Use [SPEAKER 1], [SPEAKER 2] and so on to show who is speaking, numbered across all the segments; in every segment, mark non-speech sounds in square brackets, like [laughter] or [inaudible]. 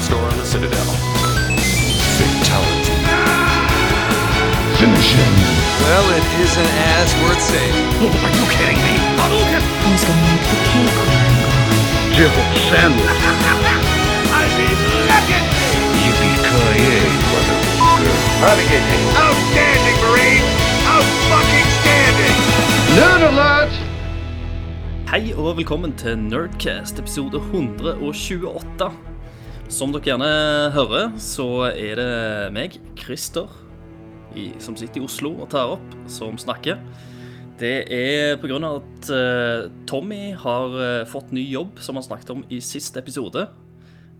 [SPEAKER 1] gjøre det, da.
[SPEAKER 2] Well, it isn't as worth saying.
[SPEAKER 3] Outstanding, Marine! Out fucking standing!
[SPEAKER 1] Hei og velkommen til Nerdcast episode 128. Som dere gjerne hører, så er det meg, Christer, i, som sitter i Oslo og tar opp, som snakker. Det er pga. at eh, Tommy har eh, fått ny jobb, som han snakket om i sist episode.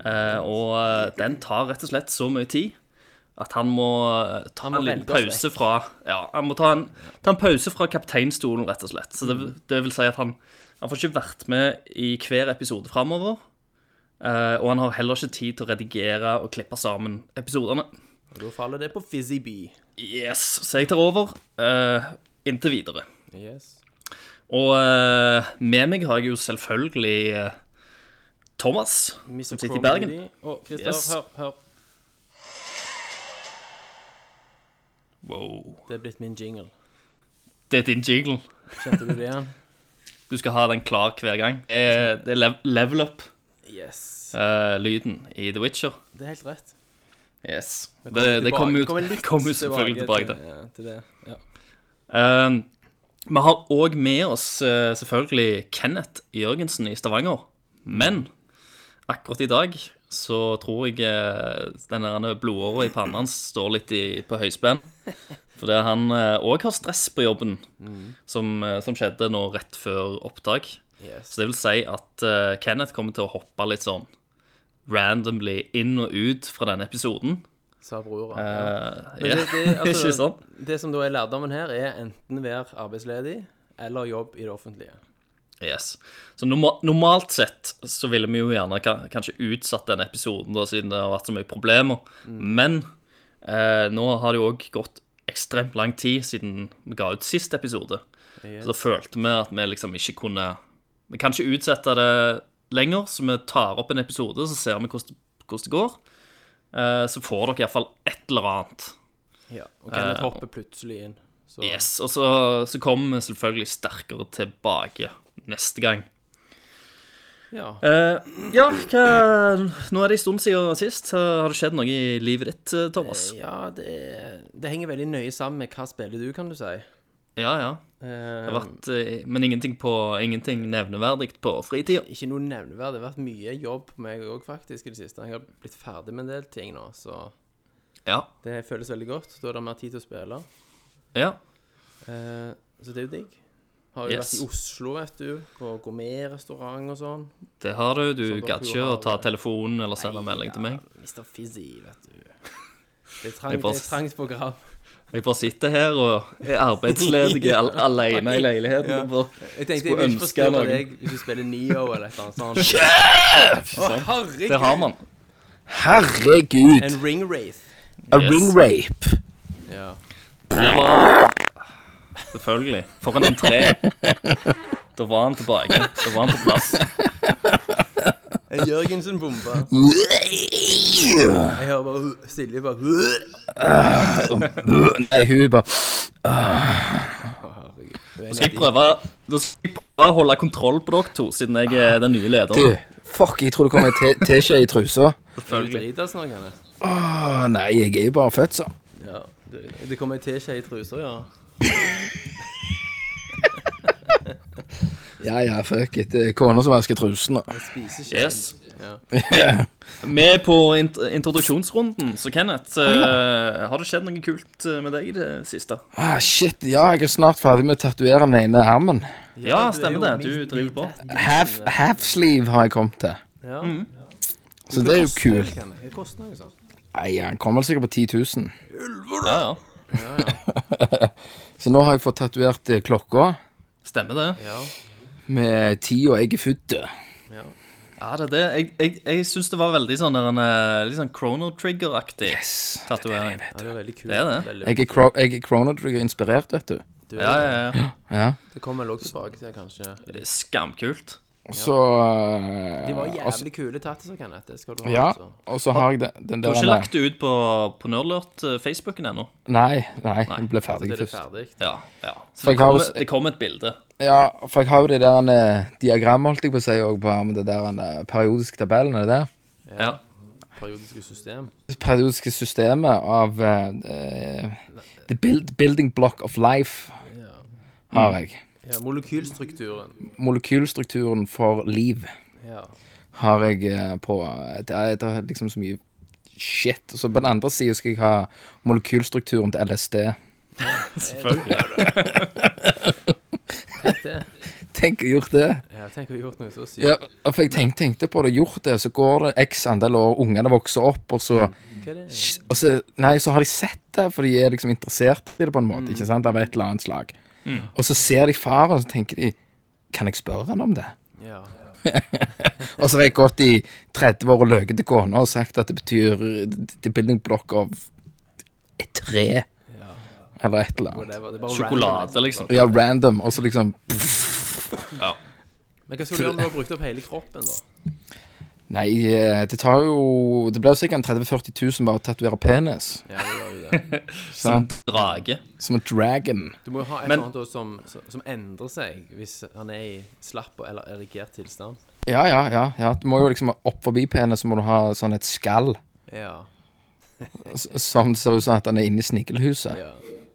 [SPEAKER 1] Eh, og eh, den tar rett og slett så mye tid at han må eh, ta
[SPEAKER 4] må
[SPEAKER 1] en liten
[SPEAKER 4] velge oss
[SPEAKER 1] pause fra Ja, han må ta en, ta en pause fra kapteinstolen, rett og slett. Så det, det vil si at han, han får ikke vært med i hver episode framover. Eh, og han har heller ikke tid til å redigere og klippe sammen episodene.
[SPEAKER 4] Da faller det på Fizzybee.
[SPEAKER 1] Yes, Så jeg tar over eh, inntil videre.
[SPEAKER 4] Yes.
[SPEAKER 1] Og eh, med meg har jeg jo selvfølgelig eh, Thomas, som sitter i Bergen.
[SPEAKER 4] Og Christer,
[SPEAKER 1] Yes.
[SPEAKER 4] hør, hør.
[SPEAKER 1] Wow.
[SPEAKER 4] Det er blitt min jingle.
[SPEAKER 1] Det er din jingle.
[SPEAKER 4] Kjente du det igjen?
[SPEAKER 1] Du skal ha den klar hver gang. Eh, det er lev level
[SPEAKER 4] [laughs] Yes.
[SPEAKER 1] up-lyden i The Witcher.
[SPEAKER 4] Det er helt rett.
[SPEAKER 1] Yes. Det, [laughs] det kommer jo
[SPEAKER 4] kommer litt
[SPEAKER 1] kom jo selvfølgelig tilbake til.
[SPEAKER 4] ja, til det. Ja.
[SPEAKER 1] Eh, Vi har òg med oss eh, selvfølgelig Kenneth Jørgensen i Stavanger. Men akkurat i dag så tror jeg eh, den der blodåra i pannen hans står litt i, på høyspenn. Fordi han òg har stress på jobben, som, eh, som skjedde nå rett før opptak.
[SPEAKER 4] Yes.
[SPEAKER 1] Så det vil si at eh, Kenneth kommer til å hoppe litt sånn randomly inn og ut fra denne episoden.
[SPEAKER 4] Sa brora.
[SPEAKER 1] Eh,
[SPEAKER 4] Men
[SPEAKER 1] ja,
[SPEAKER 4] det- det- altså-
[SPEAKER 1] [laughs] ikke sant?
[SPEAKER 4] Det som da er lærdommen her, er enten være arbeidsledig eller jobb i det offentlige.
[SPEAKER 1] Yes. Så norma- normalt sett så ville vi jo gjerne ka- kanskje utsatt den episoden, da, siden det har vært så mye problemer. Men eh, nå har det jo òg gått ekstremt lang tid siden vi ga ut sist episode. Så da følte vi at vi liksom ikke kunne Vi kan ikke utsette det lenger, så vi tar opp en episode, så ser vi hvordan, hvordan det går. Eh, så får dere iallfall et eller annet.
[SPEAKER 4] Ja. Og Kenneth hopper plutselig inn. Så
[SPEAKER 1] Eh. Yes, og så, så kommer vi selvfølgelig sterkere tilbake neste gang.
[SPEAKER 4] ja.
[SPEAKER 1] Eh, ja, hva, nå er det en stund siden sist. Har det skjedd noe i livet ditt, eh, Thomas?
[SPEAKER 4] ja det, det henger veldig nøye sammen med hva spiller du, kan du si.
[SPEAKER 1] Ja, ja.
[SPEAKER 4] Eh,
[SPEAKER 1] Det har vært, eh, men ingenting, på, ingenting nevneverdig på fritida.
[SPEAKER 4] ikke noe nevneverdig. Det har vært mye jobb på meg òg, faktisk, i det siste. Jeg har blitt ferdig med en del ting nå, så
[SPEAKER 1] Ja,
[SPEAKER 4] det føles veldig godt. Da er det mer tid til å spille.
[SPEAKER 1] ja.
[SPEAKER 4] Eh, så det er jo digg. Har jo
[SPEAKER 1] Yes.
[SPEAKER 4] vært i Oslo, vet du, på gourmetrestaurant og sånn.
[SPEAKER 1] Det har du.
[SPEAKER 4] Så
[SPEAKER 1] Du
[SPEAKER 4] dere
[SPEAKER 1] gadd ikke
[SPEAKER 4] har-
[SPEAKER 1] å ta telefonen eller sende melding til meg.
[SPEAKER 4] Mr. Fizzy, vet du. Det er
[SPEAKER 1] Jeg
[SPEAKER 4] trangt,
[SPEAKER 1] bare-
[SPEAKER 4] det er trangt program.
[SPEAKER 1] Jeg bare sitter her og er arbeidsledig al alene i leiligheten. og bare-
[SPEAKER 4] Jeg tenkte jeg
[SPEAKER 1] Skulle
[SPEAKER 4] vil ikke
[SPEAKER 1] ønske
[SPEAKER 4] forstyrre
[SPEAKER 1] noen.
[SPEAKER 4] deg hvis du spiller Neo eller et eller annet sånt. Å,
[SPEAKER 1] Det
[SPEAKER 4] herregud!
[SPEAKER 1] har man.
[SPEAKER 5] Herregud.
[SPEAKER 4] En ring race.
[SPEAKER 5] A
[SPEAKER 1] Yes.
[SPEAKER 5] ring rape.
[SPEAKER 4] Ja.
[SPEAKER 1] Det var Selvfølgelig. For en entré. Da var han tilbake. Da var han på plass.
[SPEAKER 4] En Jørgensen-bombe. Jeg hører bare Silje bare
[SPEAKER 5] Nei, hun bare
[SPEAKER 1] Nå skal jeg prøve, nå skal jeg prøve å holde kontroll på dere to, siden jeg er den nye
[SPEAKER 5] Du,
[SPEAKER 1] lederen.
[SPEAKER 5] «Øh, fuck, jeg tror det kommer en te- teskje i trusa.
[SPEAKER 4] Du driter snart, Kenneth.
[SPEAKER 5] Å, nei, jeg er jo bare født sånn.
[SPEAKER 4] Ja. Det det kommer ei teskje i trusa, ja.
[SPEAKER 5] Ja ja, fuck it. Det er kona som vasker trusene.
[SPEAKER 4] Spiseskje.
[SPEAKER 1] Yes. [laughs] Vi er på int introduksjonsrunden, så Kenneth, eh, har det skjedd noe kult eh, med deg i det siste?
[SPEAKER 5] Ah, shit. Ja, jeg er snart ferdig med å tatovere den ene armen.
[SPEAKER 1] Ja,
[SPEAKER 4] du er
[SPEAKER 1] stemmer
[SPEAKER 4] jo
[SPEAKER 1] det. Du
[SPEAKER 4] midt
[SPEAKER 1] driver på.
[SPEAKER 5] Half, half sleeve har jeg kommet til.
[SPEAKER 4] Ja.
[SPEAKER 5] Så det er jo kult.
[SPEAKER 4] Kenneth, Det koster noe sånt.
[SPEAKER 5] Nei, han kommer vel sikkert på 10 000.
[SPEAKER 1] Ja, ja.
[SPEAKER 5] Så nå har jeg fått tatovert eh, klokka
[SPEAKER 1] Stemmer det.
[SPEAKER 4] Ja.
[SPEAKER 5] med tida jeg er født. eh.
[SPEAKER 1] Ja, det er det. Jeg, jeg, jeg syns det var veldig sånn der en eh, litt sånn Chrono Trigger-aktig
[SPEAKER 5] Yes.
[SPEAKER 1] tatovering.
[SPEAKER 4] ja, det er veldig kult.
[SPEAKER 1] Det er det.
[SPEAKER 4] Veldig,
[SPEAKER 5] Jeg er, cro- jeg er chronotrigger-inspirert, vet du.
[SPEAKER 4] du,
[SPEAKER 1] Ja, ja, ja.
[SPEAKER 5] Ja.
[SPEAKER 4] Det kommer jeg også tilbake til, kanskje.
[SPEAKER 1] Det er Skamkult.
[SPEAKER 5] Og så eh,
[SPEAKER 4] De var
[SPEAKER 5] og så-
[SPEAKER 4] jævlig kule tattiser, Kenneth. Det skal du ha.
[SPEAKER 5] eh, Ja,
[SPEAKER 4] altså.
[SPEAKER 5] og så har jeg den, den
[SPEAKER 1] Du
[SPEAKER 5] der
[SPEAKER 1] har ikke lagt det ut på, på Nerdlert-Facebooken ennå?
[SPEAKER 5] Nei, nei, den ble
[SPEAKER 4] Så
[SPEAKER 5] ferdig
[SPEAKER 4] det er
[SPEAKER 5] først.
[SPEAKER 4] ferdig.
[SPEAKER 1] Ja. ja. Så
[SPEAKER 5] For
[SPEAKER 1] det
[SPEAKER 5] jeg har
[SPEAKER 1] kommer,
[SPEAKER 5] også-
[SPEAKER 1] det kommer et bilde.
[SPEAKER 5] Ja, for jeg har jo det der eh, diagrammet, holdt jeg på å si, og på armen, det der eh, periodiske tabellen, er det det?
[SPEAKER 1] Ja.
[SPEAKER 4] Periodiske system.
[SPEAKER 5] periodiske systemet av eh, The build, Building Block of Life
[SPEAKER 4] Ja.
[SPEAKER 5] har jeg.
[SPEAKER 4] ja molekylstrukturen.
[SPEAKER 5] Molekylstrukturen for liv
[SPEAKER 4] Ja.
[SPEAKER 5] har jeg eh, på det er, det er liksom så mye shit. Og så på den andre sida skal jeg ha molekylstrukturen til LSD.
[SPEAKER 1] Selvfølgelig.
[SPEAKER 4] Det.
[SPEAKER 5] Tenk å gjort det.
[SPEAKER 4] Jeg tenker vi har gjort noe så sykt.
[SPEAKER 5] Ja, for jeg tenkte, tenkte på det. Gjort det, så går det x andel år, ungene vokser opp, og så
[SPEAKER 4] Hva er det?
[SPEAKER 5] og så, nei, så har de sett det, for de er liksom interessert i det på en måte, ikke sant, av et eller annet slag. Og så ser de faren, og så tenker de Kan jeg spørre han om det?
[SPEAKER 4] Ja.
[SPEAKER 5] Og så har jeg gått i 30 år og løyet til kona og sagt at det betyr eh, the building block of et tre.
[SPEAKER 4] Ja.
[SPEAKER 5] Eller et eller annet.
[SPEAKER 4] Whatever. Det er bare random.
[SPEAKER 1] Sjokolade, liksom.
[SPEAKER 5] Ja, random. Og så liksom
[SPEAKER 1] Ja.
[SPEAKER 4] Men hva skulle du gjøre når du har brukt opp hele kroppen, da?
[SPEAKER 5] Nei, eh, det tar jo Det blir jo sikkert en 30 000-40 000 bare å tatovere penis.
[SPEAKER 4] Ja, det var jo det.
[SPEAKER 5] Som,
[SPEAKER 1] Drage.
[SPEAKER 5] som en dragon.
[SPEAKER 4] Du må jo ha et
[SPEAKER 1] Men-
[SPEAKER 4] eller annet da som, som som endrer seg hvis han er i slapp og- eller erigert tilstand.
[SPEAKER 5] Ja, ja, ja. ja. Du må jo liksom opp forbi penis, så må du ha sånn et skall.
[SPEAKER 4] Ja.
[SPEAKER 5] S- Som det ser ut som at han er inne i snikkelhuset.
[SPEAKER 4] ja.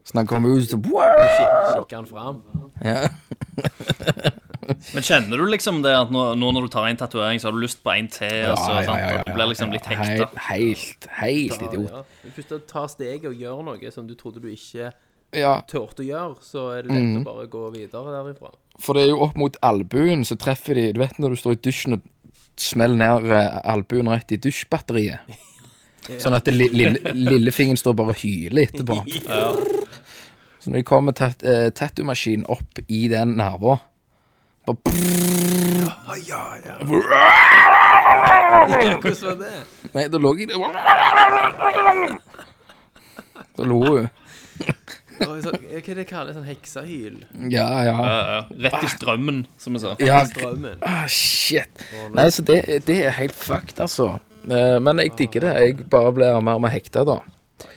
[SPEAKER 5] Så han kommer ut og
[SPEAKER 4] Kikker han fram.
[SPEAKER 5] ja.
[SPEAKER 1] Men kjenner du liksom det at nå, nå når du tar en tatovering, så har du lyst på en til? og så, sant? Du blir liksom litt hekta.
[SPEAKER 5] Helt, helt, helt idiot.
[SPEAKER 4] Ja. Hvis du tar steget og gjør noe som du trodde du ikke
[SPEAKER 5] Ja,
[SPEAKER 4] turte å gjøre, så er det lett
[SPEAKER 5] Mm.
[SPEAKER 4] å bare gå videre derifra.
[SPEAKER 5] for det er jo opp mot albuen, så treffer de Du vet når du står i dusjen og smeller ned eh, albuen rett
[SPEAKER 1] [laughs]
[SPEAKER 5] i dusjbatteriet? Sånn at det li- lille, lillefingeren står bare og hyler etterpå. Så når de kommer tat, eh, tattoo-maskinen opp i den nerva Bare
[SPEAKER 4] Hvordan var det?
[SPEAKER 5] Nei, da lå jeg der Da lo hun.
[SPEAKER 4] Oi, så, hva er det de kaller sånn heksehyl?
[SPEAKER 5] Ja, ja.
[SPEAKER 1] Ja, ja. Rett i strømmen, som vi sa.
[SPEAKER 5] ja.
[SPEAKER 4] Strømmen.
[SPEAKER 5] Ah, shit. Nei, så det, det er helt fucked, altså. Eh, Men jeg digger det. Jeg bare blir mer og mer hekta, da.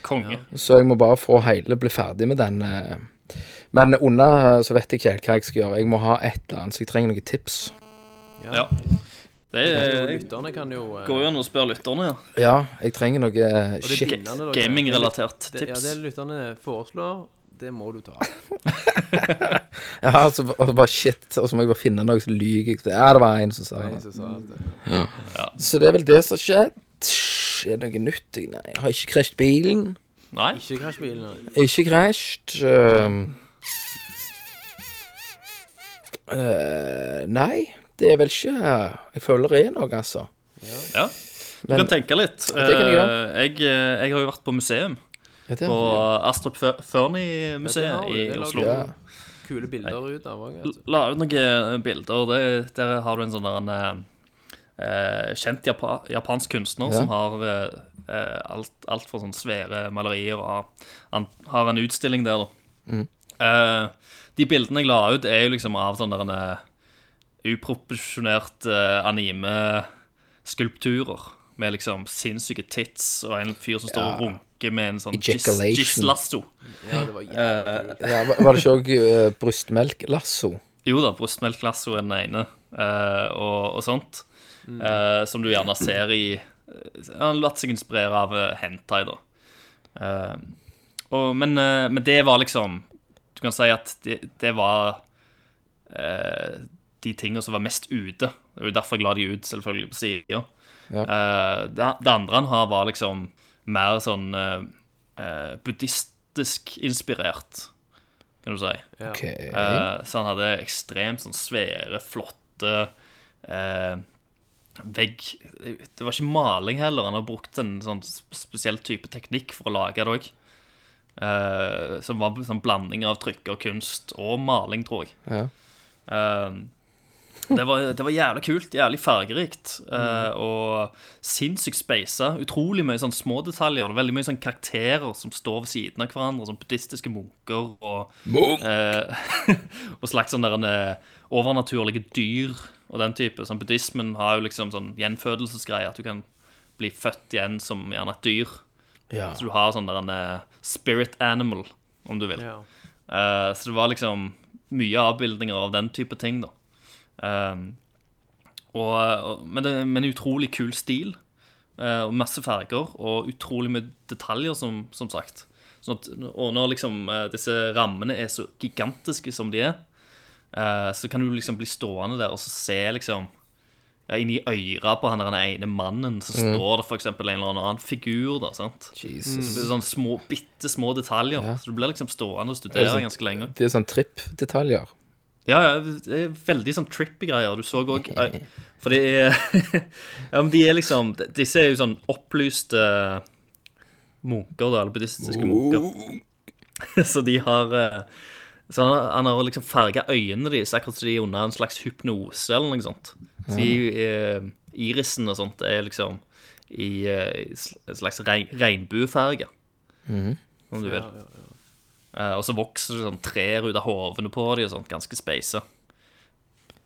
[SPEAKER 1] Konge.
[SPEAKER 5] Så jeg må bare få hele, bli ferdig med den. eh. Men under eh, så vet jeg ikke helt hva jeg skal gjøre. Jeg må ha et eller annet, så jeg trenger noen tips.
[SPEAKER 1] Ja. Det
[SPEAKER 4] Og
[SPEAKER 1] er,
[SPEAKER 4] Lytterne kan Eh, jo eh,
[SPEAKER 1] går jo an å spørre lytterne, ja.
[SPEAKER 5] Ja, jeg trenger noe eh,
[SPEAKER 4] det er
[SPEAKER 5] shit.
[SPEAKER 4] bindende, da.
[SPEAKER 1] Gaming-relatert
[SPEAKER 4] Det- Ja,
[SPEAKER 1] tips.
[SPEAKER 4] det lytterne foreslår, det må du ta.
[SPEAKER 5] Ja, altså, og det var shit, og så må jeg bare finne noe, så lyver jeg. Ja, det var en som sa
[SPEAKER 4] Jeg
[SPEAKER 5] det.
[SPEAKER 4] synes at det.
[SPEAKER 5] Så det er vel det som har skjedd. Er det noe nytt? Jeg- Nei, jeg har ikke krasjet bilen.
[SPEAKER 1] Nei?
[SPEAKER 4] Ikke krasjbilen. eh,
[SPEAKER 5] Ikke krasjet. ehm. Eh, nei, det er vel ikke Jeg føler det er noe, altså.
[SPEAKER 1] Ja. Du
[SPEAKER 5] Men-
[SPEAKER 1] kan tenke litt.
[SPEAKER 5] det kan jeg gjøre.
[SPEAKER 1] Eh, jeg, eh, jeg har jo vært på museum.
[SPEAKER 5] Ja, det er-
[SPEAKER 1] På Astrup Før-
[SPEAKER 4] Ja, det har
[SPEAKER 1] Fearney-museet
[SPEAKER 4] du,
[SPEAKER 1] i
[SPEAKER 4] det lager
[SPEAKER 1] Oslo.
[SPEAKER 4] du.
[SPEAKER 5] ja.
[SPEAKER 4] Kule bilder ut av òg. Altså.
[SPEAKER 1] La ut noen eh, bilder. og Det, der har du en sånn der en eh, kjent japa japansk kunstner
[SPEAKER 5] Ja.
[SPEAKER 1] som har eh, eh, alt, alt fra sånne svære malerier og har, han har en utstilling der, da.
[SPEAKER 5] Mm.
[SPEAKER 1] Eh, de bildene jeg la ut, er jo liksom av sånne der, eh, uproporsjonert eh, anime-skulpturer. Med liksom sinnssyke tits og en fyr som står og runker med en sånn gis-
[SPEAKER 5] Ejaculation.
[SPEAKER 1] gislasso.
[SPEAKER 4] Ja, det var jævlig kult.
[SPEAKER 5] ja, var- Var det ikke òg uh, brystmelklasso?
[SPEAKER 1] Jo da, brystmelklasso er den ene, eh, og, og sånt. eh, som du gjerne ser i eh, Han har latt seg inspirere av eh, hentai, da. Eh, og, men, eh, men det var liksom Du kan si at det, det var eh, de tingene som var mest ute. Det var jo derfor jeg la de ut, selvfølgelig, på sida. Eh, det, det andre han har, var liksom mer sånn eh, eh, buddhistisk inspirert, kan du si.
[SPEAKER 4] Ja.
[SPEAKER 5] Ok.
[SPEAKER 1] Eh, Så han hadde ekstremt sånn svære, flotte eh, vegg... Det var ikke maling heller. Han har brukt en sånn sp- spesiell type teknikk for å lage det òg. som var en sånn blanding av trykkerkunst og maling, tror jeg.
[SPEAKER 5] Ja.
[SPEAKER 1] Eh, det, var, det var jævlig kult, jævlig fargerikt eh,
[SPEAKER 5] Mm.
[SPEAKER 1] og sinnssykt speisa. Utrolig mye sånn små detaljer. og Veldig mye sånn karakterer som står ved siden av hverandre, sånn buddhistiske munker og
[SPEAKER 5] Munk!
[SPEAKER 1] Eh, [laughs] og slakt sånn der en, eh, overnaturlige dyr og den type. Sånn, buddhismen har jo liksom sånn gjenfødelsesgreie, at du kan bli født igjen som gjerne et dyr.
[SPEAKER 5] Ja.
[SPEAKER 1] Så du har sånn der en eh, spirit animal, om du vil.
[SPEAKER 4] Ja.
[SPEAKER 1] Eh, så det var liksom mye avbildninger av den type ting, da. Ehm, og, og, men, det, men utrolig kul stil. eh, og masse farger og utrolig mye detaljer, som, som sagt. Sånn at, og når liksom eh, disse rammene er så gigantiske som de er, eh, så kan du liksom bli stående der og så se liksom ja, Inni øra på han der ene mannen så står det for eksempel en eller annen figur. da, sant?
[SPEAKER 5] Jesus.
[SPEAKER 1] Det er sånn små, bitte små detaljer. Så du blir liksom stående og
[SPEAKER 5] Er det
[SPEAKER 1] studere
[SPEAKER 5] sånn-
[SPEAKER 1] ganske lenge.
[SPEAKER 5] Det er sånn trippdetaljer.
[SPEAKER 1] Ja, ja, det er veldig sånn trippy greier. Du så òg For det er [laughs] Ja, men de er liksom Disse er jo sånn opplyste eh, munker, da, eller buddhistiske munker. [laughs] Så de har eh, Så han, han har liksom farga øynene deres, akkurat som de er under en slags hypnose eller noe sånt. Så de, eh, irisen og sånt er liksom i eh, i sl- en slags rein, regnbuefarge,
[SPEAKER 5] Mhm.
[SPEAKER 1] om du vil. Eh, og så vokser det sånn trær ut av hovene på dem og sånt. Ganske speisa.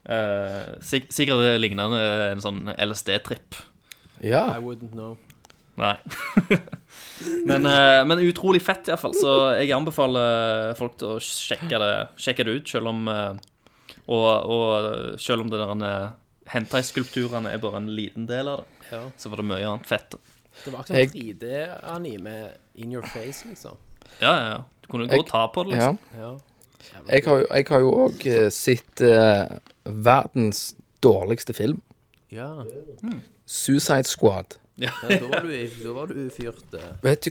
[SPEAKER 1] Eh, sik sikkert lignende en sånn LSD-tripp.
[SPEAKER 5] Ja.
[SPEAKER 4] I wouldn't know.
[SPEAKER 1] Nei. [laughs] men, eh, men utrolig fett, iallfall. Så jeg anbefaler folk til å sjekke det, sjekke det ut, selv om eh, og, og selv om det der eh, hentai-skulpturene er bare en liten del av det,
[SPEAKER 4] Ja.
[SPEAKER 1] så var det mye annet fett.
[SPEAKER 4] Det var
[SPEAKER 5] Jeg-
[SPEAKER 4] akkurat 3D-anime in your face, liksom.
[SPEAKER 1] Ja, ja, ja. Du kunne gå
[SPEAKER 5] Jeg-
[SPEAKER 1] og ta på det,
[SPEAKER 5] ja.
[SPEAKER 1] liksom.
[SPEAKER 4] Ja.
[SPEAKER 5] Jeg har, jo- jeg har jo òg sett eh, verdens dårligste film,
[SPEAKER 4] ja.
[SPEAKER 5] Suicide Squad.
[SPEAKER 1] Ja.
[SPEAKER 4] ja da, var du, da var du ufyrt. eh.
[SPEAKER 5] Vet du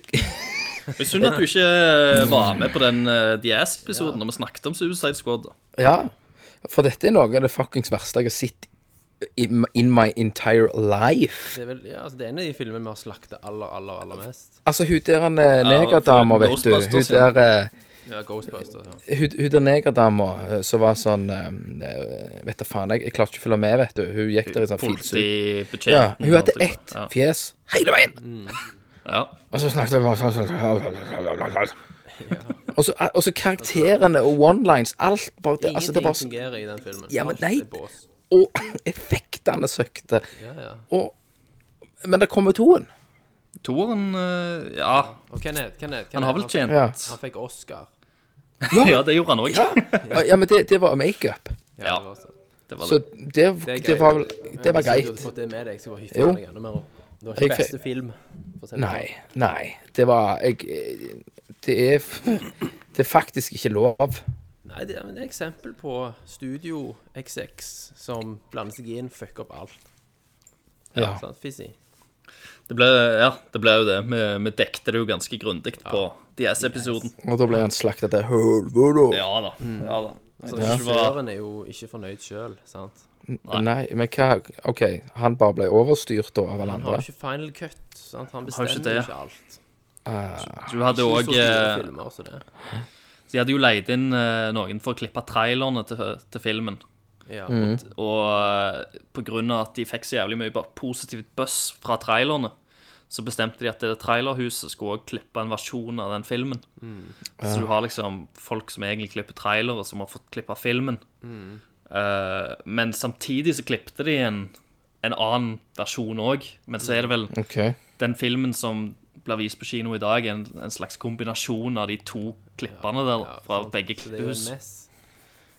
[SPEAKER 1] Det er Synd at du ikke eh, var med på den eh, The Ass-episoden når vi snakket om Suicide Squad. da.
[SPEAKER 5] [laughs] Ja. For dette er noe av det fuckings verste jeg har sett in, in my entire life.
[SPEAKER 4] Det er vel, ja, altså, det er en av de filmene vi har slakta aller, aller, aller mest.
[SPEAKER 5] Altså, hun der han, eh, negerdama,
[SPEAKER 1] for
[SPEAKER 5] vet du. Hun
[SPEAKER 1] Ghostbusters, ja.
[SPEAKER 5] der eh,
[SPEAKER 4] Ja, Ghostbusters. Ja.
[SPEAKER 5] hun, hun der negerdama eh, som var sånn eh, Vet du faen, jeg, jeg klarte ikke å følge med, vet du. Hun gikk der i sånn filsuit.
[SPEAKER 1] Politibetjenten.
[SPEAKER 5] Ja, hun hadde
[SPEAKER 1] og
[SPEAKER 5] ett
[SPEAKER 1] sånt.
[SPEAKER 5] fjes hele veien.
[SPEAKER 1] Ja.
[SPEAKER 5] Og så snakket jeg bare sånn, sånn, sånn. Og så, eh, og så karakterene og one-lines, alt bare det, altså,
[SPEAKER 4] Ingenting
[SPEAKER 5] det er bare,
[SPEAKER 4] fungerer i den filmen.
[SPEAKER 5] Ja, men
[SPEAKER 4] Alt
[SPEAKER 5] nei.
[SPEAKER 4] er bås.
[SPEAKER 5] så- Og [laughs] effektene søkte.
[SPEAKER 4] Ja, ja.
[SPEAKER 5] Og, men det kommer toen.
[SPEAKER 1] ja. Toren eh, Ja,
[SPEAKER 4] Og Kenneth, Kenneth, Kenneth
[SPEAKER 1] han har vel tjent
[SPEAKER 5] Ja.
[SPEAKER 4] Han fikk Oscar.
[SPEAKER 1] [laughs] Ja, det gjorde han òg.
[SPEAKER 5] ja, men det, det var makeup.
[SPEAKER 1] Ja.
[SPEAKER 4] det var så-
[SPEAKER 1] Det var
[SPEAKER 5] Så
[SPEAKER 1] det.
[SPEAKER 5] det,
[SPEAKER 4] er
[SPEAKER 5] det
[SPEAKER 4] greit.
[SPEAKER 5] var vel
[SPEAKER 4] Hvis
[SPEAKER 5] Det var
[SPEAKER 4] jeg hadde
[SPEAKER 5] greit.
[SPEAKER 4] fått det med deg, så var hytta
[SPEAKER 5] Jo.
[SPEAKER 4] meg enda mer. Det var ikke
[SPEAKER 5] Jeg fe-
[SPEAKER 4] beste film. for å si det
[SPEAKER 5] Nei. Nei. Det var jeg, Det er f- Det er faktisk ikke lov.
[SPEAKER 4] sånn. Nei, det er men det er eksempel på Studio XX som blander seg inn, fucker opp alt.
[SPEAKER 5] Ja.
[SPEAKER 4] Sant, Fizzy?
[SPEAKER 1] Det ble, ja, det ble jo det. Vi, vi dekte det jo ganske grundig på The Ass-episoden.
[SPEAKER 5] Og da ble han slakta til helvete.
[SPEAKER 1] Ja da. Ja, da.
[SPEAKER 4] Ja.
[SPEAKER 1] Så det ikke var
[SPEAKER 4] er jo ikke fornøyd sjøl, sant?
[SPEAKER 5] Nei, men hva OK, han bare ble overstyrt da av alle
[SPEAKER 4] Han har
[SPEAKER 5] andre.
[SPEAKER 4] jo ikke final cut, sant? Han
[SPEAKER 1] Har
[SPEAKER 4] bestemmer
[SPEAKER 1] ikke
[SPEAKER 4] jo
[SPEAKER 1] det, eh, ja.
[SPEAKER 4] ikke, alt.
[SPEAKER 1] Du hadde
[SPEAKER 4] Ikke
[SPEAKER 1] òg
[SPEAKER 4] så store filmer også, det.
[SPEAKER 1] De hadde jo leid inn eh, noen for å klippe trailerne til, til filmen.
[SPEAKER 4] Ja.
[SPEAKER 1] Mm. Og eh, på grunn av at de fikk så jævlig mye bare positivt buzz fra trailerne, så bestemte de at det trailerhuset skulle også klippe en versjon av den filmen.
[SPEAKER 4] Mm.
[SPEAKER 1] Så du har liksom folk som egentlig klipper trailere, som har fått klippe filmen.
[SPEAKER 4] Mm.
[SPEAKER 1] Eh, men samtidig så klippte de en, en annen versjon òg. Men så er det vel
[SPEAKER 5] OK.
[SPEAKER 1] den filmen som blir vist på kino i dag, er en, en slags kombinasjon av de to klippene der, da, fra
[SPEAKER 4] sant.
[SPEAKER 1] begge
[SPEAKER 4] Så det er jo
[SPEAKER 1] klippehus.
[SPEAKER 4] en mess.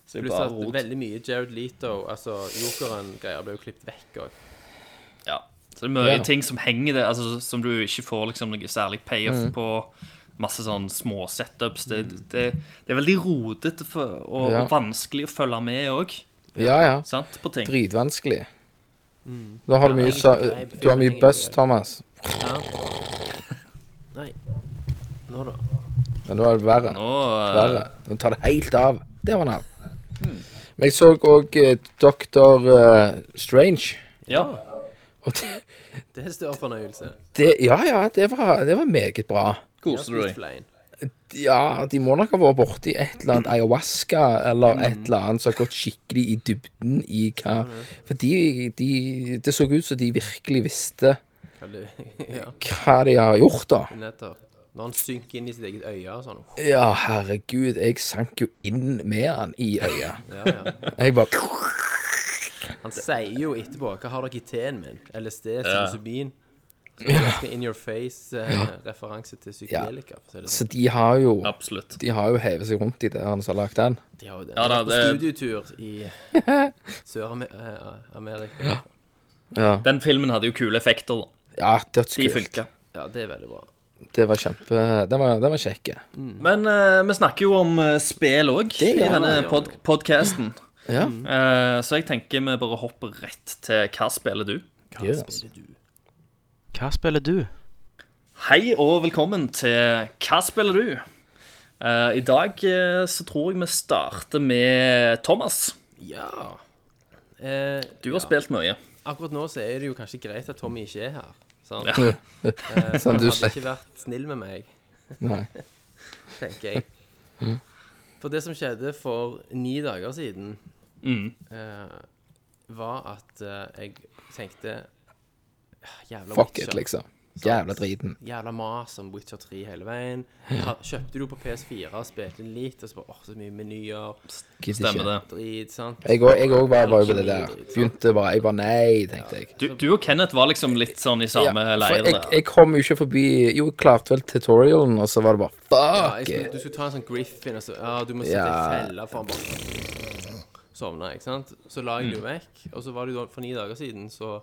[SPEAKER 1] Så det er
[SPEAKER 4] Pluss
[SPEAKER 1] bare
[SPEAKER 4] at
[SPEAKER 1] rot.
[SPEAKER 4] veldig mye Jared Leto, altså jokeren-greier, ble jo klippet vekk òg.
[SPEAKER 1] Ja. Så det er mye
[SPEAKER 5] Ja.
[SPEAKER 1] ting som henger der, altså, som du ikke får liksom, noe særlig
[SPEAKER 5] Mm.
[SPEAKER 1] payoff på. Masse sånn små setups. Det, det, det er veldig rotete for- og,
[SPEAKER 5] Ja.
[SPEAKER 1] og vanskelig å følge med òg,
[SPEAKER 5] Ja, ja.
[SPEAKER 1] sant, på ting.
[SPEAKER 5] Dritvanskelig.
[SPEAKER 4] Mm.
[SPEAKER 5] Da har du mye, sa, du har mye buzz, Thomas.
[SPEAKER 4] Nei. Nå, da.
[SPEAKER 5] Men det var det verre.
[SPEAKER 1] Nå, eh,
[SPEAKER 5] verre. Nå tar det helt av. Det var navn. Men jeg så òg Dr. eh, Strange.
[SPEAKER 1] ja.
[SPEAKER 5] Og det,
[SPEAKER 4] Det er større fornøyelse.
[SPEAKER 5] det Ja, ja, det var, det var meget bra.
[SPEAKER 1] Koser du deg?
[SPEAKER 4] Flein.
[SPEAKER 5] Ja, de må nok ha vært borti et eller annet ayahuasca eller et eller annet som har gått skikkelig i dybden i hva For de, de Det så ut som de virkelig visste
[SPEAKER 4] Hva du- [laughs] Ja,
[SPEAKER 5] hva de har gjort, da.
[SPEAKER 4] nettopp. Når han synker inn i sitt eget øye og sånn.
[SPEAKER 5] Ja, herregud, jeg sank jo inn med han i øyet.
[SPEAKER 4] Ja, ja.
[SPEAKER 5] Jeg bare
[SPEAKER 4] Han sier jo etterpå Hva har dere i teen min? LSD, psilocybin Så det er ganske in your face-referanse til psykedelika. for å si det sånn.
[SPEAKER 5] Så de har jo
[SPEAKER 1] Absolutt.
[SPEAKER 5] De har jo hevet seg rundt i det han som har lagd den.
[SPEAKER 4] sånn. De har jo det.
[SPEAKER 1] Ja, da,
[SPEAKER 4] På
[SPEAKER 1] det-
[SPEAKER 4] Studietur
[SPEAKER 1] [laughs]
[SPEAKER 4] i eh, Sør-Amerika.
[SPEAKER 5] Ja,
[SPEAKER 1] Den filmen hadde jo kule effekter. da.
[SPEAKER 5] ja
[SPEAKER 1] De
[SPEAKER 5] dødskult.
[SPEAKER 1] funka.
[SPEAKER 4] Ja, det er veldig bra.
[SPEAKER 5] Det var kjempe Den var, den var kjekk.
[SPEAKER 1] Men eh, vi snakker jo om eh, spill òg i
[SPEAKER 5] gjør
[SPEAKER 1] denne pod podcasten.
[SPEAKER 5] Ja.
[SPEAKER 1] Eh, så jeg tenker vi bare hopper rett til hva spiller du?
[SPEAKER 5] Hva
[SPEAKER 6] Hva spiller du?
[SPEAKER 1] Hei og velkommen til Hva spiller du? Eh, I dag eh, så tror jeg vi starter med Thomas.
[SPEAKER 4] Ja. Eh,
[SPEAKER 1] Du har spilt mye.
[SPEAKER 4] akkurat nå så er det jo kanskje greit at Tommy ikke er her. Sant?
[SPEAKER 1] Ja.
[SPEAKER 4] Eh,
[SPEAKER 5] Sånn
[SPEAKER 4] han
[SPEAKER 5] du
[SPEAKER 4] hadde
[SPEAKER 5] slipper.
[SPEAKER 4] ikke vært snill med meg.
[SPEAKER 5] Nei.
[SPEAKER 4] tenker
[SPEAKER 5] [laughs]
[SPEAKER 4] jeg.
[SPEAKER 5] Mm.
[SPEAKER 4] For det som skjedde for ni dager siden, eh, var at eh, jeg tenkte «Ah, Jævla
[SPEAKER 5] Fuck
[SPEAKER 4] Witcher.
[SPEAKER 5] it, liksom. Jævla driten.
[SPEAKER 4] Jævla mas om Witcher 3 hele veien. Ha, kjøpte du på PS4, spilte litt, og så bare åh, så mye menyer,
[SPEAKER 5] Gidder
[SPEAKER 1] Stemmer
[SPEAKER 5] ikke.
[SPEAKER 1] det.
[SPEAKER 4] drit, sant.
[SPEAKER 5] Jeg òg var, var jo på det der. Begynte bare Jeg bare nei, tenkte jeg.
[SPEAKER 1] Du, du og Kenneth var liksom litt sånn i
[SPEAKER 5] Ja,
[SPEAKER 1] samme
[SPEAKER 5] for
[SPEAKER 1] leir
[SPEAKER 5] jeg,
[SPEAKER 1] der.
[SPEAKER 5] jeg kom jo ikke forbi Jo, jeg klarte vel tutorialen, og så var det
[SPEAKER 4] Ja,
[SPEAKER 5] bare
[SPEAKER 4] jeg
[SPEAKER 5] fuck
[SPEAKER 4] skulle,
[SPEAKER 5] it.
[SPEAKER 4] du skulle ta en sånn Griffin, og så ja, du må sitte
[SPEAKER 5] Ja.
[SPEAKER 4] i fella for han bare sovna, ikke sant. Så la jeg det jo vekk, og så var det jo da- for ni dager siden, så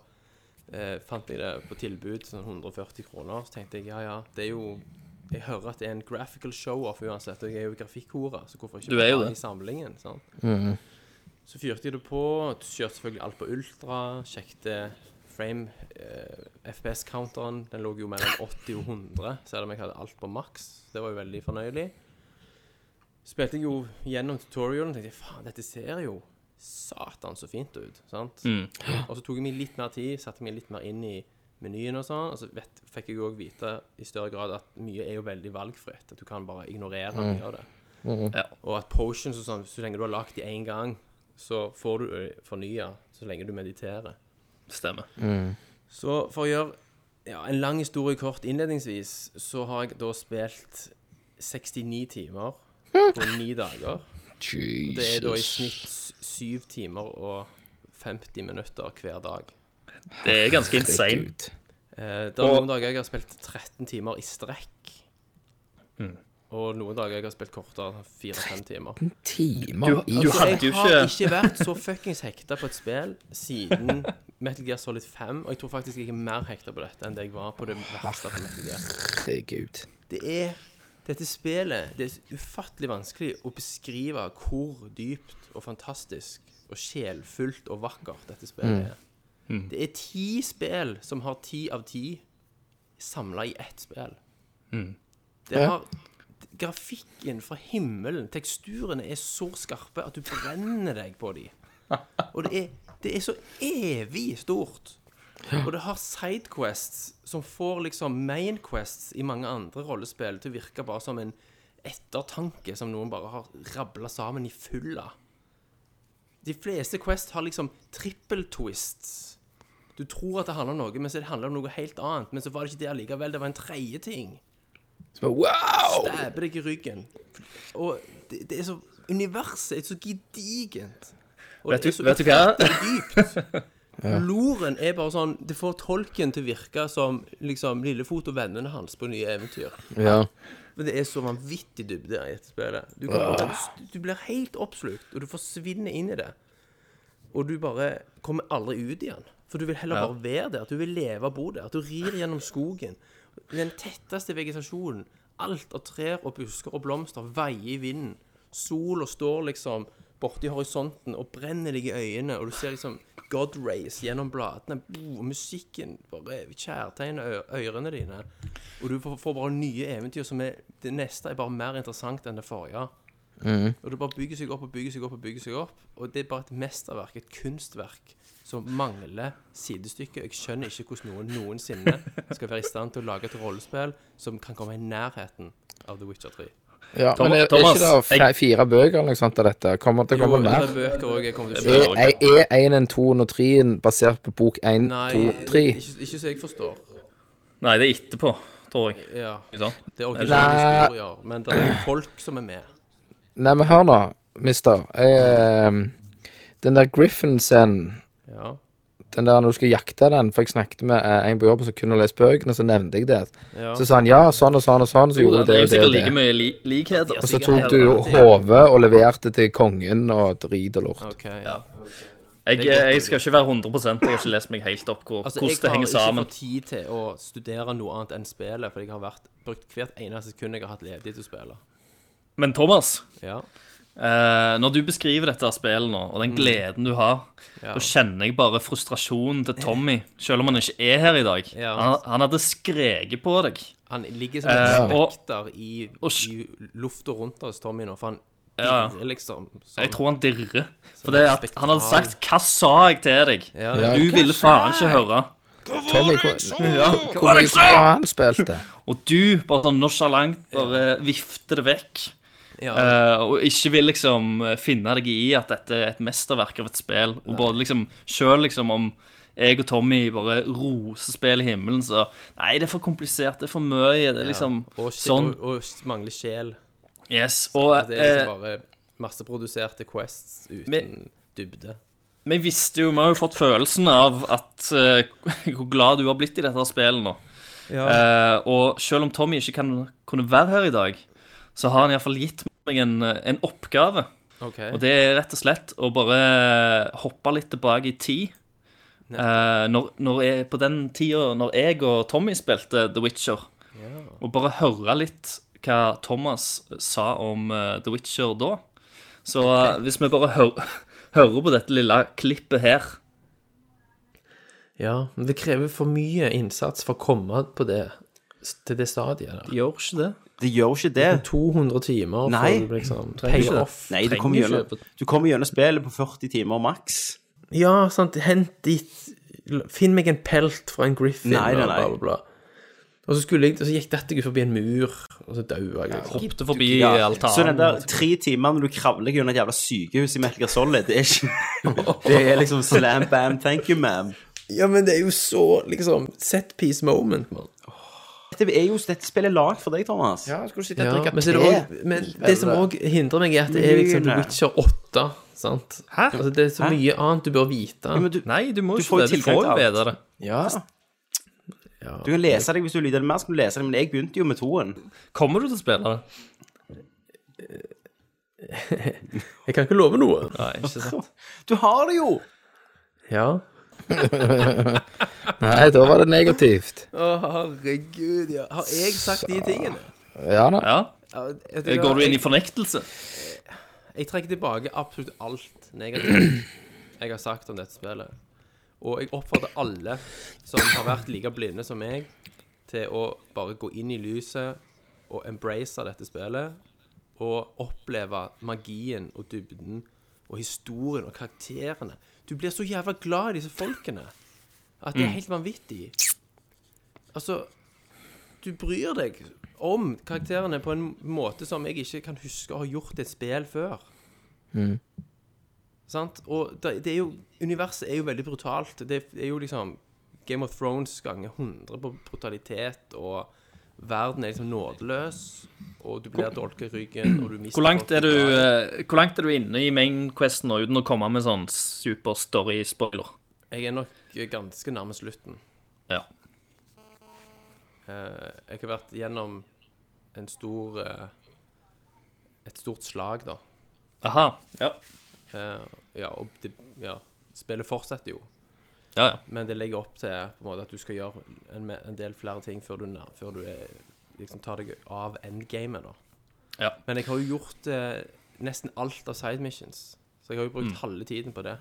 [SPEAKER 4] eh, fant jeg det på tilbud, sånn 140 kroner. Så tenkte jeg ja, ja, det er jo Jeg hører at det er en graphical show-off uansett, og jeg er jo grafikkhore, så hvorfor ikke
[SPEAKER 1] Du er jo
[SPEAKER 4] ha den
[SPEAKER 1] det.
[SPEAKER 4] i samlingen? sant? Så fyrte jeg det på, kjørte selvfølgelig alt på ultra, sjekte frame eh, FPS-counteren. Den lå jo mellom 80 og 100, selv om jeg hadde alt på maks. Det var jo veldig fornøyelig. Spilte jeg jo gjennom tutorialen og tenkte jeg, faen, dette ser jo satan så fint ut. sant?
[SPEAKER 1] Mm.
[SPEAKER 4] Og så tok jeg meg litt mer tid, satte meg litt mer inn i menyen og sånn. Og så vet, fikk jeg òg vite i større grad at mye er jo veldig valgfritt. At du kan bare ignorere mye av det.
[SPEAKER 1] Ja.
[SPEAKER 4] Og at potions og sånn, så lenge du har lagd de én gang, så får du fornya så lenge du mediterer.
[SPEAKER 1] Stemmer.
[SPEAKER 4] Så for å gjøre ja, en lang historie kort innledningsvis, så har jeg da spilt 69 timer på ni dager. Det er da i
[SPEAKER 5] Jesus.
[SPEAKER 4] snitt syv timer og 50 minutter hver dag.
[SPEAKER 1] Det er ganske insane.
[SPEAKER 5] Gud.
[SPEAKER 4] Eh, det er noen dager jeg har spilt 13 timer i strekk.
[SPEAKER 1] Mm.
[SPEAKER 4] Og noen dager jeg har spilt kortere, fire-fem timer.
[SPEAKER 5] Timer i
[SPEAKER 1] Du hadde
[SPEAKER 4] Jeg
[SPEAKER 1] jo
[SPEAKER 4] har
[SPEAKER 1] ikke
[SPEAKER 4] ikke vært så fuckings hekta på et spill siden [laughs] Metal Gear Solid 5, og jeg tror faktisk jeg er mer hekta på dette enn det jeg var på det verste på Metal Gear.
[SPEAKER 5] herregud.
[SPEAKER 4] Det er dette spillet Det er ufattelig vanskelig å beskrive hvor dypt og fantastisk og sjelfullt og vakkert dette spillet er. Det er ti spill som har ti av ti samla i ett spill. Det
[SPEAKER 5] Ja.
[SPEAKER 4] har Grafikken fra himmelen, teksturene er så skarpe at du brenner deg på dem. Og det er, det er så evig stort. Og det har sidequests som får liksom mainquests i mange andre rollespill til å virke bare som en ettertanke som noen bare har rabla sammen i fylla. De fleste Quest har liksom triple twists. Du tror at det handler om noe, men så handler det om noe helt annet. Men så var det ikke det allikevel. Det var en tredje ting.
[SPEAKER 5] Så bare, Wow!
[SPEAKER 4] Dæber deg i ryggen. Og det, det er så Universet er så gedigent. Og
[SPEAKER 1] Vet
[SPEAKER 4] det er
[SPEAKER 1] du,
[SPEAKER 4] så
[SPEAKER 1] vet du hva?
[SPEAKER 4] dypt. Loren er bare sånn Det får tolken til å virke som liksom Lillefot og vennene hans på nye eventyr.
[SPEAKER 5] Ja.
[SPEAKER 4] Men det er så vanvittig dybde i dette spillet. Du, kan bare, du blir helt oppslukt, og du forsvinner inn i det. Og du bare kommer aldri ut igjen. For du vil heller bare være der. Du vil leve og bo der. Du rir gjennom skogen. Den tetteste vegetasjonen. Alt av trær og busker og blomster veier i vinden. Sola står liksom borti horisonten og brenner deg i øynene, og du ser liksom God rays gjennom bladene. Bo, og musikken bare kjærtegner ø- ørene dine. Og du får, får bare nye eventyr som er Det neste er bare mer interessant enn det forrige. Og det bare bygger seg opp og bygger seg opp og bygger seg opp. Og det er bare et mesterverk, et kunstverk, som mangler sidestykke. Jeg skjønner ikke hvordan noen noensinne skal være i stand til å lage et rollespill som kan komme i nærheten av The Witcher 3.
[SPEAKER 5] ja men er, er
[SPEAKER 1] Thomas,
[SPEAKER 5] ikke det fe-
[SPEAKER 1] jeg-
[SPEAKER 5] fire bøker eller noe sånt av dette? Kommer det til å komme
[SPEAKER 4] det
[SPEAKER 5] mer?
[SPEAKER 4] er bøker òg. Jeg kommer til å
[SPEAKER 5] Er,
[SPEAKER 4] kjøpe.
[SPEAKER 5] er, er en, toen og treen basert på bok én,
[SPEAKER 4] Nei,
[SPEAKER 5] to, tre?
[SPEAKER 4] ikke, ikke så jeg forstår.
[SPEAKER 1] Nei, det er etterpå. tror jeg.
[SPEAKER 4] Ja.
[SPEAKER 1] Ikke sant?
[SPEAKER 4] Det er originale historier, men det er folk som er med.
[SPEAKER 5] Nei, men hør nå, mister. Jeg, eh, den der Griffin-scenen
[SPEAKER 4] Ja.
[SPEAKER 5] den der når du skal jakte den, for jeg snakket med eh, en på jobben som kunne lese bøkene, så nevnte jeg det.
[SPEAKER 4] Ja.
[SPEAKER 5] Så sa han ja, sånn og sånn og sånn, så
[SPEAKER 1] Jo,
[SPEAKER 5] gjorde
[SPEAKER 1] det
[SPEAKER 5] du det
[SPEAKER 1] er jo
[SPEAKER 5] og det.
[SPEAKER 1] sikkert
[SPEAKER 5] Og
[SPEAKER 1] like
[SPEAKER 5] det.
[SPEAKER 1] mye li likheter.
[SPEAKER 5] Og så tok du jo hodet og leverte til kongen og drit og lort.
[SPEAKER 4] OK. Ja.
[SPEAKER 1] Jeg, eh, jeg skal ikke være 100 jeg har ikke lest meg helt opp hvor,
[SPEAKER 4] Altså,
[SPEAKER 1] hvordan det henger
[SPEAKER 4] Jeg har
[SPEAKER 1] sammen.
[SPEAKER 4] ikke fått tid til å studere noe annet enn spillet, for jeg har vært, brukt hvert eneste sekund jeg har hatt ledig til å spille.
[SPEAKER 1] Men Thomas,
[SPEAKER 4] Ja.
[SPEAKER 1] eh, når du beskriver dette spillet nå, og den gleden du har,
[SPEAKER 4] Mm. Ja.
[SPEAKER 1] så kjenner jeg bare frustrasjonen til Tommy, selv om han ikke er her i dag.
[SPEAKER 4] Ja.
[SPEAKER 1] Han, han hadde skreket på deg.
[SPEAKER 4] Han ligger som en
[SPEAKER 1] Eh, og-
[SPEAKER 4] spekter i,
[SPEAKER 1] og s-
[SPEAKER 4] i lufta rundt oss, Tommy, nå, for han
[SPEAKER 1] Ja.
[SPEAKER 4] irrer liksom sånn.
[SPEAKER 1] Jeg tror han dirrer. For det er at han hadde
[SPEAKER 4] spektakel.
[SPEAKER 1] sagt 'Hva sa jeg til deg?'
[SPEAKER 4] Ja.
[SPEAKER 1] Du ville faen ikke høre.
[SPEAKER 5] Tommy, hvor, hvor mye bra han spilte.
[SPEAKER 1] Og du bare sånn nonchalant bare vifter det vekk.
[SPEAKER 4] Ja.
[SPEAKER 1] Eh, og ikke vil liksom eh, finne deg i at dette er et mesterverk av et spill. Og bare liksom, Sjøl liksom om jeg og Tommy bare roser spill i himmelen, så Nei, det er for komplisert, det er for mye. Det er liksom
[SPEAKER 4] og, sj-
[SPEAKER 1] sånn.
[SPEAKER 4] og, og mangler sjel.
[SPEAKER 1] Yes. Og
[SPEAKER 4] Det er
[SPEAKER 1] eh,
[SPEAKER 4] liksom bare masseproduserte quests uten
[SPEAKER 1] Men-
[SPEAKER 4] dybde.
[SPEAKER 1] vi visste jo, vi har jo fått følelsen av at eh, [laughs] hvor glad du har blitt i dette spillet nå. Eh, og selv om Tommy ikke kan, kunne være her i dag, så har han iallfall gitt meg en, eh, en oppgave.
[SPEAKER 4] OK.
[SPEAKER 1] Og det er rett og slett å bare hoppe litt tilbake i tid. Eh, når, når jeg, på den tida når jeg og Tommy spilte The Witcher, og bare høre litt hva Thomas sa om eh, The Witcher da. Så eh, hvis vi bare hø [laughs] hører på dette lille klippet her
[SPEAKER 4] Ja, men det krever for mye innsats for å komme på det, til det stadiet der.
[SPEAKER 1] Gjør ikke det?
[SPEAKER 7] Det gjør ikke det.
[SPEAKER 4] 200 timer
[SPEAKER 7] Nei.
[SPEAKER 4] for å liksom pay
[SPEAKER 7] ikke det.
[SPEAKER 4] off.
[SPEAKER 7] Nei, du
[SPEAKER 4] Trenger
[SPEAKER 7] kommer
[SPEAKER 4] ikke
[SPEAKER 7] gjennom,
[SPEAKER 4] på-
[SPEAKER 7] du kommer gjennom spillet på 40 timer maks.
[SPEAKER 4] Ja, sant. Hent dit Finn meg en pelt fra en griffin
[SPEAKER 7] Nei, nei,
[SPEAKER 4] og
[SPEAKER 7] nei.
[SPEAKER 4] bla, bla, bla. Og så, skulle jeg, og så gikk dette gikk forbi en mur, og så daua jeg. liksom.
[SPEAKER 1] Hoppte forbi altanen.
[SPEAKER 7] Så den der tre timene når du kravler gjennom et jævla sykehus i Metal Gear Solid, det er ikke Det er liksom slam bam, thank you, ma'am.
[SPEAKER 4] Ja, men det er jo så liksom set piece moment, mann.
[SPEAKER 7] Dette er jo dette spillet er lagd for deg, Thomas.
[SPEAKER 5] Ja, skulle sitte
[SPEAKER 4] Ja, men, så er det også, men det som òg hindrer meg, er at det er liksom The
[SPEAKER 7] Lyne.
[SPEAKER 4] Witcher 8. Sant? Hæ? Altså, det er så
[SPEAKER 7] Hæ?
[SPEAKER 4] mye annet du bør vite.
[SPEAKER 7] Men du,
[SPEAKER 1] Nei, du må
[SPEAKER 7] Du
[SPEAKER 1] ikke
[SPEAKER 7] får jo
[SPEAKER 1] det. Du
[SPEAKER 7] tilgang
[SPEAKER 1] får
[SPEAKER 7] til
[SPEAKER 1] jo
[SPEAKER 7] alt.
[SPEAKER 1] vite det.
[SPEAKER 5] Ja.
[SPEAKER 7] du kan lese deg hvis du lyder det mer, så kan du lese deg, men jeg begynte jo med toen.
[SPEAKER 1] Kommer du til å spille det?
[SPEAKER 4] Jeg kan ikke love noe.
[SPEAKER 1] Nei, ikke sant.
[SPEAKER 7] Du har det jo!
[SPEAKER 4] Ja.
[SPEAKER 5] Nei, da var det negativt.
[SPEAKER 4] Å, herregud, ja. Har jeg sagt de tingene?
[SPEAKER 5] Ja da.
[SPEAKER 1] Ja.
[SPEAKER 4] Ja, vet du hva?
[SPEAKER 1] Går du inn i fornektelse?
[SPEAKER 4] Jeg trekker tilbake absolutt alt negativt jeg har sagt om dette spillet. Og jeg oppfordrer alle som har vært like blinde som meg, til å bare gå inn i lyset og embrace dette spillet. Og oppleve magien og dybden og historien og karakterene. Du blir så jævla glad i disse folkene at
[SPEAKER 1] Mm.
[SPEAKER 4] det er helt vanvittig. Altså du bryr deg om karakterene på en måte som jeg ikke kan huske å ha gjort i et spill før.
[SPEAKER 1] Mm.
[SPEAKER 4] Sant? Og det, det er jo Universet er jo veldig brutalt. Det er jo liksom Game of Thrones ganger 100 på brutalitet, og verden er liksom nådeløs, og du blir dolka i ryggen, og du mister
[SPEAKER 1] Hvor langt,
[SPEAKER 4] folk
[SPEAKER 1] er du,
[SPEAKER 4] glad i.
[SPEAKER 1] eh, hvor langt er du inne i main questen nå, uten å komme med sånn superstory-spoiler?
[SPEAKER 4] Jeg er nok ganske nærme slutten.
[SPEAKER 1] Ja.
[SPEAKER 4] Eh, jeg har vært gjennom en stor eh, Et stort slag, da.
[SPEAKER 1] Aha. Ja.
[SPEAKER 4] Eh, ja, og det, ja, spillet fortsetter jo,
[SPEAKER 1] Ja, ja.
[SPEAKER 4] men det legger opp til på en måte at du skal gjøre en, me- en del flere ting før du, nær- før du er, liksom tar deg av endgamet, da.
[SPEAKER 1] Ja.
[SPEAKER 4] Men jeg har jo gjort eh, nesten alt av side missions, så jeg har jo brukt
[SPEAKER 1] Mm.
[SPEAKER 4] halve tiden på det.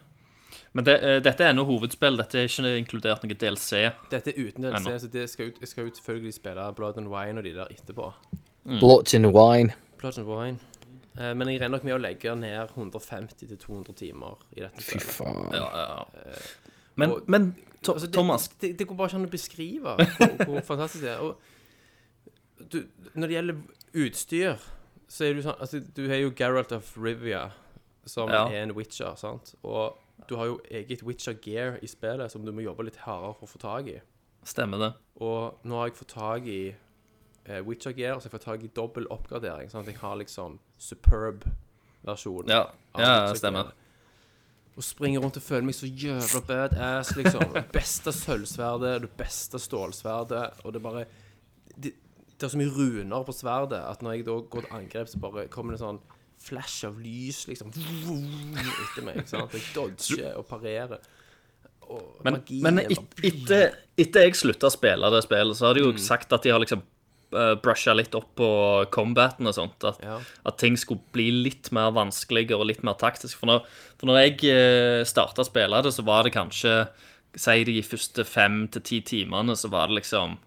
[SPEAKER 1] Men det, eh, dette er ennå hovedspill. Dette er ikke inkludert noe DLC.
[SPEAKER 4] Dette er uten DLC,
[SPEAKER 1] Ennå.
[SPEAKER 4] så det skal jo, jeg skal jo selvfølgelig spille Blood and Wine og de der etterpå.
[SPEAKER 1] Mm.
[SPEAKER 5] Blotch and wine.
[SPEAKER 4] Blood and Wine. Eh, men jeg regner nok med å legge ned 150-200 timer i dette.
[SPEAKER 5] Fy faen.
[SPEAKER 1] Ja, ja, ja. Men,
[SPEAKER 4] Eh, Og-
[SPEAKER 1] men to,
[SPEAKER 4] Altså, det,
[SPEAKER 1] Thomas
[SPEAKER 4] Det, det går bare ikke an å beskrive hvor, hvor [laughs] fantastisk det er. Og du, når det gjelder utstyr, så er du sånn Altså, du har jo Geralt of Rivia, som
[SPEAKER 1] Ja.
[SPEAKER 4] er en witcher, sant? Og du har jo eget witcher gear i spillet som du må jobbe litt hardere for å få tak i.
[SPEAKER 1] Stemmer det?
[SPEAKER 4] Og nå har jeg fått tak i eh, Witcher Gear, så jeg får tak i dobbel oppgradering. Sånn at jeg har liksom superb-versjonen.
[SPEAKER 1] Ja,
[SPEAKER 4] av
[SPEAKER 1] ja
[SPEAKER 4] Witcher
[SPEAKER 1] stemmer.
[SPEAKER 4] Gear. Og springer rundt og føler meg så jævla badass, liksom. Det beste sølvsverdet, det beste stålsverdet, og det bare det, det er så mye runer på sverdet at når jeg da går til angrep, så bare kommer det en sånn flash av lys, liksom, etter meg. ikke sant? Jeg dodger og parerer. Og
[SPEAKER 1] Men,
[SPEAKER 4] magien
[SPEAKER 1] men
[SPEAKER 4] bare-
[SPEAKER 1] et- etter, etter jeg slutta å spille det spillet, så har de jo
[SPEAKER 4] Mm.
[SPEAKER 1] sagt at de har liksom brusha litt opp på combaten og sånt. At,
[SPEAKER 4] Ja.
[SPEAKER 1] at ting skulle bli litt mer vanskeligere og litt mer taktisk. For når, for når jeg eh, starta å spille det, så var det kanskje Si de første fem til ti timene, så var det liksom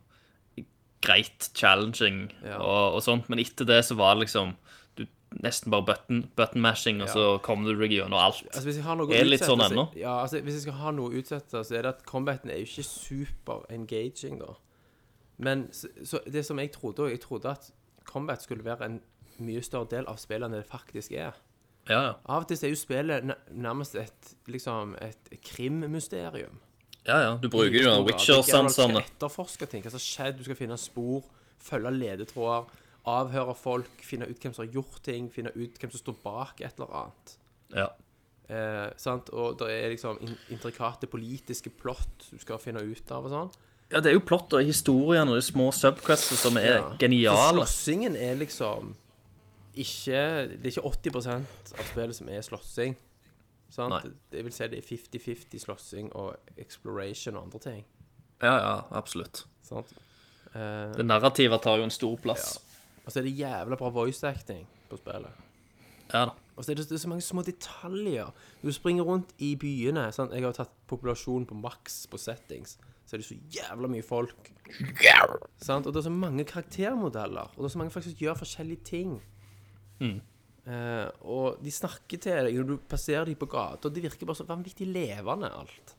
[SPEAKER 1] greit challenging
[SPEAKER 4] Ja.
[SPEAKER 1] og, og sånt. Men etter det så var det liksom du, nesten bare button, button mashing, og så kom du deg gjennom alt.
[SPEAKER 4] Altså, hvis jeg har noe
[SPEAKER 1] Er det litt sånn
[SPEAKER 4] utsettelse-
[SPEAKER 1] ennå?
[SPEAKER 4] Ja, altså, hvis jeg skal ha noe å utsette, så er det at combaten er jo ikke super engaging, da. Men så, så det som jeg trodde òg Jeg trodde at combat skulle være en mye større del av spillet enn det faktisk er.
[SPEAKER 1] Ja, ja.
[SPEAKER 4] Av og til så er jo spillet na- nærmest et, liksom, et krimmysterium.
[SPEAKER 1] ja, ja. Du bruker jo
[SPEAKER 4] Stor grad.
[SPEAKER 1] Witcher-sansene.
[SPEAKER 4] Du skal etterforske ting. Hva som har skjedd. Du skal finne spor, følge ledetråder, avhøre folk, finne ut hvem som har gjort ting, finne ut hvem som står bak et eller annet.
[SPEAKER 1] Ja.
[SPEAKER 4] Eh, sant? Og det er liksom in intrikate politiske plott du skal finne ut av og sånn.
[SPEAKER 1] Ja, det er jo plott og historien og de små subquests som er
[SPEAKER 4] Så
[SPEAKER 1] geniale.
[SPEAKER 4] Slåssingen er liksom ikke Det er ikke 80 av spillet som er slåssing. Sant?
[SPEAKER 1] Nei.
[SPEAKER 4] Jeg vil si det er 50-50 slåssing og exploration og andre ting.
[SPEAKER 1] Ja, ja, absolutt.
[SPEAKER 4] Sant? Eh,
[SPEAKER 1] Det narrativet tar jo en stor plass.
[SPEAKER 4] Og så er det jævla bra voice acting på spillet.
[SPEAKER 1] Ja da.
[SPEAKER 4] Og så er Altså, det, det er så mange små detaljer. Når du springer rundt i byene sant? Jeg har jo tatt populasjonen på maks på settings. Så er det så jævla mye folk. Sant? Og det er så mange karaktermodeller. Og det er så mange folk som gjør forskjellige ting. Eh, og de snakker til deg når du passerer dem på gata. Og det virker bare så vanvittig levende, alt.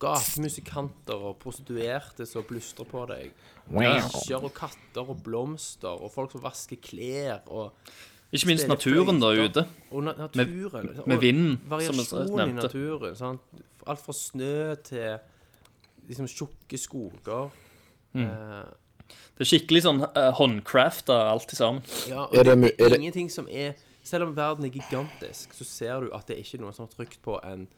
[SPEAKER 4] Gatemusikanter og prostituerte som blustrer på deg. Bikkjer og katter og blomster og folk som vasker klær og
[SPEAKER 1] Ikke minst
[SPEAKER 4] Spiller
[SPEAKER 1] naturen der
[SPEAKER 4] fløyter.
[SPEAKER 1] ute.
[SPEAKER 4] Og na naturen. liksom.
[SPEAKER 1] Med- med vinden,
[SPEAKER 4] og
[SPEAKER 1] som jeg
[SPEAKER 4] Variasjon i
[SPEAKER 1] nevnte.
[SPEAKER 4] naturen. Sant? Alt fra snø til liksom tjukke skoger. Eh,
[SPEAKER 1] Det er skikkelig sånn uh, håndcrafta alt i sammen.
[SPEAKER 4] ja, og
[SPEAKER 5] Er
[SPEAKER 4] det,
[SPEAKER 5] det mu-
[SPEAKER 4] det
[SPEAKER 5] er
[SPEAKER 4] er
[SPEAKER 5] det-
[SPEAKER 4] ingenting som er Selv om verden er gigantisk, så ser du at det er ikke noe som er trykt på en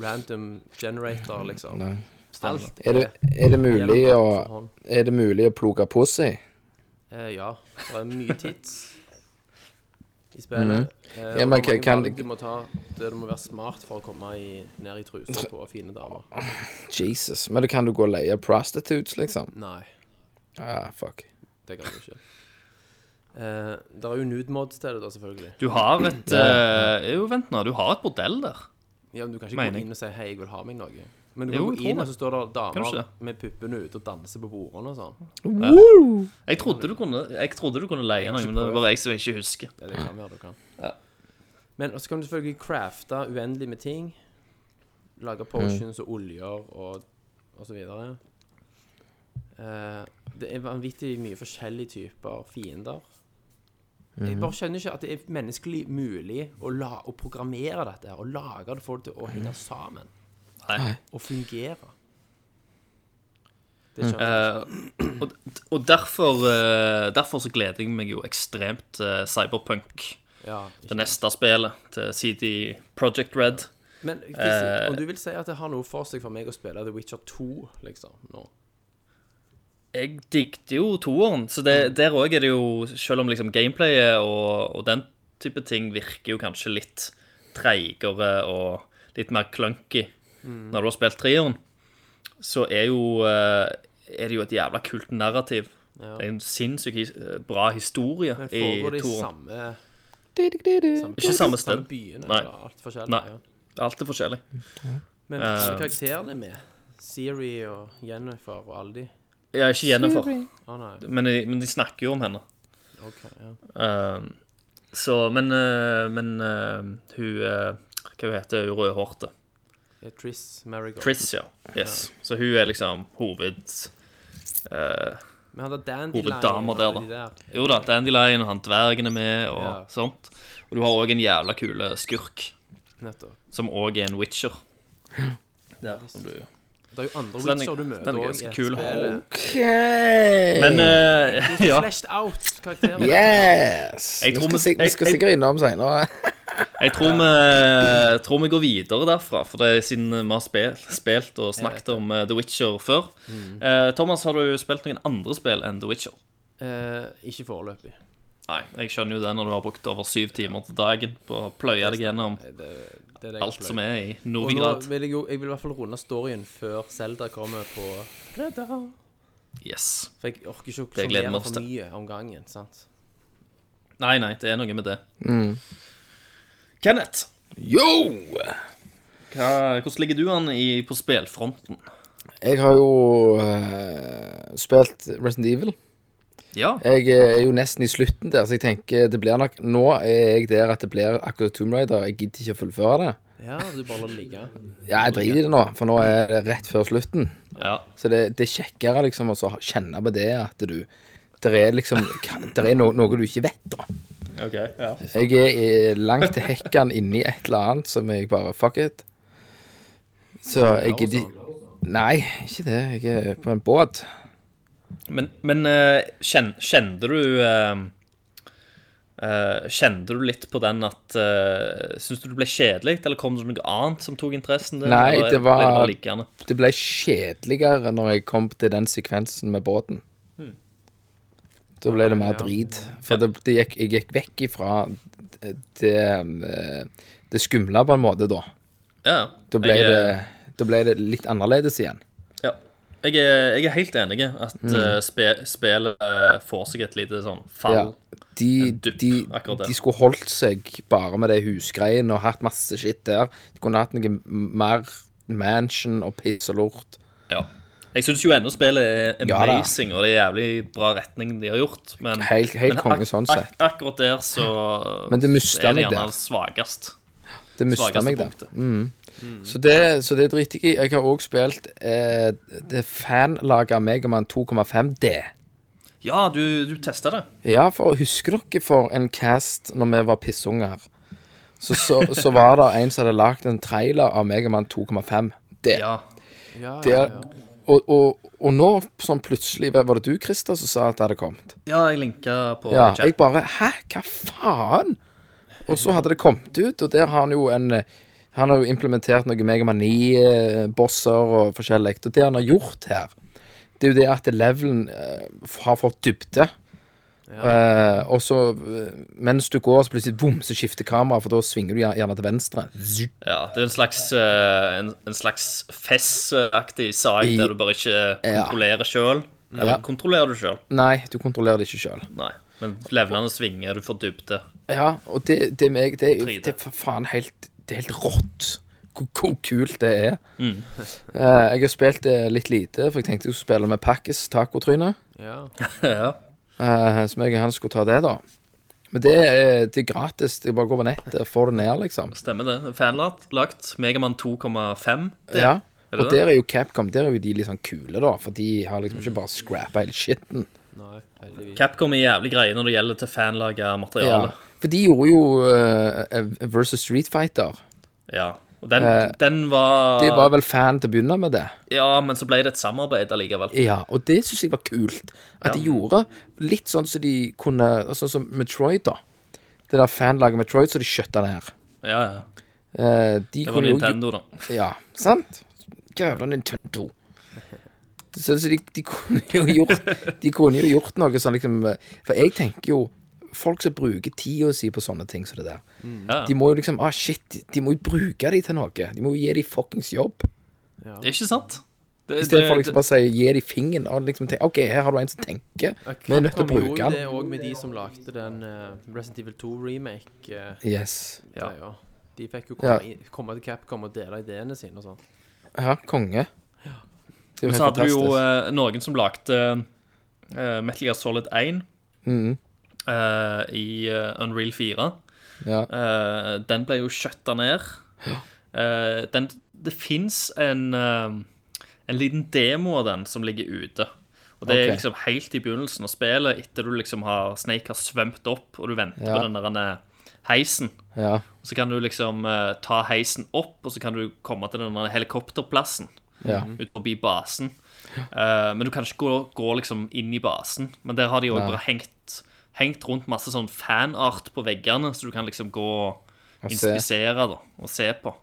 [SPEAKER 4] random generator, liksom.
[SPEAKER 5] Nei.
[SPEAKER 4] Alt
[SPEAKER 5] Er det, er det mulig
[SPEAKER 4] gjennomført
[SPEAKER 5] å
[SPEAKER 4] for hånd.
[SPEAKER 5] Er det mulig å plukke på seg?
[SPEAKER 4] Eh, ja. Det er mye tids i spillet. Eh, og
[SPEAKER 5] Mhm. Ja, men
[SPEAKER 4] mange
[SPEAKER 5] kan- kan-
[SPEAKER 4] valg du må ta der du må være smart for å komme i, ned i trusa på fine damer.
[SPEAKER 5] Jesus. Men det kan du gå og leie prostitutes, liksom?
[SPEAKER 4] Nei.
[SPEAKER 5] Ah, fuck.
[SPEAKER 4] Det kan du ikke. [laughs] Eh, det er jo nudemods til det, da, selvfølgelig.
[SPEAKER 1] Du har et eh, Jo, vent nå. Du har et bordell der.
[SPEAKER 4] Ja, men Du kan ikke
[SPEAKER 1] Mening.
[SPEAKER 4] gå inn og si 'hei, jeg vil ha meg noe'. Men du
[SPEAKER 1] Jo,
[SPEAKER 4] går
[SPEAKER 1] jeg tror
[SPEAKER 4] inn, og
[SPEAKER 1] det.
[SPEAKER 4] så står det
[SPEAKER 1] Kan du
[SPEAKER 4] damer
[SPEAKER 1] ikke
[SPEAKER 4] med puppene ute og danser på bordene og sånn.
[SPEAKER 1] Jeg trodde du kunne, jeg trodde du kunne leie noe, men det er bare jeg som ikke husker.
[SPEAKER 4] Ja, det kan være du kan. Men også kan du selvfølgelig crafte uendelig med ting. Lage potions og oljer og, og så videre. Eh, det er vanvittig mye forskjellige typer fiender. Jeg bare skjønner ikke at det er menneskelig mulig å, la, å programmere dette her, og lage det for det til å henge sammen
[SPEAKER 1] Nei.
[SPEAKER 4] og fungere. Det skjønner jeg.
[SPEAKER 1] Eh, og, og derfor, eh, derfor så gleder jeg meg jo ekstremt til Cyberpunk,
[SPEAKER 4] Ja,
[SPEAKER 1] det neste spillet til CD Project Red.
[SPEAKER 4] Men Chrissy, om du vil si at det har noe for seg for meg å spille The Witcher 2, liksom, nå
[SPEAKER 1] jeg digget jo toeren, så
[SPEAKER 4] Mm.
[SPEAKER 1] det, der òg er det jo Selv om liksom gameplayet og, og den type ting virker jo kanskje litt treigere og litt mer clunky
[SPEAKER 4] Mm.
[SPEAKER 1] når du har spilt treeren, så er jo eh, er det jo et jævla kult narrativ.
[SPEAKER 4] Ja.
[SPEAKER 1] Det er en sinnssykt his eh, bra historie
[SPEAKER 4] Men
[SPEAKER 1] i
[SPEAKER 4] foregår det i
[SPEAKER 1] toeren.
[SPEAKER 4] samme, samme
[SPEAKER 1] Ikke samme sted.
[SPEAKER 4] Samme byene,
[SPEAKER 1] Nei.
[SPEAKER 4] eller alt forskjellig.
[SPEAKER 1] Nei. Eh,
[SPEAKER 4] Ja.
[SPEAKER 1] Alt er forskjellig.
[SPEAKER 4] Men uh, karakterene er med. Siri og Jennifer og alle de.
[SPEAKER 1] Jeg er ikke gjennomfor,
[SPEAKER 4] Å nei.
[SPEAKER 1] men, de- men de snakker jo om henne.
[SPEAKER 4] OK. Ja.
[SPEAKER 1] Ehm, så, men eh, Men eh, hun eh, Hva hun heter hun rødhårte?
[SPEAKER 4] Det er Triss Marigold.
[SPEAKER 1] Triss, ja. Yes. Så hun er liksom hoved... eh,
[SPEAKER 4] Men han der Dandelion
[SPEAKER 1] Hoveddamer
[SPEAKER 4] og
[SPEAKER 1] der,
[SPEAKER 4] alle
[SPEAKER 1] da.
[SPEAKER 4] de der.
[SPEAKER 1] jo da, Dandelion og han dvergen er med og
[SPEAKER 4] Ja.
[SPEAKER 1] sånt. Og du har òg en jævla kule skurk,
[SPEAKER 4] Nettopp.
[SPEAKER 1] som òg er en witcher. Der, som du
[SPEAKER 4] Det er jo andre
[SPEAKER 1] Så den er-
[SPEAKER 4] witcher du møter
[SPEAKER 1] den er
[SPEAKER 4] også i
[SPEAKER 1] ganske
[SPEAKER 4] dette
[SPEAKER 1] kul.
[SPEAKER 4] spillet.
[SPEAKER 5] OK!
[SPEAKER 1] Men eh, [laughs] ja,
[SPEAKER 4] Fleshed out-karakterer.
[SPEAKER 5] Yes!
[SPEAKER 1] Jeg
[SPEAKER 5] Vi
[SPEAKER 1] tror
[SPEAKER 5] skal,
[SPEAKER 1] vi-
[SPEAKER 5] si- vi skal
[SPEAKER 1] jeg-
[SPEAKER 5] sikkert innom senere.
[SPEAKER 1] jeg tror vi, tror vi går videre derfra, for det er siden vi har spilt, spilt og snakket om eh, The Witcher før. Eh, Thomas, har du spilt noen andre spill enn The Witcher?
[SPEAKER 4] Eh, ikke foreløpig.
[SPEAKER 1] Nei, jeg skjønner jo det når du har brukt over syv timer til dagen på å pløye deg gjennom
[SPEAKER 4] Det, det er det jeg
[SPEAKER 1] alt som er i
[SPEAKER 4] Og nå
[SPEAKER 1] Novigrad.
[SPEAKER 4] vil jeg, jo, jeg vil i hvert fall runde storyen før Zelda kommer på fredag.
[SPEAKER 1] Yes.
[SPEAKER 4] For jeg orker ikke å
[SPEAKER 1] Det gleder vi
[SPEAKER 4] konsumere
[SPEAKER 1] oss
[SPEAKER 4] for
[SPEAKER 1] til.
[SPEAKER 4] mye om gangen. sant?
[SPEAKER 1] Nei, nei, det er noe med det.
[SPEAKER 5] Mm.
[SPEAKER 1] Kenneth,
[SPEAKER 5] Yo!
[SPEAKER 1] hva, hvordan ligger du an i, på spillfronten?
[SPEAKER 5] Jeg har jo eh, spilt Resident Evil.
[SPEAKER 1] Ja,
[SPEAKER 5] Jeg eh, er jo nesten i slutten der, så jeg tenker det blir nok Nå er jeg der at det blir akkurat Tomb Raider. Jeg gidder ikke å fullføre det.
[SPEAKER 4] Ja, du bare lar det ligge.
[SPEAKER 5] Ja, jeg driter i det nå, for nå er det rett før slutten.
[SPEAKER 1] ja.
[SPEAKER 5] Så det, det er kjekkere liksom å så kjenne på det at du Der er liksom kan- Der er no, noe du ikke vet, da.
[SPEAKER 1] Ok, ja.
[SPEAKER 5] Jeg er eh, langt til hekken inni et eller annet som jeg bare Fuck it. Så jeg gidder Nei, ikke det. Jeg er på en båt.
[SPEAKER 1] Men, men eh, kjen, kjente du eh, eh, Kjente du litt på den at uh, Syns du det ble kjedelig, eller kom det noe annet som tok interessen din?
[SPEAKER 5] Nei,
[SPEAKER 1] eller
[SPEAKER 5] det
[SPEAKER 1] ble
[SPEAKER 5] var-
[SPEAKER 1] bare liggende?
[SPEAKER 5] Det ble kjedeligere når jeg kom til den sekvensen med båten. Da ble det mer drit. For det, det gikk, jeg gikk vekk ifra det, eh, det skumle, på en måte, da.
[SPEAKER 1] Ja.
[SPEAKER 5] Da ble,
[SPEAKER 1] jeg, eh,
[SPEAKER 5] det, da ble det litt annerledes igjen.
[SPEAKER 1] Ja. Jeg er, jeg er helt enig i at
[SPEAKER 5] Mm.
[SPEAKER 1] eh, spe, spillet eh, får seg et lite sånn fall.
[SPEAKER 5] Ja. De,
[SPEAKER 1] En dupp,
[SPEAKER 5] de,
[SPEAKER 1] akkurat det.
[SPEAKER 5] de skulle holdt seg bare med det husgreiene og hatt masse shit der. De kunne hatt noe mer mansion og piss og lort.
[SPEAKER 1] Ja. Jeg syns jo ennå spillet er
[SPEAKER 5] Ja da.
[SPEAKER 1] amazing, og det er jævlig bra retning de har gjort, men,
[SPEAKER 5] Helt- helt
[SPEAKER 1] men
[SPEAKER 5] konge sånn
[SPEAKER 1] ak
[SPEAKER 5] sett.
[SPEAKER 1] akkurat der så
[SPEAKER 5] Men det mistet
[SPEAKER 1] så er det
[SPEAKER 5] meg der.
[SPEAKER 1] gjerne svakest.
[SPEAKER 5] Det mista
[SPEAKER 1] Svakeste
[SPEAKER 5] meg der.
[SPEAKER 1] punktet.
[SPEAKER 5] Så det, så det driter jeg i. Jeg har òg spilt eh, det fanlaget av Megaman 2,5D.
[SPEAKER 1] Ja, du, du testa det.
[SPEAKER 5] Ja, for husker dere for en cast når vi var pissunger? Så, så, så var det en som hadde lagd en trailer av Megaman 2,5. Det,
[SPEAKER 1] Ja.
[SPEAKER 4] Ja,
[SPEAKER 5] det
[SPEAKER 4] ja, ja.
[SPEAKER 5] og, og, og nå, sånn plutselig Var det du, Christer, som sa at det hadde kommet?
[SPEAKER 1] Ja, jeg linka på
[SPEAKER 5] Ja,
[SPEAKER 1] chat.
[SPEAKER 5] jeg bare Hæ, hva faen? Og så hadde det kommet ut, og der har han jo en eh, Han har jo implementert noen Megaman 9-bosser eh, og forskjellig. Og det han har gjort her, det er jo det at levelen eh, har fått dybde. Eh, og så, eh, mens du går, så plutselig bom, så skifter kameraet, for da svinger du gjer- gjerne til venstre.
[SPEAKER 1] Ja, det er en slags, eh, en, en slags FES-aktig sak
[SPEAKER 5] I-
[SPEAKER 1] der du bare ikke
[SPEAKER 5] Ja.
[SPEAKER 1] kontrollerer sjøl. Eller kontrollerer du sjøl?
[SPEAKER 5] Nei, du kontrollerer det ikke sjøl.
[SPEAKER 1] Nei. Men levelene svinger, du får dybde.
[SPEAKER 5] Ja, og det, det, er meg, det, er,
[SPEAKER 1] Tride.
[SPEAKER 5] det er for faen helt, det er helt rått hvor, hvor kult det er.
[SPEAKER 1] Mm.
[SPEAKER 5] Eh, jeg har spilt det litt lite, for jeg tenkte jeg skulle spille med Pakkis tacotryne.
[SPEAKER 4] ja.
[SPEAKER 1] ja.
[SPEAKER 5] Uh, så meg og han skulle ta det, da. Men det, er- det er gratis. Det er bare å gå på nettet og få det ned, liksom.
[SPEAKER 1] Stemmer det. Fanlagt. Megaman 2,5. Det-
[SPEAKER 5] Ja.
[SPEAKER 1] Er det
[SPEAKER 5] Og
[SPEAKER 1] det?
[SPEAKER 5] der er jo Capcom der er jo de litt sånn kule, da. For de har liksom ikke bare scrappa hele skitten.
[SPEAKER 4] Nei, heldigvis.
[SPEAKER 1] Capcom er jævlig greie når det gjelder til fanlaga materiale.
[SPEAKER 5] For de gjorde jo eh, versus Street Fighter.
[SPEAKER 1] Ja. Eh, Og den, den var
[SPEAKER 5] De var vel fan til å begynne med det.
[SPEAKER 1] Ja, men så ble det et samarbeid allikevel.
[SPEAKER 5] Ja, og det syns jeg var kult. At de gjorde litt sånn som de kunne Sånn som Metroid, da. Det der fanlaget Metroid som de skjøtta ned.
[SPEAKER 1] Ja, ja.
[SPEAKER 5] Eh, de
[SPEAKER 1] Det var
[SPEAKER 5] kunne
[SPEAKER 1] Nintendo, da.
[SPEAKER 5] jo [laughs] Ja, sant? Jævla Nintendo. Så, så de, de kunne jo gjort De kunne jo gjort noe sånn liksom eh, For jeg tenker jo Folk som bruker tida si på sånne ting som det der,
[SPEAKER 1] Ja.
[SPEAKER 5] de må jo liksom Ah, shit, de, de må jo bruke de til noe. De må jo gi de fuckings jobb.
[SPEAKER 1] Det er ikke sant? Det,
[SPEAKER 5] I stedet for
[SPEAKER 1] det-
[SPEAKER 5] liksom bare å si gi de fingeren og liksom tenke OK, her har du en som tenker. Vi er nødt til å
[SPEAKER 4] Capcom gjorde
[SPEAKER 5] bruke
[SPEAKER 4] Det
[SPEAKER 5] den.
[SPEAKER 4] òg med de som lagde den eh, Resident Evil 2-remake-greia.
[SPEAKER 5] Yes.
[SPEAKER 4] De fikk jo komme,
[SPEAKER 5] Ja.
[SPEAKER 4] inn, komme til Capcom og dele ideene sine og sånn.
[SPEAKER 5] Ja, konge.
[SPEAKER 1] Men
[SPEAKER 5] Det er jo
[SPEAKER 1] så
[SPEAKER 5] helt
[SPEAKER 1] hadde du jo
[SPEAKER 5] fantastisk.
[SPEAKER 1] eh, noen som lagde eh, Metal Gear Solid 1 Mm. eh, i eh, Unreal 4.
[SPEAKER 5] Ja.
[SPEAKER 1] Eh, den ble jo skjøtta ned. Eh, den, det fins en, eh, en liten demo av den som ligger ute. Og det er
[SPEAKER 5] Ok.
[SPEAKER 1] liksom helt i begynnelsen av spillet, etter du liksom har Snake har svømt opp, og du venter
[SPEAKER 5] Ja.
[SPEAKER 1] på den der denne heisen.
[SPEAKER 5] ja.
[SPEAKER 1] Så kan du liksom eh, ta heisen opp, og så kan du komme til den der helikopterplassen.
[SPEAKER 5] Ja.
[SPEAKER 1] ut forbi basen. Eh, men du kan ikke gå, gå liksom inn i basen. Men der har de jo bare hengt, hengt rundt masse sånn fanart på veggene, så du kan liksom gå og
[SPEAKER 5] Og se.
[SPEAKER 1] inspisere da, og se på.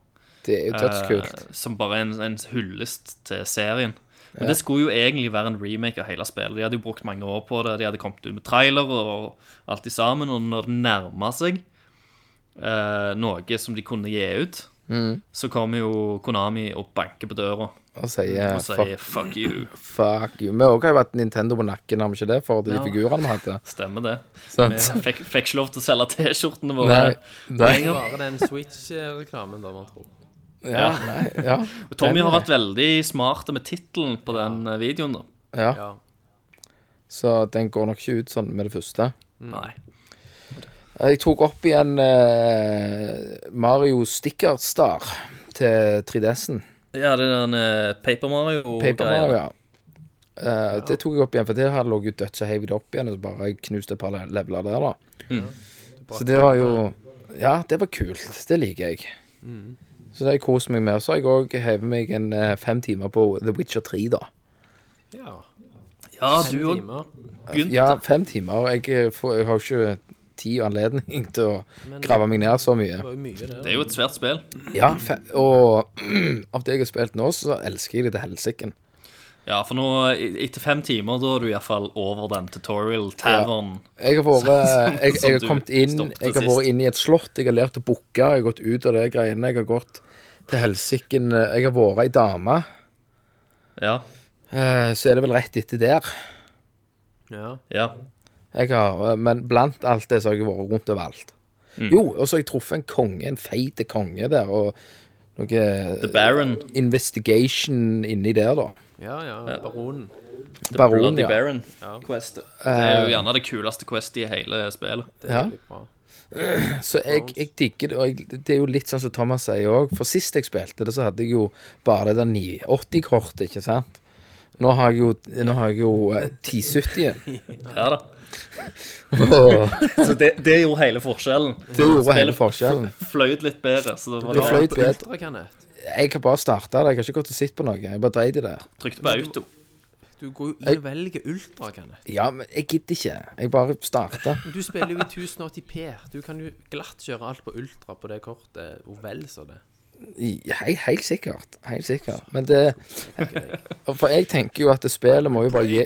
[SPEAKER 5] Det er jo dødskult.
[SPEAKER 1] Eh, som bare en, en hyllest til serien. Men det skulle jo egentlig være en remake av hele spillet. De hadde jo brukt mange år på det. De hadde kommet ut med trailer og alt i sammen. Og når det nærma seg eh, noe som de kunne gi ut,
[SPEAKER 5] Mm.
[SPEAKER 1] så kom jo Konami og banker på døra Eh, og
[SPEAKER 5] Og sier
[SPEAKER 1] sier 'fuck you'.
[SPEAKER 5] eh, fuck you. Vi også har jo vært Nintendo på nakken, har vi ikke det? For de figurene vi
[SPEAKER 1] [laughs]
[SPEAKER 5] hadde.
[SPEAKER 1] Stemmer det.
[SPEAKER 5] Sant?
[SPEAKER 1] Vi fikk, fikk ikke lov til å selge T-skjortene våre.
[SPEAKER 5] [laughs] Nei, nei,
[SPEAKER 4] Bare den Switch-reklamen, da, man tror.
[SPEAKER 5] ja, nei, [laughs] ja.
[SPEAKER 1] Tommy har vært veldig smart med tittelen på den eh, videoen, da.
[SPEAKER 5] ja.
[SPEAKER 4] Ja.
[SPEAKER 5] Så den går nok ikke ut sånn med det første.
[SPEAKER 1] Nei.
[SPEAKER 5] Jeg tok opp igjen eh, Mario Sticker Star til 3DS-en.
[SPEAKER 1] Ja, det er den eh, Paper Mario-greia.
[SPEAKER 5] Paper Mario, ja. Eh, Det tok jeg opp igjen, for det hadde ligget dødt, så heiv jeg det opp igjen, og så bare knuste et par leveler der, da. Så det var jo Ja, det var kult. Det liker jeg. Mm. Så det har jeg kost meg med. Så har jeg òg hevet meg en eh, fem timer på The Witcher 3, da.
[SPEAKER 4] ja.
[SPEAKER 1] Ja, du
[SPEAKER 4] Fem
[SPEAKER 1] òg
[SPEAKER 4] timer.
[SPEAKER 1] begynte.
[SPEAKER 5] Ja, fem timer. Jeg, eh, får, jeg har jo ikke tid og anledning [laughs] til å grave meg ned så mye.
[SPEAKER 4] Det var jo mye, det.
[SPEAKER 1] Det er jo et svært spill.
[SPEAKER 5] Ja, fe og [clears throat] av det jeg har spilt nå, så elsker jeg det til helsiken.
[SPEAKER 1] Ja, for nå, i- etter fem timer, da er du iallfall over den tutorial tavern.
[SPEAKER 5] Jeg har vært eh, jeg, jeg har
[SPEAKER 1] som Sånn-
[SPEAKER 5] kommet
[SPEAKER 1] du
[SPEAKER 5] inn
[SPEAKER 1] stoppet
[SPEAKER 5] Jeg har
[SPEAKER 1] sist.
[SPEAKER 5] vært inne i et slott, jeg har lært å bukke, jeg har gått ut av det greiene, jeg har gått til helsiken eh, Jeg har vært ei dame,
[SPEAKER 1] Ja.
[SPEAKER 5] eh, så er det vel rett etter der.
[SPEAKER 4] Ja.
[SPEAKER 1] ja.
[SPEAKER 5] Jeg har, eh, men blant alt det så har jeg vært rundt overalt.
[SPEAKER 1] Mm.
[SPEAKER 5] Jo, og så har jeg truffet en konge, en feit konge der, og
[SPEAKER 1] The
[SPEAKER 5] noe
[SPEAKER 1] Baron.
[SPEAKER 5] investigation inni der, da.
[SPEAKER 4] ja, ja. Baronen.
[SPEAKER 1] The
[SPEAKER 5] Baron,
[SPEAKER 1] Bloody
[SPEAKER 5] ja. Eh,
[SPEAKER 1] Baron. Quest. Det er jo gjerne det kuleste questet i hele spillet.
[SPEAKER 5] Ja.
[SPEAKER 4] Veldig bra.
[SPEAKER 5] [clears throat] Så jeg, jeg digger det, og jeg, det er jo litt sånn som Thomas sier òg. For sist jeg spilte det, så hadde jeg jo bare det der 980-kortet, ikke sant? Nå har jeg jo, nå har jeg jo eh, 1070.
[SPEAKER 1] Ja da.
[SPEAKER 5] Og
[SPEAKER 1] Så det, det gjorde hele forskjellen.
[SPEAKER 5] det gjorde hele forskjellen.
[SPEAKER 1] Fløyt litt bedre, så det var
[SPEAKER 5] Det fløyt bedre.
[SPEAKER 4] Ultrakanett.
[SPEAKER 5] Jeg har bare starta det. Jeg har ikke gått og sett på noe. Jeg bare dreide det.
[SPEAKER 1] Trykte på auto.
[SPEAKER 4] Du går jo inn og velger ultrakanett.
[SPEAKER 5] Ja, men jeg gidder ikke. Jeg bare starta.
[SPEAKER 4] Du spiller jo i 1080p. Du kan jo glatt kjøre alt på ultra på det kortet. Og vel så det.
[SPEAKER 5] Helt, helt sikkert. Helt sikkert. Men det For jeg tenker jo at spillet må jo bare gi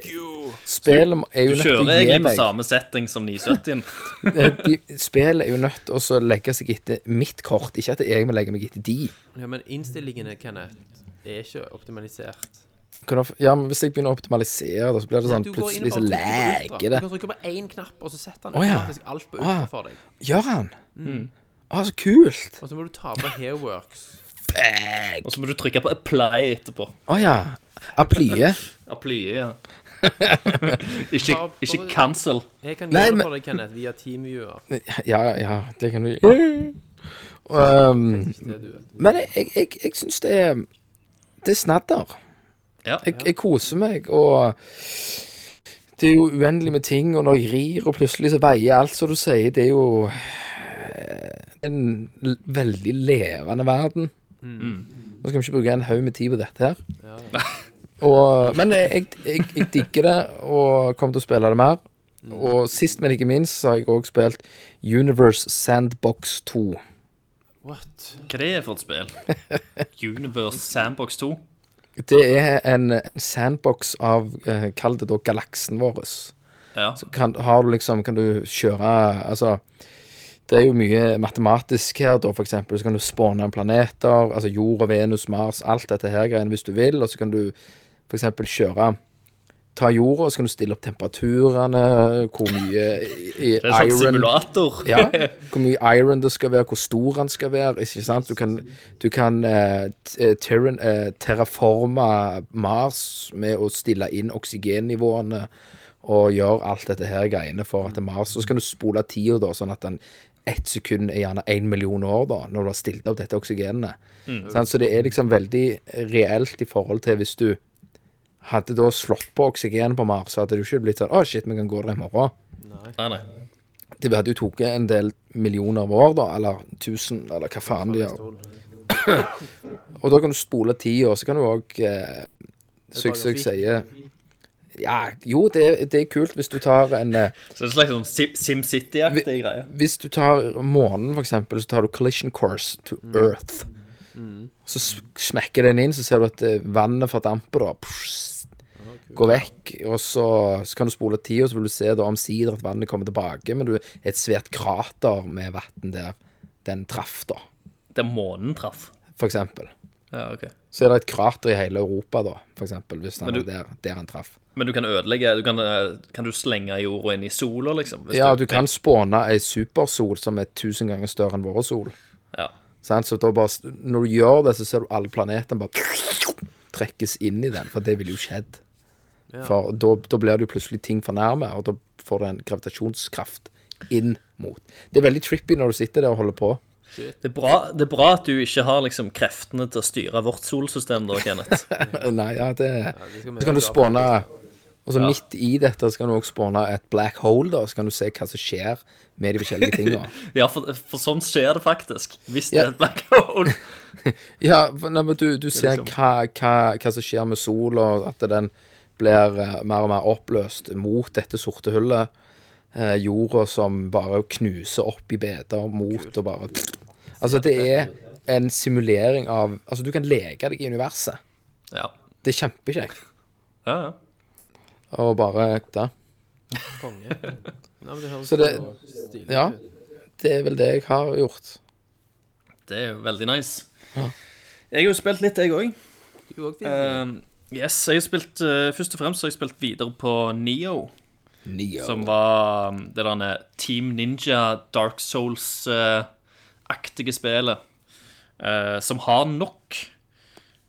[SPEAKER 5] Spillet må- er
[SPEAKER 1] Du
[SPEAKER 5] jo nødt til
[SPEAKER 1] kjører
[SPEAKER 5] å gi
[SPEAKER 1] egentlig på
[SPEAKER 5] meg
[SPEAKER 1] samme setting som 970-en.
[SPEAKER 5] Eh, de, spill er jo nødt til å så legge seg etter mitt kort, ikke at jeg må legge meg etter de.
[SPEAKER 4] Ja, men innstillingene, Kenneth, er ikke optimalisert.
[SPEAKER 5] Kan du- Ja, men Hvis jeg begynner å optimalisere, da, så blir det sånn
[SPEAKER 4] Du går inn og
[SPEAKER 5] plutselig
[SPEAKER 4] bare
[SPEAKER 5] så
[SPEAKER 4] trykker på ultra.
[SPEAKER 5] læker
[SPEAKER 4] Du
[SPEAKER 5] det.
[SPEAKER 4] kan trykke på én knapp, og så setter han
[SPEAKER 5] Å, ja.
[SPEAKER 4] automatisk alt på ultra
[SPEAKER 5] Ah.
[SPEAKER 4] for deg.
[SPEAKER 5] Gjør han?
[SPEAKER 4] Mm.
[SPEAKER 5] Å, så kult!
[SPEAKER 4] Og så må du ta på Hairworks.
[SPEAKER 1] Og så må du trykke på apply etterpå.
[SPEAKER 5] Å ja. Applie.
[SPEAKER 1] Apply,
[SPEAKER 5] [laughs]
[SPEAKER 1] ja. Ikke,
[SPEAKER 4] Bare-
[SPEAKER 1] ikke cancel.
[SPEAKER 4] Jeg kan
[SPEAKER 5] Nei,
[SPEAKER 4] gjøre
[SPEAKER 5] men-
[SPEAKER 4] det for deg, Kenneth, via TeamViewer.
[SPEAKER 5] Ja, ja, ja, det kan du
[SPEAKER 4] [laughs]
[SPEAKER 5] gjøre. Um,
[SPEAKER 4] Det du vet.
[SPEAKER 5] men jeg, jeg, jeg, jeg syns det er Det er snadder.
[SPEAKER 1] Ja.
[SPEAKER 5] Jeg, jeg koser meg, og det er jo uendelig med ting, og når jeg rir, og plutselig så veier alt som du sier, det er jo eh, en l- veldig levende verden. Nå skal vi ikke bruke en haug med tid på dette her. [laughs] Og, men jeg, jeg, jeg digger det, og kommer til å spille det mer. Og sist, men ikke minst, så har jeg òg spilt Universe Sandbox 2.
[SPEAKER 4] What?
[SPEAKER 1] Hva det er for et spill? Universe Sandbox 2?
[SPEAKER 5] Det er en sandbox av, eh, kall det da, galaksen vår.
[SPEAKER 1] Ja.
[SPEAKER 5] kan, har du liksom, kan du kjøre Altså, det er jo mye matematisk her, da, for eksempel. Så kan du spåne planeter, altså jord og Venus, Mars, alt dette her greiene hvis du vil. Og så kan du for eksempel kjøre Ta jorda, og så kan du stille opp temperaturene, hvor mye i, i
[SPEAKER 1] Det er en sånn
[SPEAKER 5] iron
[SPEAKER 1] simulator.
[SPEAKER 5] ja, [laughs] hvor mye iron det skal være, hvor stor han skal være. ikke sant? Du kan, du kan eh, t- eh, terran- eh, terraforme Mars med å stille inn oksygennivåene og gjøre alt dette her greiene for at Mars Så skal du spole tida, da, sånn at den ett sekund er gjerne én million år, da, når du har stilt opp dette oksygenet. Sant? Så det er liksom veldig reelt i forhold til hvis du hadde da slått på oksygen på Mars, så hadde du ikke blitt sånn Å, shit, vi kan gå der i morgen
[SPEAKER 1] Nei, nei.
[SPEAKER 5] det hadde jo tatt en del millioner av år, da, eller tusen, eller hva faen de har Og da kan du spole tida, og så kan du òg eh, Sykt sykt sier Ja, jo, det, er- det er kult hvis du tar en eh,
[SPEAKER 1] Så det er en slags sånn Sim- SimCity-aktig greie.
[SPEAKER 5] Hvis du tar månen, for eksempel, så tar du collision course to earth. Så s- smekker den inn, så ser du at eh, vannet fordamper, da. Pss, Går vekk, og så, så kan du spole tida, og så vil du se da omsider at vannet kommer tilbake, men du er et svært krater med vann der den traff, da,
[SPEAKER 1] Der månen traff.
[SPEAKER 5] for eksempel.
[SPEAKER 1] Ja, ok.
[SPEAKER 5] Så er det et krater i hele Europa, da, for eksempel, hvis den
[SPEAKER 1] du-
[SPEAKER 5] er der, der han traff.
[SPEAKER 1] Men du kan ødelegge du kan, eh, kan du slenge jorda inn i sola, liksom? hvis
[SPEAKER 5] Ja, du kan spåne ei supersol som er tusen ganger større enn vår sol.
[SPEAKER 1] Ja.
[SPEAKER 5] Sant? Så da bare, når du gjør det, så ser du alle planetene bare trekkes inn i den, for det ville jo skjedd. For da, da blir det jo plutselig ting for nærme, og da får du en gravitasjonskraft inn mot. Det er veldig trippy når du sitter der og holder på.
[SPEAKER 1] Det, er bra, det er bra at du ikke har liksom kreftene til å styre vårt solsystem, da, Kenneth.
[SPEAKER 5] [laughs] Nei, ja, det,
[SPEAKER 4] skal vi
[SPEAKER 5] Så kan
[SPEAKER 4] gjøre
[SPEAKER 5] du spåne Og så midt i dette så kan du også spåne et black hole, da, så kan du se hva som skjer med de forskjellige tingene.
[SPEAKER 1] Ja, for, for sånn skjer det faktisk. Hvis det
[SPEAKER 5] Ja.
[SPEAKER 1] er et black hole.
[SPEAKER 5] Ja, for- nei, men du, du ser hva, hva, hva som skjer med sola, og at den blir eh, mer og mer oppløst mot dette sorte hullet. Eh, jorda som bare knuser opp i beder mot og bare Altså, det er en simulering av Altså, du kan leke deg i universet.
[SPEAKER 1] Ja.
[SPEAKER 5] Det er kjempekjekt
[SPEAKER 1] ja, ja.
[SPEAKER 5] å bare da.
[SPEAKER 4] Konge. Nei, men det høres
[SPEAKER 5] Så det
[SPEAKER 4] jo stilig
[SPEAKER 5] Ja.
[SPEAKER 4] ut.
[SPEAKER 5] Det er vel det jeg har gjort.
[SPEAKER 1] Det er jo veldig nice. Jeg har jo spilt litt, jeg òg.
[SPEAKER 4] Du er også fin.
[SPEAKER 1] Eh, yes, jeg har spilt eh, Først og fremst har jeg spilt videre på Neo,
[SPEAKER 5] Neo.
[SPEAKER 1] som var um, det der Team Ninja Dark Souls-aktige spillet. eh, som har nok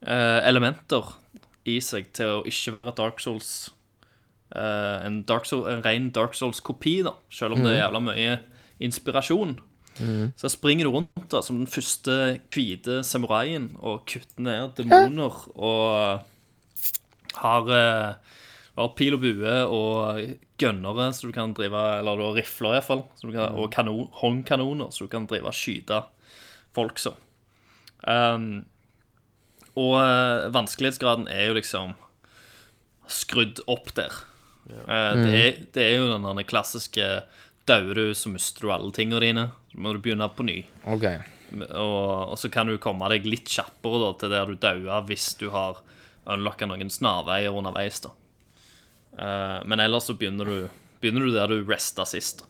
[SPEAKER 1] eh, elementer i seg til å ikke være Dark Souls eh, en, Dark Soul, en ren Dark Souls-kopi, da, selv om det er jævla mye inspirasjon. Så springer du rundt da, som den første hvite samuraien og kutter ned demoner og har, eh, har pil og bue og gønnere som du kan drive, eller du har rifler i hvert fall, som du kan, og kanon, håndkanoner som du kan drive og skyte folk så. Um, og eh, vanskelighetsgraden er jo liksom skrudd opp der. Eh, det, er, det er jo den der klassiske Dauer du, så mister du alle tingene dine. Så må du begynne på ny.
[SPEAKER 5] OK.
[SPEAKER 1] Og, og så kan du komme deg litt kjappere da, til der du dauer hvis du har unlocka noen snarveier underveis. da. Eh, men ellers så begynner du, begynner du der du resta sist.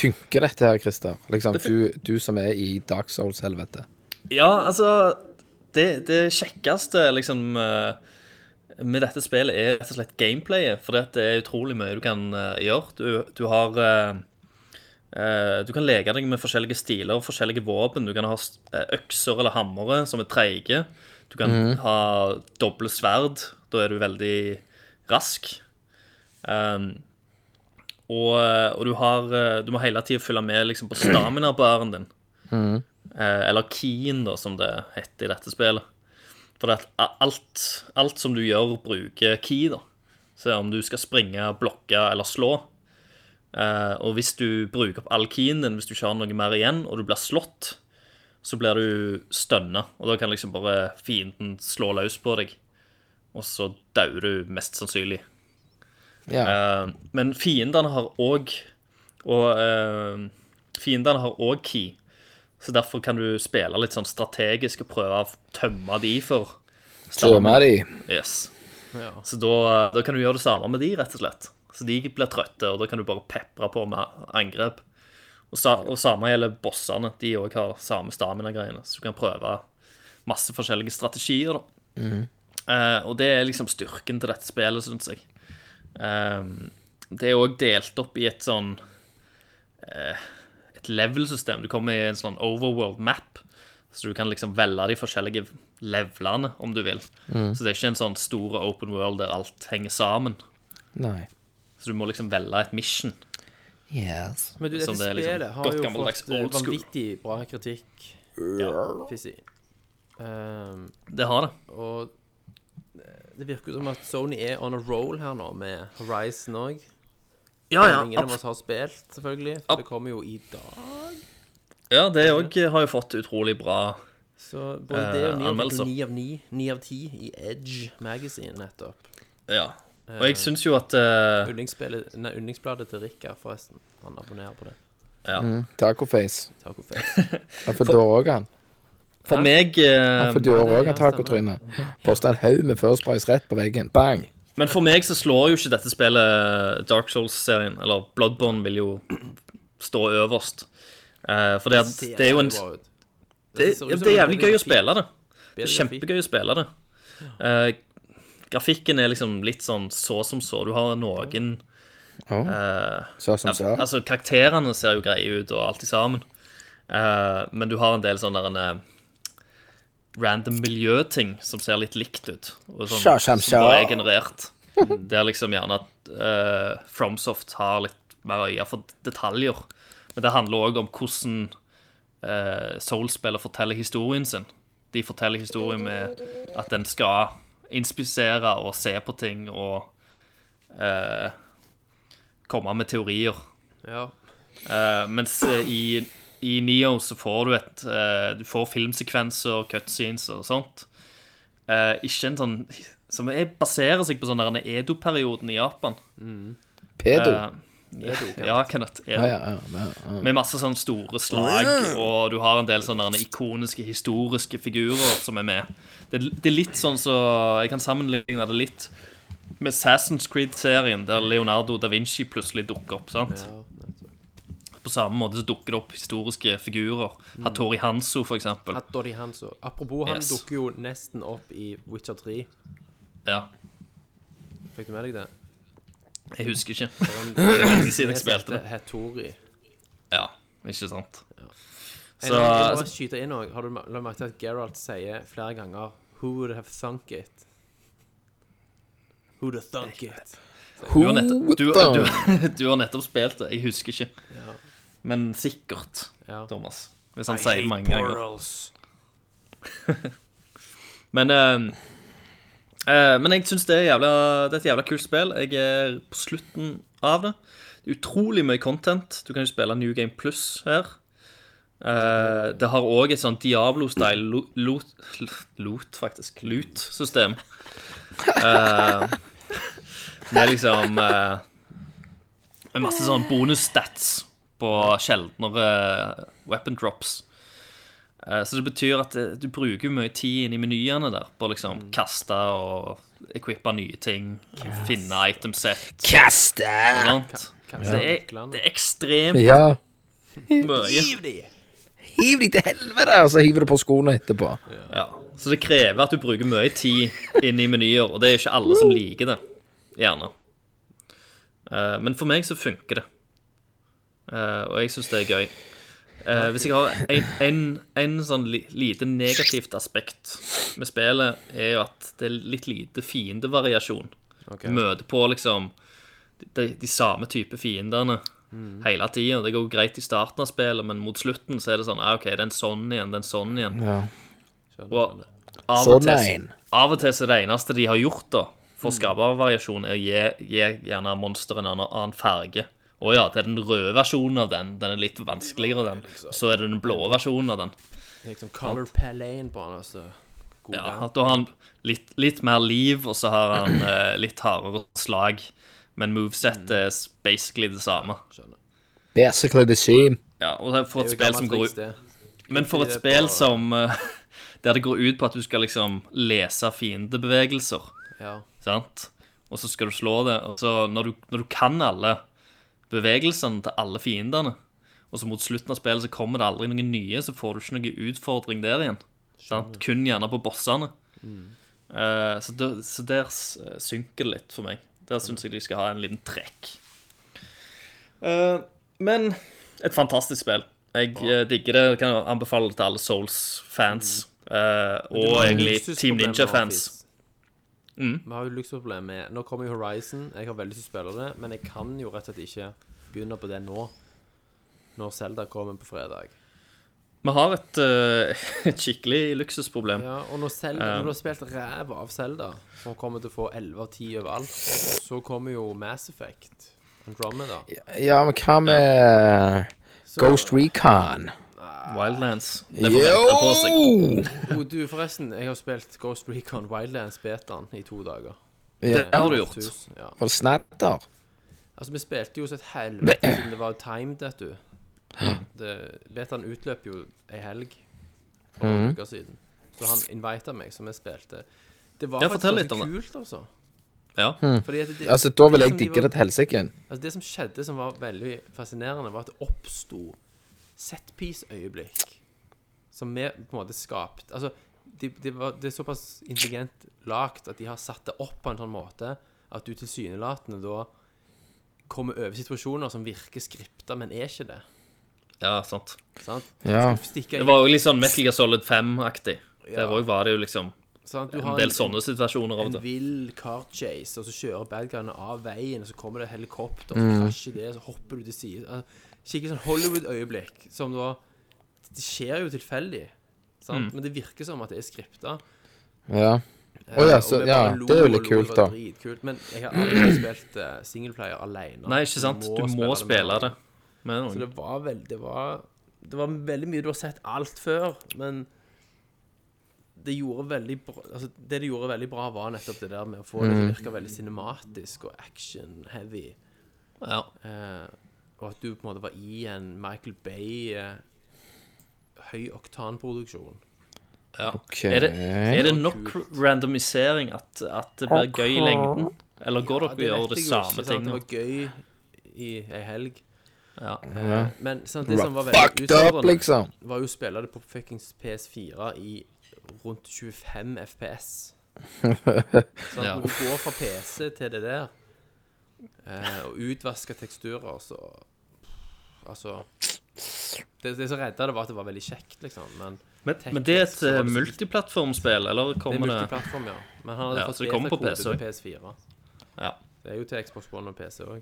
[SPEAKER 5] Funker dette her, Christer? Liksom, du, du som er i Dark Souls-helvete.
[SPEAKER 1] Ja, altså Det, det kjekkeste liksom eh, med dette spillet er rett og slett gameplayet. For det er utrolig mye du kan eh, gjøre. Du, du har eh, eh, Du kan leke deg med forskjellige stiler og forskjellige våpen. Du kan ha s- eh, økser eller hammere som er treige. Du kan ha doble sverd. Da er du veldig rask. Um, og, og du har eh, Du må hele tida følge med liksom, på stamina-baren din. Eh, eller keyen, da, som det heter i dette spillet. For det at alt, alt som du gjør, bruker key, da. Så om du skal springe, blokke eller slå. Eh, og hvis du bruker opp all keyen din, hvis du ikke har noe mer igjen, og du blir slått, så blir du stønna, og da kan liksom bare fienden slå løs på deg. Og så dauer du mest sannsynlig.
[SPEAKER 5] Ja.
[SPEAKER 1] Eh, men fiendene har òg Og eh, fiendene har òg key. Så derfor kan du spille litt sånn strategisk og prøve å tømme de for
[SPEAKER 5] Tømmer de.
[SPEAKER 1] Yes.
[SPEAKER 4] Ja.
[SPEAKER 1] Så da, da kan du gjøre det samme med de, rett og slett. Så de blir trøtte, og da kan du bare pepre på med angrep. Og, sa, og samme gjelder bossene. De òg har samme stamina-greiene. Så du kan prøve masse forskjellige strategier, da. Eh, og det er liksom styrken til dette spillet, syns jeg. Ehm, det er òg delt opp i et sånn eh, Et level-system. Du kommer i en sånn overworld map, så du kan liksom velge de forskjellige levelene, om du vil. Så det er ikke en sånn stor open world der alt henger sammen.
[SPEAKER 5] Nei.
[SPEAKER 1] Så du må liksom velge et mission.
[SPEAKER 5] Yes.
[SPEAKER 4] Men du, dette
[SPEAKER 1] som det er
[SPEAKER 4] spillet
[SPEAKER 1] liksom
[SPEAKER 4] har
[SPEAKER 1] godt
[SPEAKER 4] jo
[SPEAKER 1] gammeldags
[SPEAKER 4] fått eh,
[SPEAKER 1] old school.
[SPEAKER 4] vanvittig bra kritikk. Fizzy. Um,
[SPEAKER 1] Det har det.
[SPEAKER 4] og eh, det virker jo som at Sony er on a roll her nå, med Horizon òg.
[SPEAKER 1] Ja,
[SPEAKER 4] Ingen av oss har spilt, selvfølgelig. For det kommer jo i dag.
[SPEAKER 1] Ja, det òg har jo fått utrolig bra
[SPEAKER 4] Så både det og
[SPEAKER 1] Eh,
[SPEAKER 4] ni av-
[SPEAKER 1] anmeldelser.
[SPEAKER 4] ni av ni, ni av ti i Edge Magazine nettopp.
[SPEAKER 1] Ja. Og jeg syns jo at eh,
[SPEAKER 4] Yndlingsspillet- nei, Yndlingsbladet til Rikard, forresten. Han abonnerer på det.
[SPEAKER 1] ja.
[SPEAKER 5] Tacoface.
[SPEAKER 4] Tacoface.
[SPEAKER 5] Han får dør òg, han.
[SPEAKER 1] For meg eh,
[SPEAKER 5] Han får dør
[SPEAKER 4] det-
[SPEAKER 5] òg,
[SPEAKER 4] ja,
[SPEAKER 5] han tacotrynet. Posta en haug med First Price rett på veggen. Bang!
[SPEAKER 1] Men for meg så slår jo ikke dette spillet eh, Dark Souls-serien. Eller Bloodborne vil jo stå øverst. Eh, for det, at, det er jo en
[SPEAKER 4] Ser bra ut.
[SPEAKER 1] det,
[SPEAKER 4] ser ut
[SPEAKER 1] ja,
[SPEAKER 4] som
[SPEAKER 1] det er
[SPEAKER 4] en
[SPEAKER 1] jævlig
[SPEAKER 4] veldig
[SPEAKER 1] gøy å
[SPEAKER 4] fin-
[SPEAKER 1] spille det. Det er
[SPEAKER 4] bedre grafikk.
[SPEAKER 1] kjempegøy å spille det. Eh, grafikken er liksom litt sånn så som så. Du har noen
[SPEAKER 5] Så som
[SPEAKER 1] ja,
[SPEAKER 5] så.
[SPEAKER 1] Altså, karakterene ser jo greie ut og alt i sammen. Eh, men du har en del sånne der, en, eh, random miljøting som ser litt likt ut. Og sånn,
[SPEAKER 5] Sja, sjam,
[SPEAKER 1] som bare
[SPEAKER 5] sja.
[SPEAKER 1] er generert. Det er liksom gjerne at eh, Fromsoft har litt mer øye for detaljer. Men det handler òg om hvordan uh, Soul-spillet forteller historien sin. De forteller historien med at en skal inspisere og se på ting og eh, komme med teorier.
[SPEAKER 4] Ja.
[SPEAKER 1] Eh, mens eh, i, i Neo så får du et eh, Du får filmsekvenser, cutscenes og sånt. Eh, ikke en sånn Som er, baserer seg på sånn der Edo-perioden i Japan.
[SPEAKER 5] Pedo.
[SPEAKER 1] Eh, ja, Kenneth.
[SPEAKER 5] Ja,
[SPEAKER 1] Edo.
[SPEAKER 5] ja, ja, ja, ja.
[SPEAKER 1] Med masse sånn store slag, og du har en del sånne der ikoniske, historiske figurer som er med. Det, det er litt sånn så Jeg kan sammenligne det litt med Assassin's Creed-serien, der Leonardo da Vinci plutselig dukker opp. sant?
[SPEAKER 4] ja.
[SPEAKER 1] På samme måte så dukker det opp historiske figurer. Hattori Hanzo, for eksempel.
[SPEAKER 4] Hattori Hanzo. Apropos, han
[SPEAKER 1] Yes.
[SPEAKER 4] dukker jo nesten opp i Witcher 3.
[SPEAKER 1] Ja,
[SPEAKER 4] Fikk du med deg det?
[SPEAKER 1] [laughs] jeg husker ikke.
[SPEAKER 4] Han
[SPEAKER 1] [coughs]
[SPEAKER 4] sånn
[SPEAKER 1] Siden jeg spilte det.
[SPEAKER 4] Hattori.
[SPEAKER 1] Ja, ikke sant.
[SPEAKER 4] Så,
[SPEAKER 1] Så-
[SPEAKER 4] jeg
[SPEAKER 1] altså,
[SPEAKER 4] må bare skyte inn også. Har du la merke til at Geralt sier flere ganger Who would have thunk it? Who would have thunk it?
[SPEAKER 1] Du har, nettopp, du, du, [laughs] du har nettopp spilt det. Jeg husker ikke.
[SPEAKER 4] Ja.
[SPEAKER 1] Men sikkert,
[SPEAKER 4] Ja.
[SPEAKER 1] Thomas. Hvis han sier det mange ganger. [laughs] Men eh, eh, Men jeg syns det, er jævla- det er et jævla kult spill. Jeg er på slutten av det. Det er utrolig mye content. Du kan jo spille New Game Plus her. Eh, det har òg et sånn Diablo-style lo- loot, loot faktisk. Loot-system. Eh, med liksom eh, Med masse sånn bonus-stats på sjeldnere weapon drops. Eh, Så det betyr at eh, du bruker mye tid inn i menyene der på å liksom kaste og equippe nye ting. Finne item set. Kaste!
[SPEAKER 4] Kanskje
[SPEAKER 1] Det er, det er ekstremt
[SPEAKER 5] ja.
[SPEAKER 1] mye.
[SPEAKER 5] Hiv deg til helvete, og så hiver du på skoene etterpå.
[SPEAKER 1] Ja. Så det krever at du bruker mye tid inn i menyer, og det er ikke alle som liker det. Gjerne. Eh, Men for meg så funker det. Eh, Og jeg syns det er gøy. Eh, Hvis jeg har en, en, en sånn li, lite negativt aspekt med spillet, er jo at det er litt lite fiendevariasjon. Du møter på liksom de, de samme type fiendene hele tida. Det går jo greit i starten av spillet, men mot slutten så er det sånn ah, OK, det er en sånn igjen, det er en sånn igjen.
[SPEAKER 5] Ja.
[SPEAKER 1] Og av
[SPEAKER 5] Sånn
[SPEAKER 1] og, til,
[SPEAKER 5] en.
[SPEAKER 1] av og til så er det eneste de har gjort da for å skape variasjon, er å gi, gi gjerne monsteret en annen, annen farge. Å ja, det er den røde versjonen av den. Den er litt vanskeligere, den. Så er det den blå versjonen av den.
[SPEAKER 4] liksom color palette på han, altså. God
[SPEAKER 1] Ja,
[SPEAKER 4] gang.
[SPEAKER 1] at da har han litt, litt mer liv, og så har han eh, litt hardere slag. Men movesettet er s- basically det samme.
[SPEAKER 5] Basically the same.
[SPEAKER 1] Ja, og det er for et
[SPEAKER 4] Det er jo
[SPEAKER 1] spill
[SPEAKER 4] gammelt
[SPEAKER 1] som går
[SPEAKER 4] triks,
[SPEAKER 1] ut
[SPEAKER 4] det.
[SPEAKER 1] Men for et
[SPEAKER 4] det
[SPEAKER 1] spill
[SPEAKER 4] på-
[SPEAKER 1] som eh, [laughs] Der det går ut på at du skal liksom lese fiendebevegelser,
[SPEAKER 4] Ja.
[SPEAKER 1] sant? Og så skal du slå det. Og så når du, når du kan alle bevegelsene til alle fiendene, og så mot slutten av spillet så kommer det aldri noen nye, så får du ikke noen utfordring der igjen. Sant? Kun gjerne på bossene. Eh, så, der, så der s- eh, synker det litt for meg. Der syns jeg de skal ha en liten trekk. Eh, men et fantastisk spill. Jeg eh, digger det. Jeg kan anbefale det til alle Souls-fans. eh, og egentlig Team
[SPEAKER 4] Luksusproblem
[SPEAKER 1] Mm. Ninja-fans.
[SPEAKER 4] med Office. Vi har jo luksusproblem med Nå kommer jo Horizon. Jeg har veldig lyst til å spille det, men jeg kan jo rett og slett ikke begynne på det nå. Når Zelda kommer på fredag.
[SPEAKER 1] Vi har et, eh, [laughs] et skikkelig luksusproblem.
[SPEAKER 4] Ja, Og når Zelda, når du har spilt ræva av Zelda, som kommer til å få 11 av 10 overalt, så kommer jo Mass Effect. Andromeda.
[SPEAKER 5] Ja, men hva med
[SPEAKER 4] Så,
[SPEAKER 5] Ghost Recon?
[SPEAKER 4] Nei,
[SPEAKER 1] Wildlands. Det får vente på seg.
[SPEAKER 5] Yo!
[SPEAKER 4] Oh, du, forresten, jeg har spilt Ghost Recon Wildlands betaen i to dager.
[SPEAKER 5] Ja,
[SPEAKER 1] Det har du gjort.
[SPEAKER 4] Tusen, ja.
[SPEAKER 5] for snadder.
[SPEAKER 4] Altså, vi spilte jo så et helvete siden det var timed, vet du. Det- Betaen utløp jo ei helg for
[SPEAKER 5] Mhm.
[SPEAKER 4] noen uker siden. Så han invita meg, så vi spilte. Det var
[SPEAKER 1] Ja,
[SPEAKER 4] faktisk
[SPEAKER 1] fortell litt
[SPEAKER 4] ganske
[SPEAKER 1] om
[SPEAKER 4] kult, altså.
[SPEAKER 1] Ja.
[SPEAKER 4] Fordi at det,
[SPEAKER 5] Altså, da vil jeg
[SPEAKER 4] som de
[SPEAKER 5] digge
[SPEAKER 4] var-
[SPEAKER 5] det til helsike.
[SPEAKER 4] Altså, det som skjedde som var veldig fascinerende, var at det oppsto setpiece-øyeblikk. Som vi på en måte skapte Altså, det de var- det er såpass intelligent lagt at de har satt det opp på en sånn måte at du tilsynelatende da kommer over situasjoner som virker skripta, men er ikke det.
[SPEAKER 1] ja, sant.
[SPEAKER 4] Sant?
[SPEAKER 5] Ja.
[SPEAKER 4] Stikke
[SPEAKER 1] Det
[SPEAKER 4] i
[SPEAKER 1] var jo litt sånn Metal Gear Solid 5-aktig. Der
[SPEAKER 4] Ja.
[SPEAKER 1] òg var det jo liksom
[SPEAKER 4] sant? Du
[SPEAKER 1] en
[SPEAKER 4] har liksom
[SPEAKER 1] del sånne situasjoner av
[SPEAKER 4] en
[SPEAKER 1] det.
[SPEAKER 4] vill car chase, og så kjører bad guyene av veien, og så kommer det helikopter, og
[SPEAKER 5] Mm.
[SPEAKER 4] så krasjer det, så hopper du til siden. Altså, Skikkelig sånn Hollywood-øyeblikk, som da Det skjer jo tilfeldig, sant? men det virker som at det er Eh, skripta.
[SPEAKER 5] ja. Å Mm. ja, så, ja, det er jo litt kult, da.
[SPEAKER 4] Dritkult. Men jeg har aldri spilt uh, singleplayer alene.
[SPEAKER 1] Nei, ikke sant? Du må spille det. Med
[SPEAKER 4] Så
[SPEAKER 1] noen.
[SPEAKER 4] det var veldig det var, det var veldig mye du har sett alt før, men det gjorde veldig bra altså, Det det gjorde veldig bra, var nettopp det der med å få det til
[SPEAKER 1] Mm.
[SPEAKER 4] å virke veldig cinematisk og action-heavy.
[SPEAKER 1] Ja.
[SPEAKER 4] Eh, og at du på en måte var i en Michael Bay eh, høyoktanproduksjon.
[SPEAKER 1] Ja.
[SPEAKER 5] Ok.
[SPEAKER 1] Er, det, er det nok randomisering at, at det blir gøy i lengden? Eller går
[SPEAKER 4] Ja,
[SPEAKER 1] dere og gjør det samme
[SPEAKER 4] sant? Det
[SPEAKER 1] tingene?
[SPEAKER 4] var gøy i ei helg.
[SPEAKER 1] Ja.
[SPEAKER 4] Eh, men sant, det som var veldig
[SPEAKER 5] Fucked up,
[SPEAKER 4] utfordrende,
[SPEAKER 5] liksom.
[SPEAKER 4] var jo å spille det på fuckings PS4 i rundt 25 FPS. Sant?
[SPEAKER 1] Ja.
[SPEAKER 4] Når du går fra PC til det der, eh, og utvasker teksturer, så Altså Det, det som redda det, var at det var veldig kjekt, liksom. Men
[SPEAKER 1] Men,
[SPEAKER 4] teknisk
[SPEAKER 1] men det er et
[SPEAKER 4] så var
[SPEAKER 1] eh,
[SPEAKER 4] det så-
[SPEAKER 1] multiplattformspill, eller
[SPEAKER 4] det er
[SPEAKER 1] kommer det
[SPEAKER 4] multiplattform, ja. Men han hadde
[SPEAKER 1] Ja,
[SPEAKER 4] fått
[SPEAKER 1] så det kommer på
[SPEAKER 4] beta-kode
[SPEAKER 1] PC også.
[SPEAKER 4] til PS4.
[SPEAKER 1] Ja.
[SPEAKER 4] Det er jo til Xbox One og PC òg.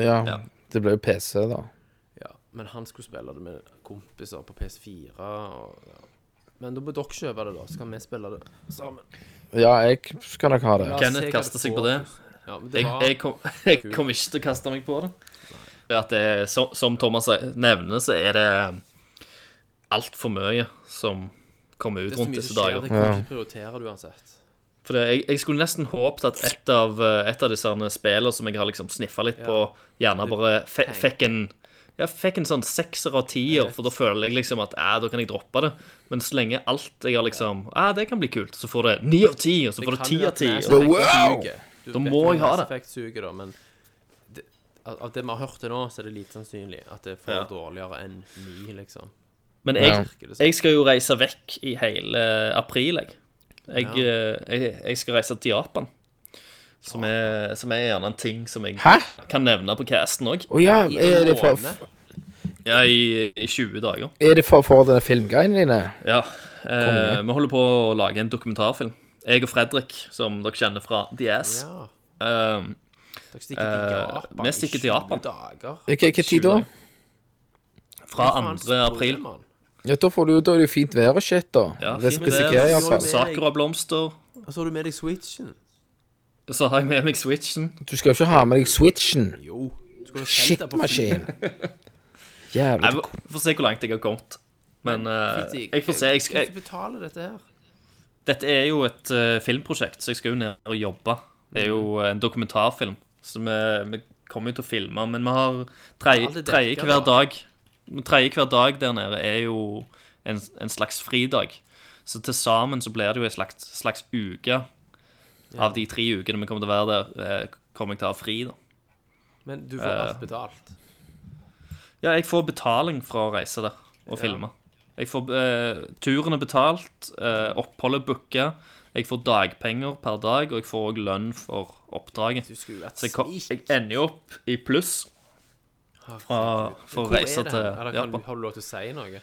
[SPEAKER 5] Ja.
[SPEAKER 1] Ja.
[SPEAKER 5] Det ble jo PC, da.
[SPEAKER 4] Ja, men han skulle spille det med kompiser på PS4 og, ja. Men da må dere kjøpe det, da, så kan vi spille det.
[SPEAKER 5] Ja, jeg skal nok ha det.
[SPEAKER 4] La oss
[SPEAKER 1] Kenneth
[SPEAKER 4] se hva
[SPEAKER 1] kaster seg på
[SPEAKER 4] får.
[SPEAKER 1] det.
[SPEAKER 4] Ja, men det
[SPEAKER 1] Jeg,
[SPEAKER 4] var,
[SPEAKER 1] jeg, kom, [laughs] jeg kom ikke til å kaste meg på det. Det er At det, er- som, som Thomas nevner, så er det altfor mye som kommer
[SPEAKER 4] det er
[SPEAKER 1] ut
[SPEAKER 4] så
[SPEAKER 1] rundt
[SPEAKER 4] mye
[SPEAKER 1] disse
[SPEAKER 4] som skjer,
[SPEAKER 1] dager.
[SPEAKER 4] det kan du ikke prioritere det uansett.
[SPEAKER 1] For det, jeg, jeg skulle nesten håpet at et av, eh, et av disse her spillene som jeg har liksom sniffa litt på, gjerne bare fe, fikk en ja, fikk en sånn sekser av tier, for da føler jeg liksom at eh, da kan jeg droppe det. Men så lenge alt jeg har liksom eh, det kan bli kult, så får det ni av ti, og så får det ti av ti. og-
[SPEAKER 5] Wow!
[SPEAKER 1] Da må jeg ha det.
[SPEAKER 4] Suger, da, men det, av av det vi har hørt til nå, så er det lite sannsynlig at det får
[SPEAKER 1] Ja.
[SPEAKER 4] dårligere enn ni, liksom.
[SPEAKER 1] Men jeg,
[SPEAKER 4] Virker det som.
[SPEAKER 1] jeg skal jo reise vekk i hele april, jeg. Jeg, eh, jeg, jeg skal reise til Japan. Som er, som er gjerne en ting som jeg
[SPEAKER 5] Hæ?
[SPEAKER 1] kan nevne på casten òg.
[SPEAKER 5] Å ja,
[SPEAKER 4] I
[SPEAKER 5] er
[SPEAKER 4] en
[SPEAKER 5] det for,
[SPEAKER 4] måned.
[SPEAKER 1] Ja, i, i 20 dager.
[SPEAKER 5] er det for, for denne filmgreiene dine?
[SPEAKER 1] Ja. Eh, vi holder på å lage en dokumentarfilm. Jeg og Fredrik, som dere kjenner fra The Ass.
[SPEAKER 4] Ja.
[SPEAKER 1] Eh,
[SPEAKER 4] Dere stikker til
[SPEAKER 1] Eh,
[SPEAKER 4] Japan
[SPEAKER 1] vi stikker til
[SPEAKER 4] i
[SPEAKER 1] Japan.
[SPEAKER 4] 20 dager.
[SPEAKER 5] Hva hva tid da?
[SPEAKER 1] fra
[SPEAKER 4] Faen,
[SPEAKER 1] 2. april.
[SPEAKER 4] mann.
[SPEAKER 5] Ja, da får du da er det jo fint vær og shit, da.
[SPEAKER 1] Ja,
[SPEAKER 5] det
[SPEAKER 1] fint
[SPEAKER 5] risikerer
[SPEAKER 1] vær.
[SPEAKER 5] iallfall.
[SPEAKER 1] Sakura-blomster.
[SPEAKER 4] Og så Altså, har du med deg Switchen.
[SPEAKER 1] Så har jeg med meg Switchen.
[SPEAKER 5] Du skal jo ikke ha med deg switchen.
[SPEAKER 4] Jo. Du skulle felt deg på
[SPEAKER 5] Shitmaskin.
[SPEAKER 1] Jeg
[SPEAKER 5] [laughs] Jævlig
[SPEAKER 1] får se hvor langt jeg har kommet. Men eh,
[SPEAKER 4] Fytti-
[SPEAKER 1] jeg får se. Jeg,
[SPEAKER 4] Hvem
[SPEAKER 1] skal,
[SPEAKER 4] som betaler dette her?
[SPEAKER 1] Dette er jo et eh, filmprosjekt, så jeg skal jo ned og jobbe. Det er jo eh, en dokumentarfilm, så vi, vi kommer jo til å filme. Men vi har
[SPEAKER 4] Alt
[SPEAKER 1] tredje
[SPEAKER 4] er dekket,
[SPEAKER 1] tredje
[SPEAKER 4] da.
[SPEAKER 1] hver dag Tredje hver dag der nede er jo en, en slags fridag. Så til sammen så blir det jo en slags, slags uke av de tre ukene vi kommer til å være der. eh, Kommer jeg til å ha fri, da.
[SPEAKER 4] Men du
[SPEAKER 1] Eh,
[SPEAKER 4] får alt betalt.
[SPEAKER 1] Ja, jeg får betaling fra å reise der og filme. Jeg får eh, turen er betalt, eh, oppholdet booka, jeg får dagpenger per dag, og jeg får òg lønn for oppdraget.
[SPEAKER 4] Du skulle jo vært
[SPEAKER 1] Så jeg, kom, jeg
[SPEAKER 4] snik.
[SPEAKER 1] ender jo opp i pluss fra, for å
[SPEAKER 4] Hvor er
[SPEAKER 1] reise
[SPEAKER 4] det
[SPEAKER 1] til
[SPEAKER 4] hen? Eller kan,
[SPEAKER 1] Japan.
[SPEAKER 4] du- har du lov til å si noe?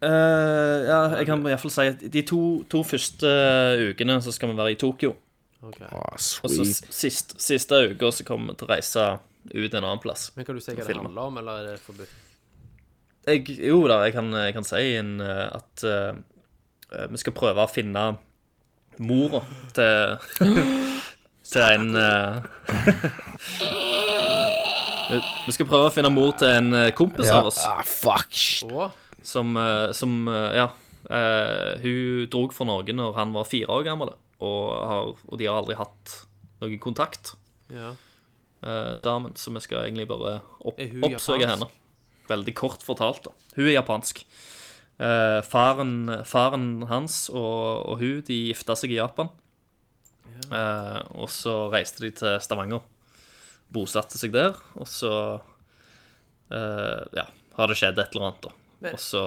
[SPEAKER 1] Eh, ja, jeg kan iallfall si at de to, to første eh, ukene så skal vi være i Tokyo.
[SPEAKER 4] Ok.
[SPEAKER 5] bra.
[SPEAKER 1] Og så
[SPEAKER 5] Sweet.
[SPEAKER 1] s- sist, siste uka så kommer vi til å reise ut en annen plass.
[SPEAKER 4] Men kan du si hva det
[SPEAKER 1] Film.
[SPEAKER 4] handler om, eller er det forbudt?
[SPEAKER 1] jeg, Jo da, jeg kan, jeg kan si en, eh, at eh, vi skal prøve å finne mora til Til en eh, [laughs] Vi skal prøve å finne mor til en eh, kompis
[SPEAKER 5] Ja.
[SPEAKER 1] av oss.
[SPEAKER 5] Ah, fuck. shit.
[SPEAKER 4] Å,
[SPEAKER 1] Som, eh, som eh, ja. eh, hun drog fra Norge når han var fire år gammel, og, har, og de har aldri hatt noen kontakt,
[SPEAKER 4] Ja.
[SPEAKER 1] eh, damen. Så vi skal egentlig bare opp,
[SPEAKER 4] Er hun
[SPEAKER 1] oppsøke
[SPEAKER 4] japansk?
[SPEAKER 1] henne. Veldig kort fortalt, da. Hun er japansk. Eh, faren, faren hans og, og hun de gifta seg i Japan. Eh, og så reiste de til Stavanger. Bosatte seg der, og så eh, Ja, har det skjedd et eller annet, da.
[SPEAKER 4] Men-
[SPEAKER 1] Og så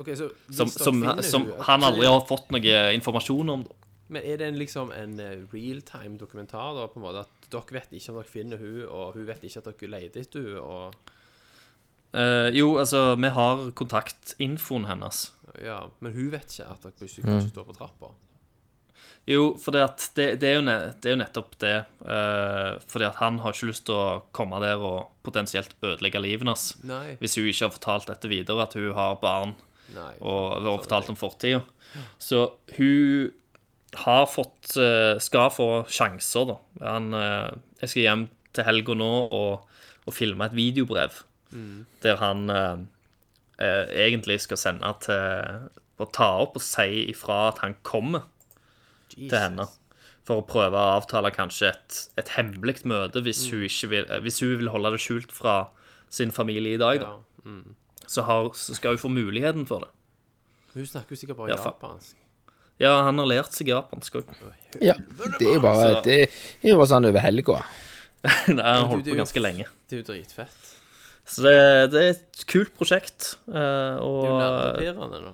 [SPEAKER 4] Ok, så
[SPEAKER 1] Som,
[SPEAKER 4] hvis dere
[SPEAKER 1] som,
[SPEAKER 4] finner
[SPEAKER 1] som
[SPEAKER 4] hun-
[SPEAKER 1] han aldri har fått noe informasjon om. da.
[SPEAKER 4] Men er det en, liksom en realtime dokumentar, da, på en måte? At dere vet ikke om dere finner hun, og hun vet ikke at dere leter etter hun, og
[SPEAKER 1] Eh, jo, altså, vi har kontaktinfoen hennes.
[SPEAKER 4] Ja, men hun vet ikke at dere plutselig kanskje står på trappa.
[SPEAKER 1] Jo, for det, at det, det, er, jo ne, det er jo nettopp det. Uh, fordi at han har ikke lyst til å komme der og potensielt ødelegge livet hennes.
[SPEAKER 4] Nei.
[SPEAKER 1] Hvis hun ikke har fortalt dette videre, at hun har barn
[SPEAKER 4] Nei.
[SPEAKER 1] og det var fortalt om fortida. Så hun har fått eh, Skal få sjanser, da. Han, eh, jeg skal hjem til helga nå og, og filme et videobrev der han eh, eh, egentlig skal sende til Og ta opp og si ifra at han kommer til henne. For å prøve å avtale kanskje et, et hemmelig møte, hvis hun, ikke vil, eh, hvis hun vil holde det skjult fra sin familie i dag. Da.
[SPEAKER 4] Ja.
[SPEAKER 1] Så, har, så skal hun få muligheten for det.
[SPEAKER 4] Hun snakker jo sikkert bare
[SPEAKER 1] Ja, faen.
[SPEAKER 4] japansk.
[SPEAKER 1] Ja, han har lært seg japansk òg. [laughs]
[SPEAKER 5] Ja, det er jo
[SPEAKER 4] Altså-
[SPEAKER 5] bare, det er jo bare sånn over helga.
[SPEAKER 1] Han har holdt
[SPEAKER 4] det er
[SPEAKER 1] på
[SPEAKER 4] jo-
[SPEAKER 1] ganske lenge.
[SPEAKER 4] Det er jo dritfett.
[SPEAKER 1] Så det, det er et kult prosjekt. eh,
[SPEAKER 4] Det er jo
[SPEAKER 1] Og
[SPEAKER 4] nervepirrende, da.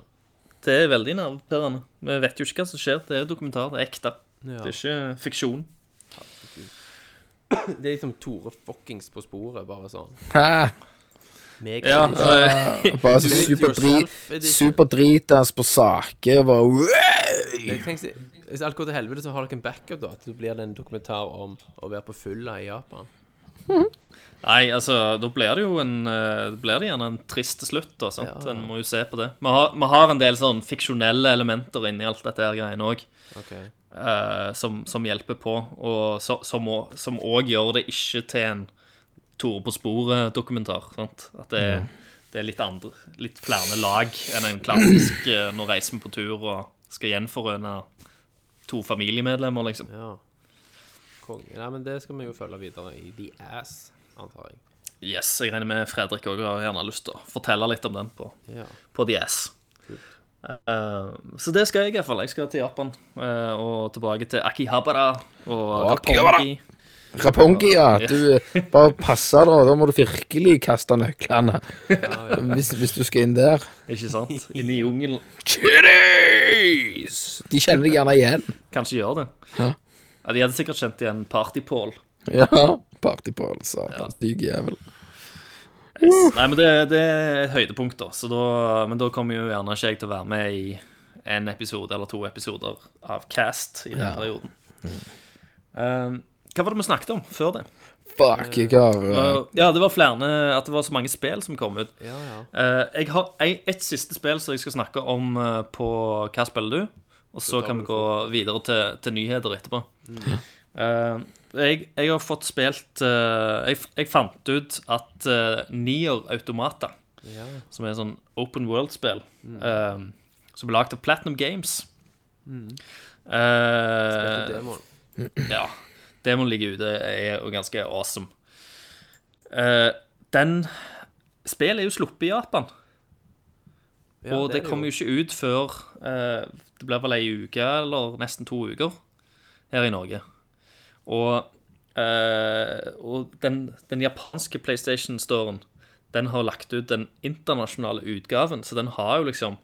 [SPEAKER 1] det er veldig nervepirrende. Vi vet jo ikke hva som skjer. Det er dokumentar. Det er ekte.
[SPEAKER 4] Ja.
[SPEAKER 1] Det er ikke eh, fiksjon.
[SPEAKER 4] Det er liksom Tore fuckings på sporet, bare sånn. [laughs]
[SPEAKER 5] Hæ?
[SPEAKER 4] Meg
[SPEAKER 1] [laughs] Ja, eh,
[SPEAKER 5] Bare
[SPEAKER 4] Do it
[SPEAKER 5] superdri-
[SPEAKER 4] yourself edition.
[SPEAKER 5] superdritas på saker. Bare
[SPEAKER 4] Jeg tenker, Hvis alt går til helvete, så har dere en backup, da. At det blir det en dokumentar om å være på fylla i Japan.
[SPEAKER 1] Nei, altså, da blir det jo en eh, Da blir det gjerne en trist slutt, da. Sant?
[SPEAKER 4] Ja.
[SPEAKER 1] En må jo se på det. Vi har, vi har en del sånn fiksjonelle elementer inni alt dette her greiene òg.
[SPEAKER 4] Ok
[SPEAKER 1] eh, som, som hjelper på, og så, som å- som òg gjør det ikke til en Tore på sporet-dokumentar. sant? At det, det er litt andre, litt flere lag enn en klassisk eh, 'nå reiser vi på tur og skal gjenforene to familiemedlemmer', liksom.
[SPEAKER 4] Ja. Konge. Nei, men det skal vi jo følge videre i The Ass, antar jeg.
[SPEAKER 1] Yes, jeg regner med Fredrik òg har gjerne lyst til å fortelle litt om den på,
[SPEAKER 4] Ja.
[SPEAKER 1] på The Ass. Eh, så det skal jeg iallfall. Jeg skal til Japan eh, og tilbake til Akihabara og
[SPEAKER 5] Akihabara.
[SPEAKER 1] Roppongi.
[SPEAKER 5] Rapongi, ja. Du eh, bare passer deg, og da må du virkelig kaste nøklene. Hvis, hvis du skal inn der.
[SPEAKER 1] Ikke sant? Inne i jungelen.
[SPEAKER 5] Chitties! De kjenner deg gjerne igjen.
[SPEAKER 1] Kanskje gjør det.
[SPEAKER 5] Ja.
[SPEAKER 1] Ja, De hadde sikkert kjent igjen Partypål.
[SPEAKER 5] Ja. Partypål, satan. Syk jævel.
[SPEAKER 1] Nei, men det, det er et høydepunkt, da. Så da. Men da kommer jo gjerne ikke jeg til å være med i en episode eller to episoder av Cast i denne perioden. Um, hva var det vi snakket om før det?
[SPEAKER 5] Fuck, jeg har eh,
[SPEAKER 1] Uh, ja, det var flere At det var så mange spill som kom ut.
[SPEAKER 4] ja, ja.
[SPEAKER 1] Uh, jeg har ei, et siste spill som jeg skal snakke om uh, på Hva spiller du? Og så kan vi gå videre til, til nyheter etterpå. Uh, jeg, jeg har fått spilt uh, jeg, jeg fant ut at uh, Nier Automata, som er en sånn open world-spill, uh, som er lagd av Platinum Games
[SPEAKER 4] Dette
[SPEAKER 1] uh,
[SPEAKER 4] demoen.
[SPEAKER 1] ja. Demoen ligger ute er jo ganske awesome. Eh, den Spillet er jo sluppet i Japan,
[SPEAKER 4] Ja,
[SPEAKER 1] og det,
[SPEAKER 4] er
[SPEAKER 1] kommer jo ikke ut før eh, Det blir vel ei uke eller nesten to uker her i Norge. Og, eh, og den, den japanske PlayStation-storen den har lagt ut den internasjonale utgaven, så den har jo liksom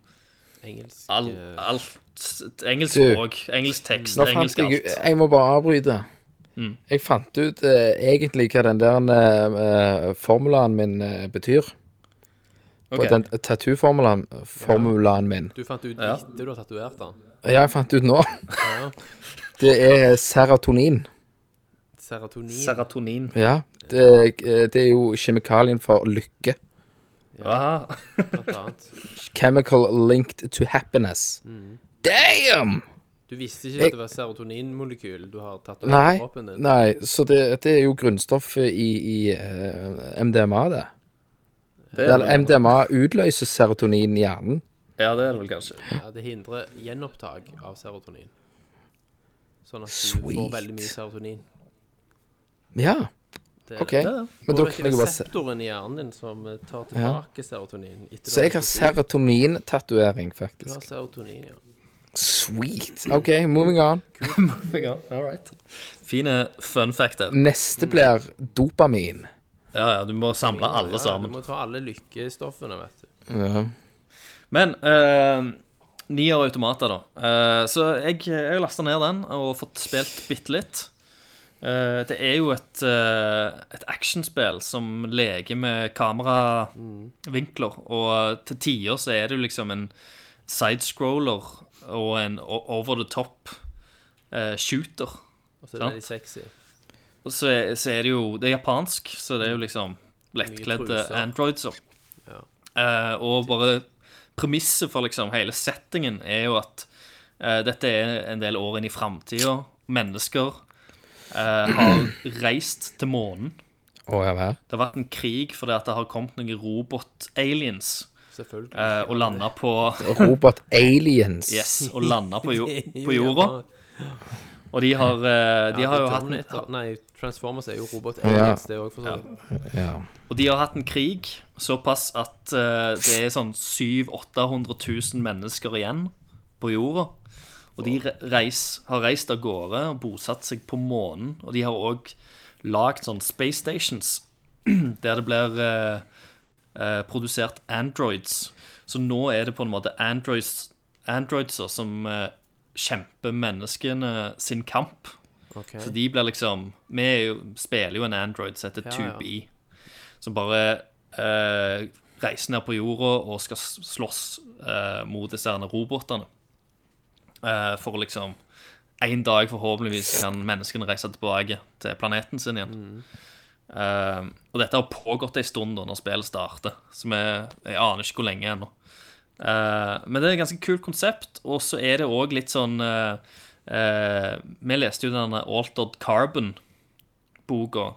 [SPEAKER 4] Engelsk
[SPEAKER 1] all,
[SPEAKER 4] eh,
[SPEAKER 1] alt Engelsk
[SPEAKER 5] Du,
[SPEAKER 1] språk, engelsk tekst,
[SPEAKER 5] Nå
[SPEAKER 1] engelsk
[SPEAKER 5] fant
[SPEAKER 1] Mm.
[SPEAKER 5] jeg ut
[SPEAKER 1] alt.
[SPEAKER 5] Jeg må bare avbryte. Jeg fant ut eh, egentlig hva den der eh, eh, formulaen min eh, betyr. På
[SPEAKER 1] Ok.
[SPEAKER 5] Den tattoo-formulaen formulaen min.
[SPEAKER 4] Du fant ut
[SPEAKER 1] Ja.
[SPEAKER 4] etter du har tatovert den?
[SPEAKER 5] Ja, jeg fant ut nå.
[SPEAKER 4] Ja.
[SPEAKER 5] [laughs] Det er serotonin.
[SPEAKER 4] Serotonin.
[SPEAKER 1] Serotonin.
[SPEAKER 5] Ja. Det, eh, det er jo kjemikalien for lykke.
[SPEAKER 1] Aha.
[SPEAKER 4] blant annet.
[SPEAKER 5] Chemical linked to happiness.
[SPEAKER 4] Mm.
[SPEAKER 5] Damn!
[SPEAKER 4] Du visste ikke at det var serotoninmolekyl du har tatovert
[SPEAKER 5] Nei,
[SPEAKER 4] på kroppen din?
[SPEAKER 5] nei så det, det er jo grunnstoffet i, i eh, MDMA, det.
[SPEAKER 1] Det er,
[SPEAKER 5] Der MDMA utløser serotonin i hjernen.
[SPEAKER 1] ja, det er det vel kanskje. [laughs]
[SPEAKER 4] Ja, det hindrer gjenopptak av serotonin. Sånn at du får
[SPEAKER 5] Sweet.
[SPEAKER 4] veldig mye serotonin.
[SPEAKER 5] Ja,
[SPEAKER 4] Det er
[SPEAKER 5] OK.
[SPEAKER 1] Ja, ja.
[SPEAKER 5] Men
[SPEAKER 4] det
[SPEAKER 5] da
[SPEAKER 4] er
[SPEAKER 5] kan jeg bare se.
[SPEAKER 4] reseptoren i hjernen din som eh, tar tilbake serotonin. Etter
[SPEAKER 5] Så jeg har
[SPEAKER 4] serotonin.
[SPEAKER 5] serotonintatovering,
[SPEAKER 4] Du har
[SPEAKER 5] faktisk.
[SPEAKER 4] serotonin, ja.
[SPEAKER 5] Sweet. OK, moving on.
[SPEAKER 1] Ja, all right. Fine fun fact
[SPEAKER 5] Mm.
[SPEAKER 1] der.
[SPEAKER 5] Neste blir dopamin.
[SPEAKER 1] Ja, ja, du må samle alle
[SPEAKER 4] Ja,
[SPEAKER 1] sammen.
[SPEAKER 4] du må ta alle lykkestoffene, vet du.
[SPEAKER 5] Ja.
[SPEAKER 1] Men uh, nier automater, da. Eh, så jeg, jeg lasta ned den og fått spilt bitte litt. Eh, det er jo et, eh, et actionspill som leker med kameravinkler, og til tider så er det jo liksom en sidescroller og en o- over the top eh, shooter.
[SPEAKER 4] Og så er det litt sexy.
[SPEAKER 1] Og så er, så er det jo Det er japansk, så det er jo liksom lettkledde
[SPEAKER 4] truser.
[SPEAKER 1] androidser. Eh, og bare premisset for liksom hele settingen er jo at eh, dette er en del år inn i framtida. Mennesker eh, har reist til månen.
[SPEAKER 5] Å, ja vel.
[SPEAKER 1] Det har vært en krig fordi at det har kommet noen robot-aliens
[SPEAKER 4] Selvfølgelig.
[SPEAKER 1] eh, og landa på
[SPEAKER 5] Robot aliens.
[SPEAKER 1] Yes, og landa på, jo,
[SPEAKER 4] Det er [laughs] jo
[SPEAKER 1] på jorda.
[SPEAKER 4] japan-
[SPEAKER 1] Og de har, eh, de har jo hatt en,
[SPEAKER 4] Terminator. Nei, Transformers er jo robot
[SPEAKER 5] Ja.
[SPEAKER 4] aliens, det òg, for sånn.
[SPEAKER 5] Ja.
[SPEAKER 1] Og de har hatt en krig såpass at eh, det er sånn 700 800 000 mennesker igjen på jorda. Og de re- reis, har reist av gårde og bosatt seg på månen. Og de har òg lagd sånn space stations der det blir eh, eh, produsert androids. Så nå er det på en måte androids, androidser som eh, kjemper menneskene sin kamp.
[SPEAKER 4] Ok.
[SPEAKER 1] Så de blir liksom Vi er jo, spiller jo en android som heter
[SPEAKER 4] Ja, ja.
[SPEAKER 1] 2B. Som bare eh, reiser ned på jorda og skal s- slåss eh, mot disse herne robotene. Eh, for å liksom En dag forhåpentligvis kan menneskene reise tilbake til planeten sin igjen. Eh, og dette har pågått en stund da når spillet starter, så vi, jeg aner ikke hvor lenge ennå. Eh, men det er et ganske kult konsept, og så er det òg litt sånn eh, eh, Vi leste jo denne Altered Carbon-boka,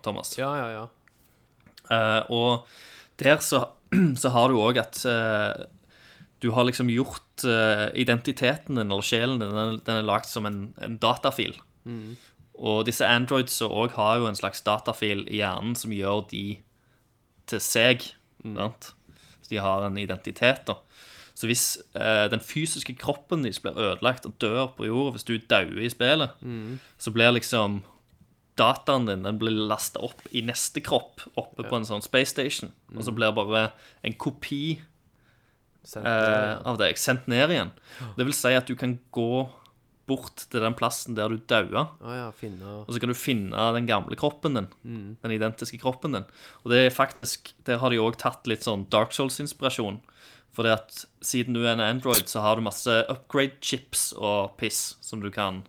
[SPEAKER 1] Thomas.
[SPEAKER 4] Ja, ja, ja.
[SPEAKER 1] Eh, og der så, [clears throat] så har du òg at eh, du har liksom gjort eh, identiteten din, eller sjelen din, den, den er lagd som en, en datafil. Og disse androids så òg har jo en slags datafil i hjernen som gjør de til seg. Sant? Så de har en identitet, da. Så hvis eh, den fysiske kroppen deres blir ødelagt og dør på jorda, hvis du dauer i spillet, så blir liksom dataen din den blir lasta opp i neste kropp, oppe på en sånn space station. Og så blir bare en kopi
[SPEAKER 4] Sent-
[SPEAKER 1] eh, av deg sendt ned igjen. Det vil si at du kan gå bort til den plassen der du daua,
[SPEAKER 4] Å ja, finner
[SPEAKER 1] og så kan du finne den gamle kroppen din.
[SPEAKER 4] Mm.
[SPEAKER 1] Den identiske kroppen din. Og det er faktisk, der har de òg tatt litt sånn Dark Souls-inspirasjon. For det at siden du er en Android, så har du masse upgrade-chips og piss som du kan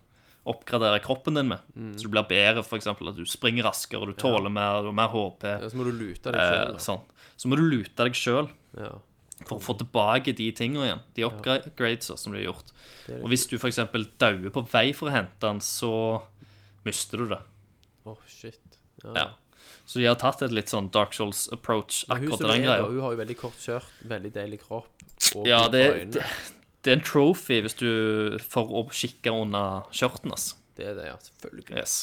[SPEAKER 1] oppgradere kroppen din med.
[SPEAKER 4] Mm.
[SPEAKER 1] Så du blir bedre, f.eks. at du springer raskere, du tåler mer, du har mer HP.
[SPEAKER 4] Ja, så må du lute deg
[SPEAKER 1] eh,
[SPEAKER 4] selv. da.
[SPEAKER 1] sånn. Så må du lute deg sjøl
[SPEAKER 4] Ja.
[SPEAKER 1] for
[SPEAKER 4] Mm.
[SPEAKER 1] å få tilbake de tingene igjen. De upgrades som de har gjort. Og hvis du f.eks. dauer på vei for å hente den, så mister du det.
[SPEAKER 4] Å, shit. Ja.
[SPEAKER 1] Ja. Så de har tatt et litt sånn Dark Souls approach
[SPEAKER 4] Men Hun
[SPEAKER 1] akkurat
[SPEAKER 4] som
[SPEAKER 1] til
[SPEAKER 4] er
[SPEAKER 1] den
[SPEAKER 4] der,
[SPEAKER 1] greia.
[SPEAKER 4] hun har jo veldig kort skjørt, veldig deilig kropp. Og
[SPEAKER 1] Ja,
[SPEAKER 4] gode
[SPEAKER 1] det,
[SPEAKER 4] øyne.
[SPEAKER 1] det, det er en trophy hvis du for å kikke under skjørten, altså.
[SPEAKER 4] det er det, ja. Selvfølgelig.
[SPEAKER 1] Yes.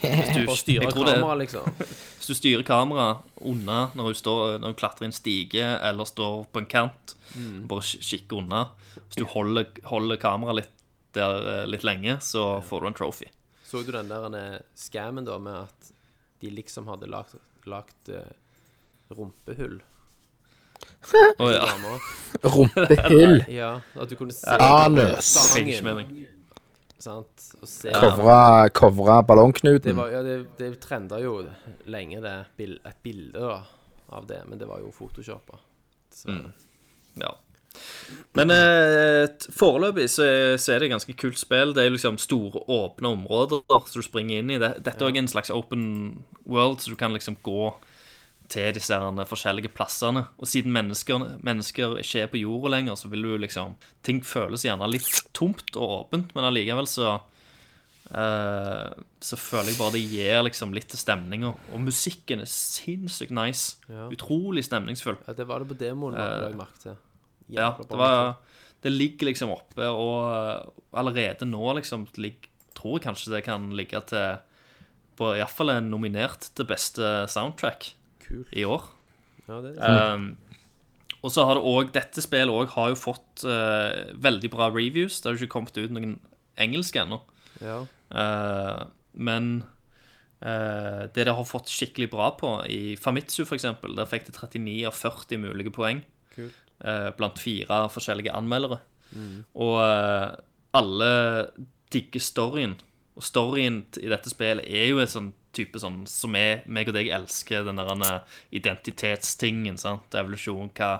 [SPEAKER 1] Hvis
[SPEAKER 4] [laughs]
[SPEAKER 1] du,
[SPEAKER 4] For å
[SPEAKER 1] jeg
[SPEAKER 4] styre
[SPEAKER 1] tror det,
[SPEAKER 4] kameraet, liksom.
[SPEAKER 1] hvis du styrer kameraet unna når hun, står, når hun klatrer i en stige eller står på en kant,
[SPEAKER 4] Mm.
[SPEAKER 1] bare ki- kikke unna. Hvis du holder, holder kameraet litt der eh, litt lenge, så får du en trophy.
[SPEAKER 4] Så du den der eh, scammen, da, med at de liksom hadde lagt, lagt eh, rumpehull
[SPEAKER 1] Å ja. [laughs]
[SPEAKER 4] damer?
[SPEAKER 5] Rumpehull.
[SPEAKER 4] Ja, at du kunne se
[SPEAKER 5] Anus.
[SPEAKER 1] Fikk ikke mening.
[SPEAKER 4] sant? Og se
[SPEAKER 5] Covra, covra
[SPEAKER 4] Det,
[SPEAKER 5] ballongknuten.
[SPEAKER 4] var, ja, det, det trenda jo lenge, det, bil- et bilde da, av det, men det var jo photoshoppa. Så
[SPEAKER 1] Mm. Ja. Men eh, t- foreløpig så, så er det et ganske kult spill. Det er liksom store, åpne områder der, så du springer inn i. det. Dette er også en slags open world, så du kan liksom gå til disse herne forskjellige plassene. Og siden mennesker, mennesker ikke er på jorda lenger, så vil du liksom Ting føles gjerne litt tomt og åpent, men allikevel så eh, så føler jeg bare det gir liksom litt til stemninga. Og musikken er sinnssykt nice.
[SPEAKER 4] Ja.
[SPEAKER 1] Utrolig stemningsfull.
[SPEAKER 4] Ja, det var det på demoen, uh, la jeg merke til.
[SPEAKER 1] Eh, Ja,
[SPEAKER 4] Jævla
[SPEAKER 1] det,
[SPEAKER 4] bra.
[SPEAKER 1] var, det ligger liksom oppe, og eh, allerede nå liksom ligg- tror jeg kanskje det kan ligge til på iallfall en nominert til beste soundtrack
[SPEAKER 4] Kult.
[SPEAKER 1] i år.
[SPEAKER 4] Ja, det er
[SPEAKER 1] Um, og så har det òg Dette spillet òg har jo fått eh, veldig bra reviews. Det har jo ikke kommet ut noen engelske ennå.
[SPEAKER 4] ja.
[SPEAKER 1] Eh, men eh, det det har fått skikkelig bra på, i Famitsu f.eks., der fikk det 39 av 40 mulige poeng
[SPEAKER 4] Kult.
[SPEAKER 1] eh, blant fire forskjellige anmeldere. Og eh, alle digger storyen. Og storyen t- i dette spillet er jo en sånn type sånn som jeg, meg og deg elsker, den der eh, identitetstingen. sant? Evolusjon. hva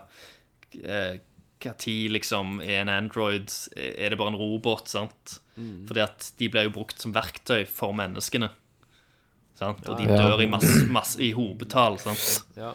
[SPEAKER 1] eh, hva tid liksom er en android? Er det bare en robot? sant? Fordi at de blir jo brukt som verktøy for menneskene. Sant? Og de
[SPEAKER 5] Ja.
[SPEAKER 1] dør i, masse, masse, i hopetall. sant?
[SPEAKER 4] Ja.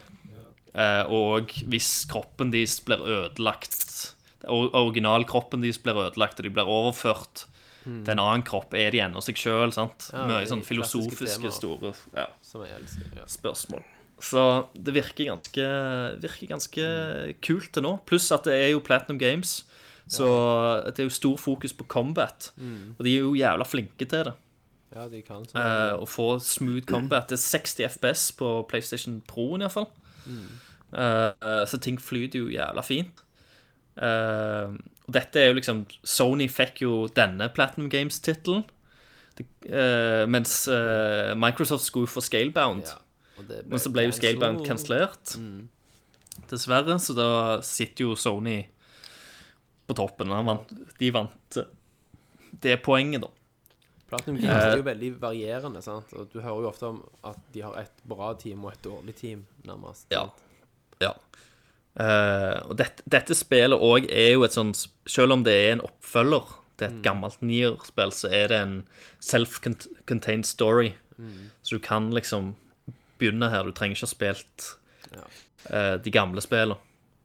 [SPEAKER 1] Eh, og hvis kroppen deres blir ødelagt or- Originalkroppen deres blir ødelagt, og de blir overført til en annen kropp, er de ennå seg sjøl?
[SPEAKER 4] Hmm. Ja,
[SPEAKER 1] Mye
[SPEAKER 4] det er klassiske
[SPEAKER 1] sånn filosofiske,
[SPEAKER 4] temaer.
[SPEAKER 1] store ja,
[SPEAKER 4] Som jeg elsker. Ja.
[SPEAKER 1] spørsmål.
[SPEAKER 4] Hmm.
[SPEAKER 1] Så det virker ganske, virker ganske
[SPEAKER 4] Hmm.
[SPEAKER 1] kult til nå. Pluss at det er jo Platinum Games, så det er jo stor fokus på combat.
[SPEAKER 4] Hmm.
[SPEAKER 1] Og de er jo jævla flinke til det.
[SPEAKER 4] ja, de kan sånn.
[SPEAKER 1] Eh, å få smooth combat. Det er 60 FPS på PlayStation Pro-en, iallfall. Uh, så ting flyter jo jævla fint. Eh, og dette er jo liksom Sony fikk jo denne Platinum Games-tittelen. Det- eh, mens eh, Microsoft skulle få Scalebound.
[SPEAKER 4] ja. Og det
[SPEAKER 1] Men så ble jo Scalebound kansellert.
[SPEAKER 4] Mm.
[SPEAKER 1] Dessverre. Så da sitter jo Sony på toppen. Han vant, de vant eh, det poenget, da.
[SPEAKER 4] Platinum
[SPEAKER 1] Eh,
[SPEAKER 4] Games er jo veldig varierende, sant. Og du hører jo ofte om at de har et bra team og et dårlig team, nærmest.
[SPEAKER 1] Ja. ja. Eh, og dette, dette spillet òg er jo et sånn Selv om det er en oppfølger til et gammelt nierspill, så er det en self-contained story. Så du kan liksom begynne her. Du trenger ikke ha spilt eh, de gamle spillene.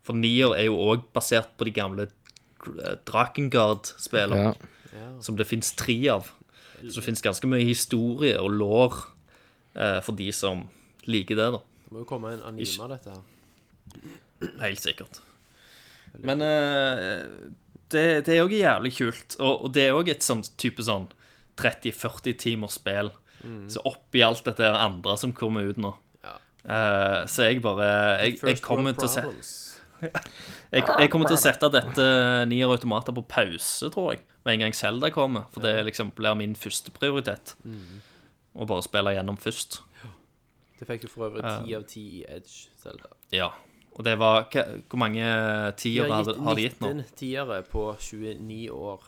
[SPEAKER 1] For nier er jo òg basert på de gamle eh, Drakengard-spillene,
[SPEAKER 5] Ja.
[SPEAKER 1] som det fins tre av. Så det fins ganske mye historie og lår for de som liker det, da.
[SPEAKER 4] Det må jo komme en anime av dette her.
[SPEAKER 1] Helt sikkert. Men eh, det, det er òg jævlig kult. Og, og det er òg et sånn type sånn 30-40 timers spill. Så oppi alt dette her andre som kommer ut nå.
[SPEAKER 4] Mhm. Ja.
[SPEAKER 1] Eh, så jeg bare jeg, jeg,
[SPEAKER 4] First
[SPEAKER 1] kommer
[SPEAKER 4] World
[SPEAKER 1] til å se,
[SPEAKER 4] Problems.
[SPEAKER 1] jeg, jeg kommer til å sette dette Nier Automater på pause, tror jeg, med en gang Zelda kommer. For det liksom blir min første prioritet.
[SPEAKER 4] Mhm.
[SPEAKER 1] Å bare spille gjennom først.
[SPEAKER 4] Det fikk jo for øvrig ti av ti i Edge selv. da.
[SPEAKER 1] Ja. Og det var hva, Hvor mange tiere har, har de gitt nå?
[SPEAKER 4] 19 tiere på 29 år,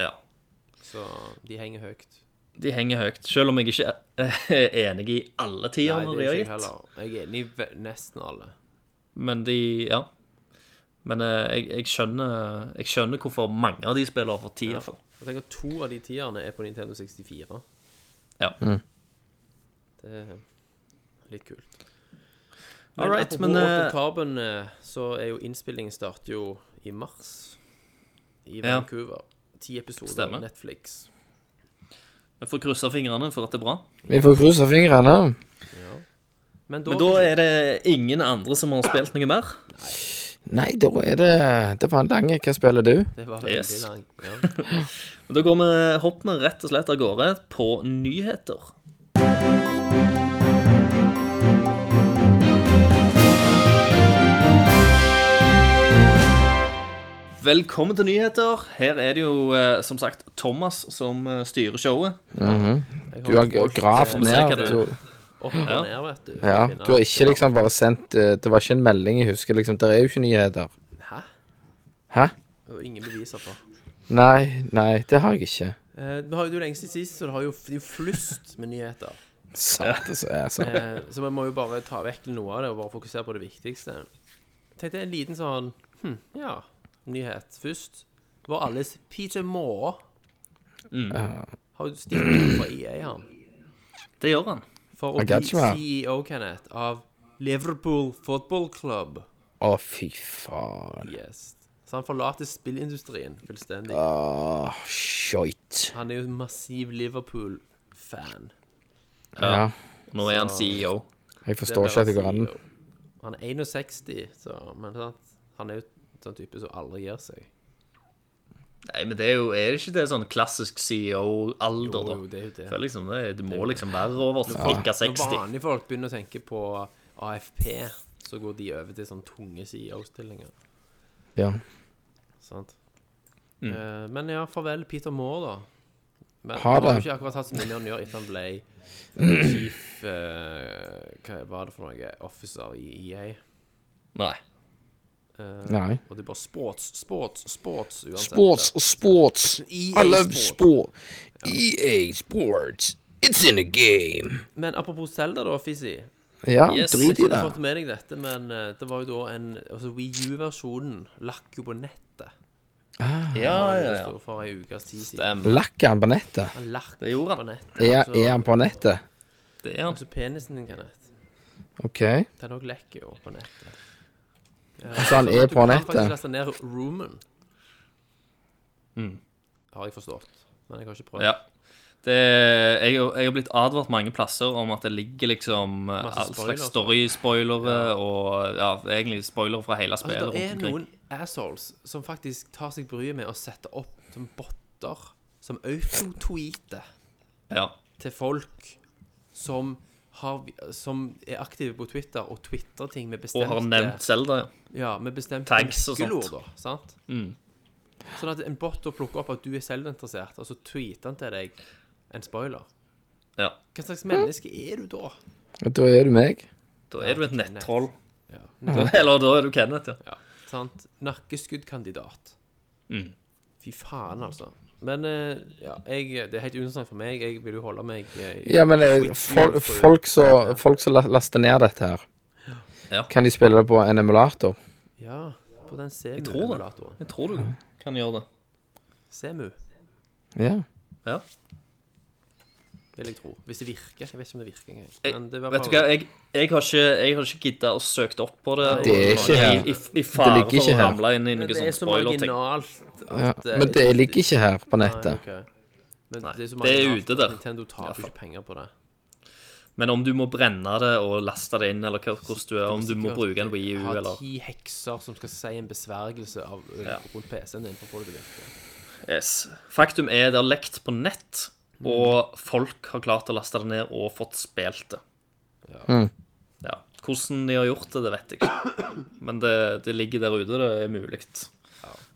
[SPEAKER 1] Ja.
[SPEAKER 4] så de henger høyt.
[SPEAKER 1] De henger høyt, selv om jeg ikke er [laughs] enig i alle tierne
[SPEAKER 4] Nei,
[SPEAKER 1] de
[SPEAKER 4] det er ikke
[SPEAKER 1] har
[SPEAKER 4] jeg
[SPEAKER 1] gitt.
[SPEAKER 4] heller. Jeg er enig i ve- nesten alle.
[SPEAKER 1] Men de Ja. Men eh, jeg, jeg, skjønner, jeg skjønner hvorfor mange av de spiller for ti, i hvert fall.
[SPEAKER 4] Jeg tenker at to av de tierne er på Nintendo 64.
[SPEAKER 1] Ja.
[SPEAKER 4] Det er litt kult.
[SPEAKER 1] All right,
[SPEAKER 4] apropos
[SPEAKER 1] men
[SPEAKER 4] Altered
[SPEAKER 1] eh,
[SPEAKER 4] Carbon, eh, så er jo innspillingen starter jo i mars i
[SPEAKER 1] Ja.
[SPEAKER 4] Vancouver. Ti episoder
[SPEAKER 1] Stemmer.
[SPEAKER 4] på Netflix.
[SPEAKER 1] jeg får krysse fingrene for at det er bra.
[SPEAKER 5] Vi får krysse fingrene.
[SPEAKER 4] Men da,
[SPEAKER 1] Men da er det ingen andre som har spilt noe mer.
[SPEAKER 5] Nei, da er det Det var en lang Hva spiller du?
[SPEAKER 4] Det var veldig
[SPEAKER 1] Yes.
[SPEAKER 4] langt. Ja.
[SPEAKER 1] Da går vi, hopper vi rett og slett av gårde på nyheter. Velkommen til nyheter. Her er det jo eh, som sagt Thomas som eh, styrer showet.
[SPEAKER 5] Du har gravd
[SPEAKER 1] Får vi se hva
[SPEAKER 5] ned.
[SPEAKER 1] det-
[SPEAKER 5] Du,
[SPEAKER 4] Opp og
[SPEAKER 1] Ja.
[SPEAKER 4] ned, vet du.
[SPEAKER 5] ja,
[SPEAKER 4] Finner.
[SPEAKER 5] du har ikke liksom bare sendt eh, Det var ikke en melding jeg husker. liksom, Der er jo ikke nyheter.
[SPEAKER 4] Hæ?
[SPEAKER 5] Hæ?
[SPEAKER 4] Det er jo ingen beviser på.
[SPEAKER 5] Nei, nei, det har jeg ikke.
[SPEAKER 4] Eh, vi har jo det er jo lenge siden sist, så det har jo, det er jo flust med nyheter.
[SPEAKER 5] Sant, altså. ja, sant.
[SPEAKER 4] Eh, så vi må jo bare ta vekk noe av det og bare fokusere på det viktigste. Tenkte jeg en liten sånn hm, ja, nyhet først. Var alles PJ Moore Mm. har jo stilt opp fra EA, han.
[SPEAKER 1] Det gjør han.
[SPEAKER 4] For å
[SPEAKER 5] I got
[SPEAKER 4] bli
[SPEAKER 5] you, man.
[SPEAKER 4] CEO, Kenneth, av Liverpool Football Club.
[SPEAKER 5] Å, fy faen.
[SPEAKER 4] Yes. Så han forlater spillindustrien fullstendig.
[SPEAKER 5] Åh, Skøyt.
[SPEAKER 4] Han er jo en massiv Liverpool-fan.
[SPEAKER 5] Ja.
[SPEAKER 1] Nå er han E CEO.
[SPEAKER 5] Jeg forstår ikke at det går an.
[SPEAKER 4] E Han er 61, så, men sant? han er jo sånn type som aldri gir seg.
[SPEAKER 1] Nei, men det er jo er det ikke det sånn klassisk CEO-alder, da?
[SPEAKER 4] Jo, det er jo det.
[SPEAKER 1] Føler liksom det, det må liksom være over ca.
[SPEAKER 4] Når
[SPEAKER 1] 60.
[SPEAKER 4] vanlige folk begynner å tenke på AFP, så går de over til sånne tunge CEO-stillinger.
[SPEAKER 5] Ja.
[SPEAKER 4] Sant?
[SPEAKER 5] Mm.
[SPEAKER 4] Eh, men ja, farvel Peter Moore, da. Men
[SPEAKER 5] Ha
[SPEAKER 4] han har jo
[SPEAKER 5] det.
[SPEAKER 4] ikke akkurat hatt så mye han gjør etter han ble chief eh, Hva var det for noe? Officer i E EA.
[SPEAKER 1] Nei.
[SPEAKER 5] Nei.
[SPEAKER 4] Og det er bare sports, sports, sports uansett.
[SPEAKER 5] Sports og sports.
[SPEAKER 4] EA
[SPEAKER 5] I love
[SPEAKER 4] Sports.
[SPEAKER 5] sport. EA Sports. It's in a game.
[SPEAKER 4] Men apropos Zelda, da, Fizzy.
[SPEAKER 5] Ja,
[SPEAKER 1] Yes.
[SPEAKER 5] drit i
[SPEAKER 4] Du
[SPEAKER 5] det.
[SPEAKER 4] har fått med deg dette, men eh, det var jo da en Altså, Wii U-versjonen lakk jo på nettet.
[SPEAKER 1] Ja,
[SPEAKER 5] Ah,
[SPEAKER 1] ja,
[SPEAKER 4] Det
[SPEAKER 1] ja.
[SPEAKER 4] står for ei ukes tid siden.
[SPEAKER 1] Stem.
[SPEAKER 5] Lakk han på nettet?
[SPEAKER 4] Han lakk
[SPEAKER 1] Det gjorde han.
[SPEAKER 4] på nettet.
[SPEAKER 5] Er,
[SPEAKER 4] så-
[SPEAKER 5] er han på nettet?
[SPEAKER 1] Det er han.
[SPEAKER 4] Så penisen din, Kenneth,
[SPEAKER 5] OK.
[SPEAKER 4] den òg lekker jo på nettet.
[SPEAKER 5] [laughs] Så Altså, han er
[SPEAKER 4] Du
[SPEAKER 5] på
[SPEAKER 4] kan faktisk
[SPEAKER 5] nettet?
[SPEAKER 4] laste ned Roomen. Har jeg forstått. Men jeg har ikke prøvd.
[SPEAKER 1] Mm. Ja. Det, jeg, jeg har blitt advart mange plasser om at det ligger liksom eh,
[SPEAKER 4] Masse
[SPEAKER 1] all
[SPEAKER 4] spoilers.
[SPEAKER 1] slags story-spoilere og ja, egentlig spoilere fra hele spillet
[SPEAKER 4] Altså, det er
[SPEAKER 1] rundt omkring.
[SPEAKER 4] noen assholes som faktisk tar seg bryet med å sette opp som botter som autotweeter
[SPEAKER 1] Ja.
[SPEAKER 4] til folk som, har, som er aktive på Twitter og twitrer ting med
[SPEAKER 1] Og
[SPEAKER 4] bestemte
[SPEAKER 1] har nevnt Zelda, ja.
[SPEAKER 4] Ja, med bestemte
[SPEAKER 1] Tags og sånt.
[SPEAKER 4] nøkkelord, da. Sant? Sånn at en bot da plukker opp at du er selvinteressert, og så tweeter han til deg en spoiler.
[SPEAKER 1] ja.
[SPEAKER 4] Hva slags
[SPEAKER 5] Mm.
[SPEAKER 4] menneske er du da?
[SPEAKER 5] Da er du meg.
[SPEAKER 1] Da er du et nettroll.
[SPEAKER 4] Ja.
[SPEAKER 1] Eller [laughs] da er du Kenneth, ja.
[SPEAKER 4] Ja, sant? Nakkeskuddkandidat.
[SPEAKER 1] Mm.
[SPEAKER 4] Fy faen, altså. Men eh, ja, jeg, det er helt uinteressant for meg. Jeg vil jo holde meg eh, i-
[SPEAKER 5] Ja, men eh, fol folk som folk som la- laster ned dette her,
[SPEAKER 1] Ja.
[SPEAKER 5] kan de spille det på en emulator?
[SPEAKER 4] ja, på den
[SPEAKER 1] tror det.
[SPEAKER 4] Semu-emulatoren.
[SPEAKER 1] Jeg tror du kan gjøre det.
[SPEAKER 4] Semu,
[SPEAKER 5] Ja.
[SPEAKER 1] Ja.
[SPEAKER 4] vil jeg tro. Hvis det virker. Jeg vet ikke om det virker engang.
[SPEAKER 1] Jeg,
[SPEAKER 4] Men det var
[SPEAKER 1] vet du hva, jeg, jeg har ikke, jeg har ikke gidda å søke opp på det.
[SPEAKER 5] Det er ikke her.
[SPEAKER 1] I, i, i fare
[SPEAKER 5] ligger
[SPEAKER 1] for
[SPEAKER 5] ikke
[SPEAKER 1] å
[SPEAKER 5] her.
[SPEAKER 1] ramle inn i
[SPEAKER 4] Men
[SPEAKER 1] noe
[SPEAKER 4] det er
[SPEAKER 1] sånn
[SPEAKER 4] så
[SPEAKER 1] spoiler-ting.
[SPEAKER 4] marginalt at eh,
[SPEAKER 5] ja. Men det ligger ikke her på
[SPEAKER 4] Nei,
[SPEAKER 5] nettet.
[SPEAKER 4] ok. Men
[SPEAKER 1] Nei,
[SPEAKER 4] det er så
[SPEAKER 1] det er
[SPEAKER 4] marginalt
[SPEAKER 1] ute
[SPEAKER 4] at
[SPEAKER 1] der.
[SPEAKER 4] Nintendo taper jo ikke penger på det.
[SPEAKER 1] Men om du må brenne det og laste det inn, eller hva- hvordan du er, om du må
[SPEAKER 4] Sikkert
[SPEAKER 1] bruke en Wii U,
[SPEAKER 4] Ha
[SPEAKER 1] eller
[SPEAKER 4] ti hekser som skal si en besvergelse av, øh, rundt PC-en din for å få det til å virke.
[SPEAKER 1] Yes. Faktum er det har lekt på nett, og folk har klart å laste det ned og fått spilt det. Ja. Hvordan de har gjort det, det vet jeg ikke. Men det, det ligger der ute, det er mulig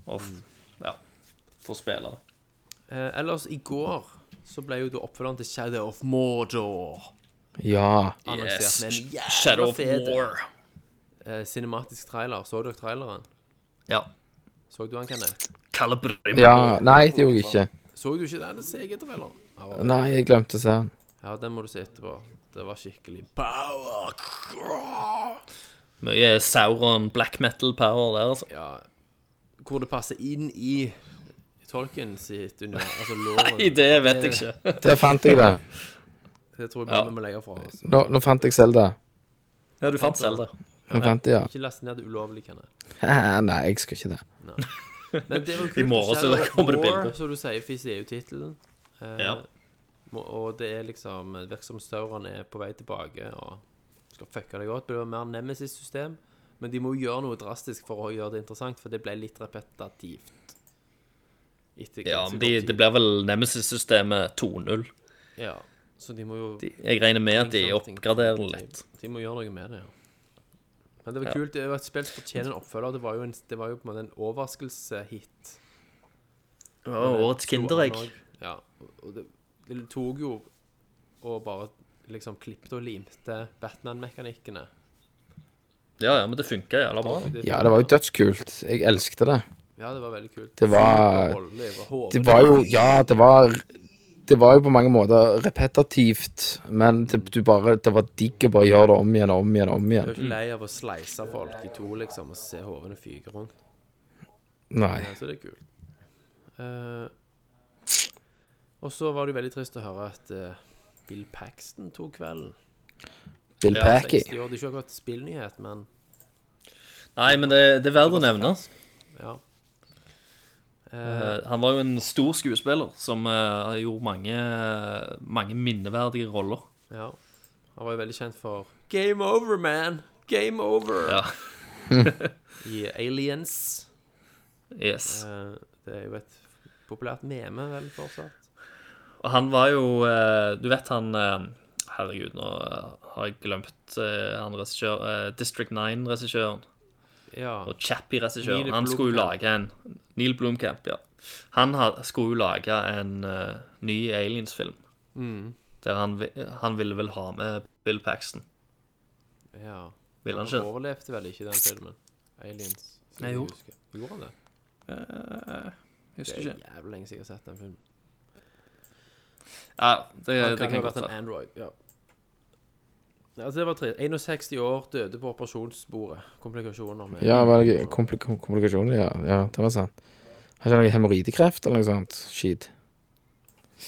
[SPEAKER 1] å f- ja, få spille det.
[SPEAKER 4] Eh, ellers, i går så ble jo da oppfølgeren til Shadow of Mordor
[SPEAKER 5] Ja.
[SPEAKER 4] annonsert
[SPEAKER 1] Yes.
[SPEAKER 4] med en jævla
[SPEAKER 1] Shadow of
[SPEAKER 4] fet,
[SPEAKER 1] War.
[SPEAKER 4] eh, cinematisk trailer. Så dere traileren?
[SPEAKER 1] Ja.
[SPEAKER 4] Så du den, Kenneth?
[SPEAKER 1] Kalibrim.
[SPEAKER 5] ja. Nei, det gjorde jeg ikke.
[SPEAKER 4] Så du ikke den? Det ser jeg etter, eller? Ja, var-
[SPEAKER 5] Nei, jeg glemte å se den.
[SPEAKER 4] Ja, den må du se etterpå. Det var skikkelig power.
[SPEAKER 1] Mye Sauron black metal power der, altså.
[SPEAKER 4] Ja, hvor det passer inn i Tolkien sitt univers.
[SPEAKER 1] [laughs]
[SPEAKER 4] Altså loven.
[SPEAKER 1] Nei, det vet jeg ikke.
[SPEAKER 5] Der fant jeg det.
[SPEAKER 4] Det tror jeg bare vi må legge fra oss.
[SPEAKER 5] Nå, nå fant jeg Selda.
[SPEAKER 1] Ja, du fant Zelda.
[SPEAKER 5] Nå fant jeg, ja. [laughs]
[SPEAKER 4] Ikke last ned det ulovlige, Kenneth.
[SPEAKER 1] [laughs]
[SPEAKER 5] Nei, jeg skal ikke det.
[SPEAKER 4] Men det var kult.
[SPEAKER 1] I morgen så
[SPEAKER 4] Shadow of
[SPEAKER 1] [laughs] kommer det
[SPEAKER 4] War,
[SPEAKER 1] bilder.
[SPEAKER 4] Som du sier, Fizz er jo tittelen. Eh,
[SPEAKER 1] Ja.
[SPEAKER 4] må- Og det er liksom det Virker som Sauron er på vei tilbake og skal fucke det godt. Det blir mer Nemesis-system. Men de må jo gjøre noe drastisk for å gjøre det interessant, for det ble litt repetitivt. Etter
[SPEAKER 1] Ja,
[SPEAKER 4] ganske
[SPEAKER 1] men
[SPEAKER 4] kort
[SPEAKER 1] de,
[SPEAKER 4] tid.
[SPEAKER 1] det blir vel Nemesis-systemet 2.0.
[SPEAKER 4] ja, Så de må jo
[SPEAKER 1] Jeg regner med at de
[SPEAKER 4] something.
[SPEAKER 1] oppgraderer det litt.
[SPEAKER 4] De må gjøre noe med det, ja. Men det var
[SPEAKER 1] Ja.
[SPEAKER 4] kult. Det var et spill som fortjener en oppfølger. Det var jo, en, det var jo på en måte en overraskelseshit.
[SPEAKER 1] Ja, årets Kinderegg.
[SPEAKER 4] Ja. Og det, det tok jo og bare liksom klippet og limte Batman-mekanikkene.
[SPEAKER 1] Ja, ja, men det funka jævla bra. da.
[SPEAKER 5] Ja, det var jo dødskult. Jeg elsket det.
[SPEAKER 4] Ja, det var veldig kult.
[SPEAKER 5] Det var-
[SPEAKER 4] Voldelig, det var hårete.
[SPEAKER 5] Det var jo Ja, det var Det var jo på mange måter repetitivt, men det, du bare, det var digg å bare gjøre det om igjen og om igjen og om
[SPEAKER 4] Jeg er
[SPEAKER 5] igjen.
[SPEAKER 4] jo ikke lei av å sleise folk i to, liksom, og se hodene fyke rundt.
[SPEAKER 5] Nei.
[SPEAKER 4] Ja, så det er kult. Eh, og så var det jo veldig trist å høre at eh, Bill Paxton tok kvelden.
[SPEAKER 5] Bill Packy.
[SPEAKER 4] 60 år. Det er ikke akkurat spillnyhet, men
[SPEAKER 1] Nei, men det, det er verdt å nevne.
[SPEAKER 4] ja.
[SPEAKER 1] Eh, han var jo en stor skuespiller som eh, gjorde mange, mange minneverdige roller.
[SPEAKER 4] Ja. Han var jo veldig kjent for Game over, man! Game over!
[SPEAKER 1] Ja.
[SPEAKER 4] I Aliens.
[SPEAKER 1] Yes.
[SPEAKER 4] Eh, det er jo et populært meme, vel, fortsatt.
[SPEAKER 1] Og han var jo eh, Du vet han eh, Herregud, nå eh, har jeg glemt eh, han regissør eh, District 9-regissøren.
[SPEAKER 4] Ja.
[SPEAKER 1] Og Chappie-regissøren.
[SPEAKER 4] Neil
[SPEAKER 1] Han skulle jo
[SPEAKER 4] Blomkamp.
[SPEAKER 1] lage en Neil Blomkamp, ja. Han ha- skulle jo lage en eh, ny Aliens-film.
[SPEAKER 4] Mm.
[SPEAKER 1] Der han, vi- han ville vel ha med Bill Paxton.
[SPEAKER 4] ja.
[SPEAKER 1] Ville han
[SPEAKER 4] Han
[SPEAKER 1] ikke?
[SPEAKER 4] overlevde vel ikke den filmen. Aliens. så
[SPEAKER 1] Nei,
[SPEAKER 4] jeg
[SPEAKER 1] jo.
[SPEAKER 4] husker. Gjorde han det? Det
[SPEAKER 1] Husker
[SPEAKER 4] er
[SPEAKER 1] ikke.
[SPEAKER 4] jævlig lenge siden jeg har sett den filmen.
[SPEAKER 1] Ja, det,
[SPEAKER 4] Han kan
[SPEAKER 1] det kan
[SPEAKER 4] ha vært
[SPEAKER 1] godt
[SPEAKER 4] en
[SPEAKER 1] være.
[SPEAKER 4] Android. Ja. Ja, altså det var trist. 61 år, døde på operasjonsbordet. Komplikasjoner med
[SPEAKER 5] Ja, var det komplik komplikasjoner? Ja, ja, det var sant. Har ikke han hemoroidekreft eller noe sånt? Skit.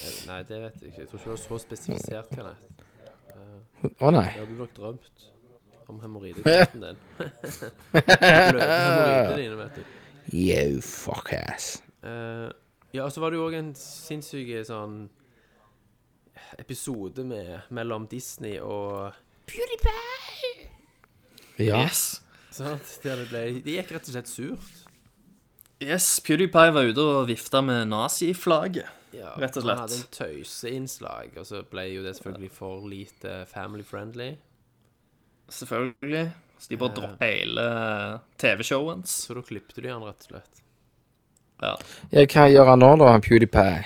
[SPEAKER 4] Eh, Nei, det vet jeg ikke. Jeg tror ikke det var så spesifisert, Kenneth.
[SPEAKER 5] Å nei. [laughs]
[SPEAKER 4] Jeg hadde nok drømt om hemoroidekreften din. Bløte hemoroidene dine, vet du.
[SPEAKER 5] You fuck ass.
[SPEAKER 4] Eh, ja, og så var det jo òg en sinnssyk sånn episode med, mellom Disney og
[SPEAKER 5] Ja.
[SPEAKER 1] Yes.
[SPEAKER 4] Sant? Der det ble Det gikk rett og slett surt.
[SPEAKER 1] yes, PewDiePie var ute og vifta med naziflagget.
[SPEAKER 4] Ja,
[SPEAKER 1] Rett og slett.
[SPEAKER 4] Han hadde en tøyseinnslag, og så ble jo det selvfølgelig for lite family friendly.
[SPEAKER 1] Selvfølgelig. Så de bare
[SPEAKER 4] Ja.
[SPEAKER 1] dropper hele TV-showet hans.
[SPEAKER 4] Så da klippte de han rett og slett.
[SPEAKER 1] Ja.
[SPEAKER 5] ja hva gjør han nå, da, han PewDiePie?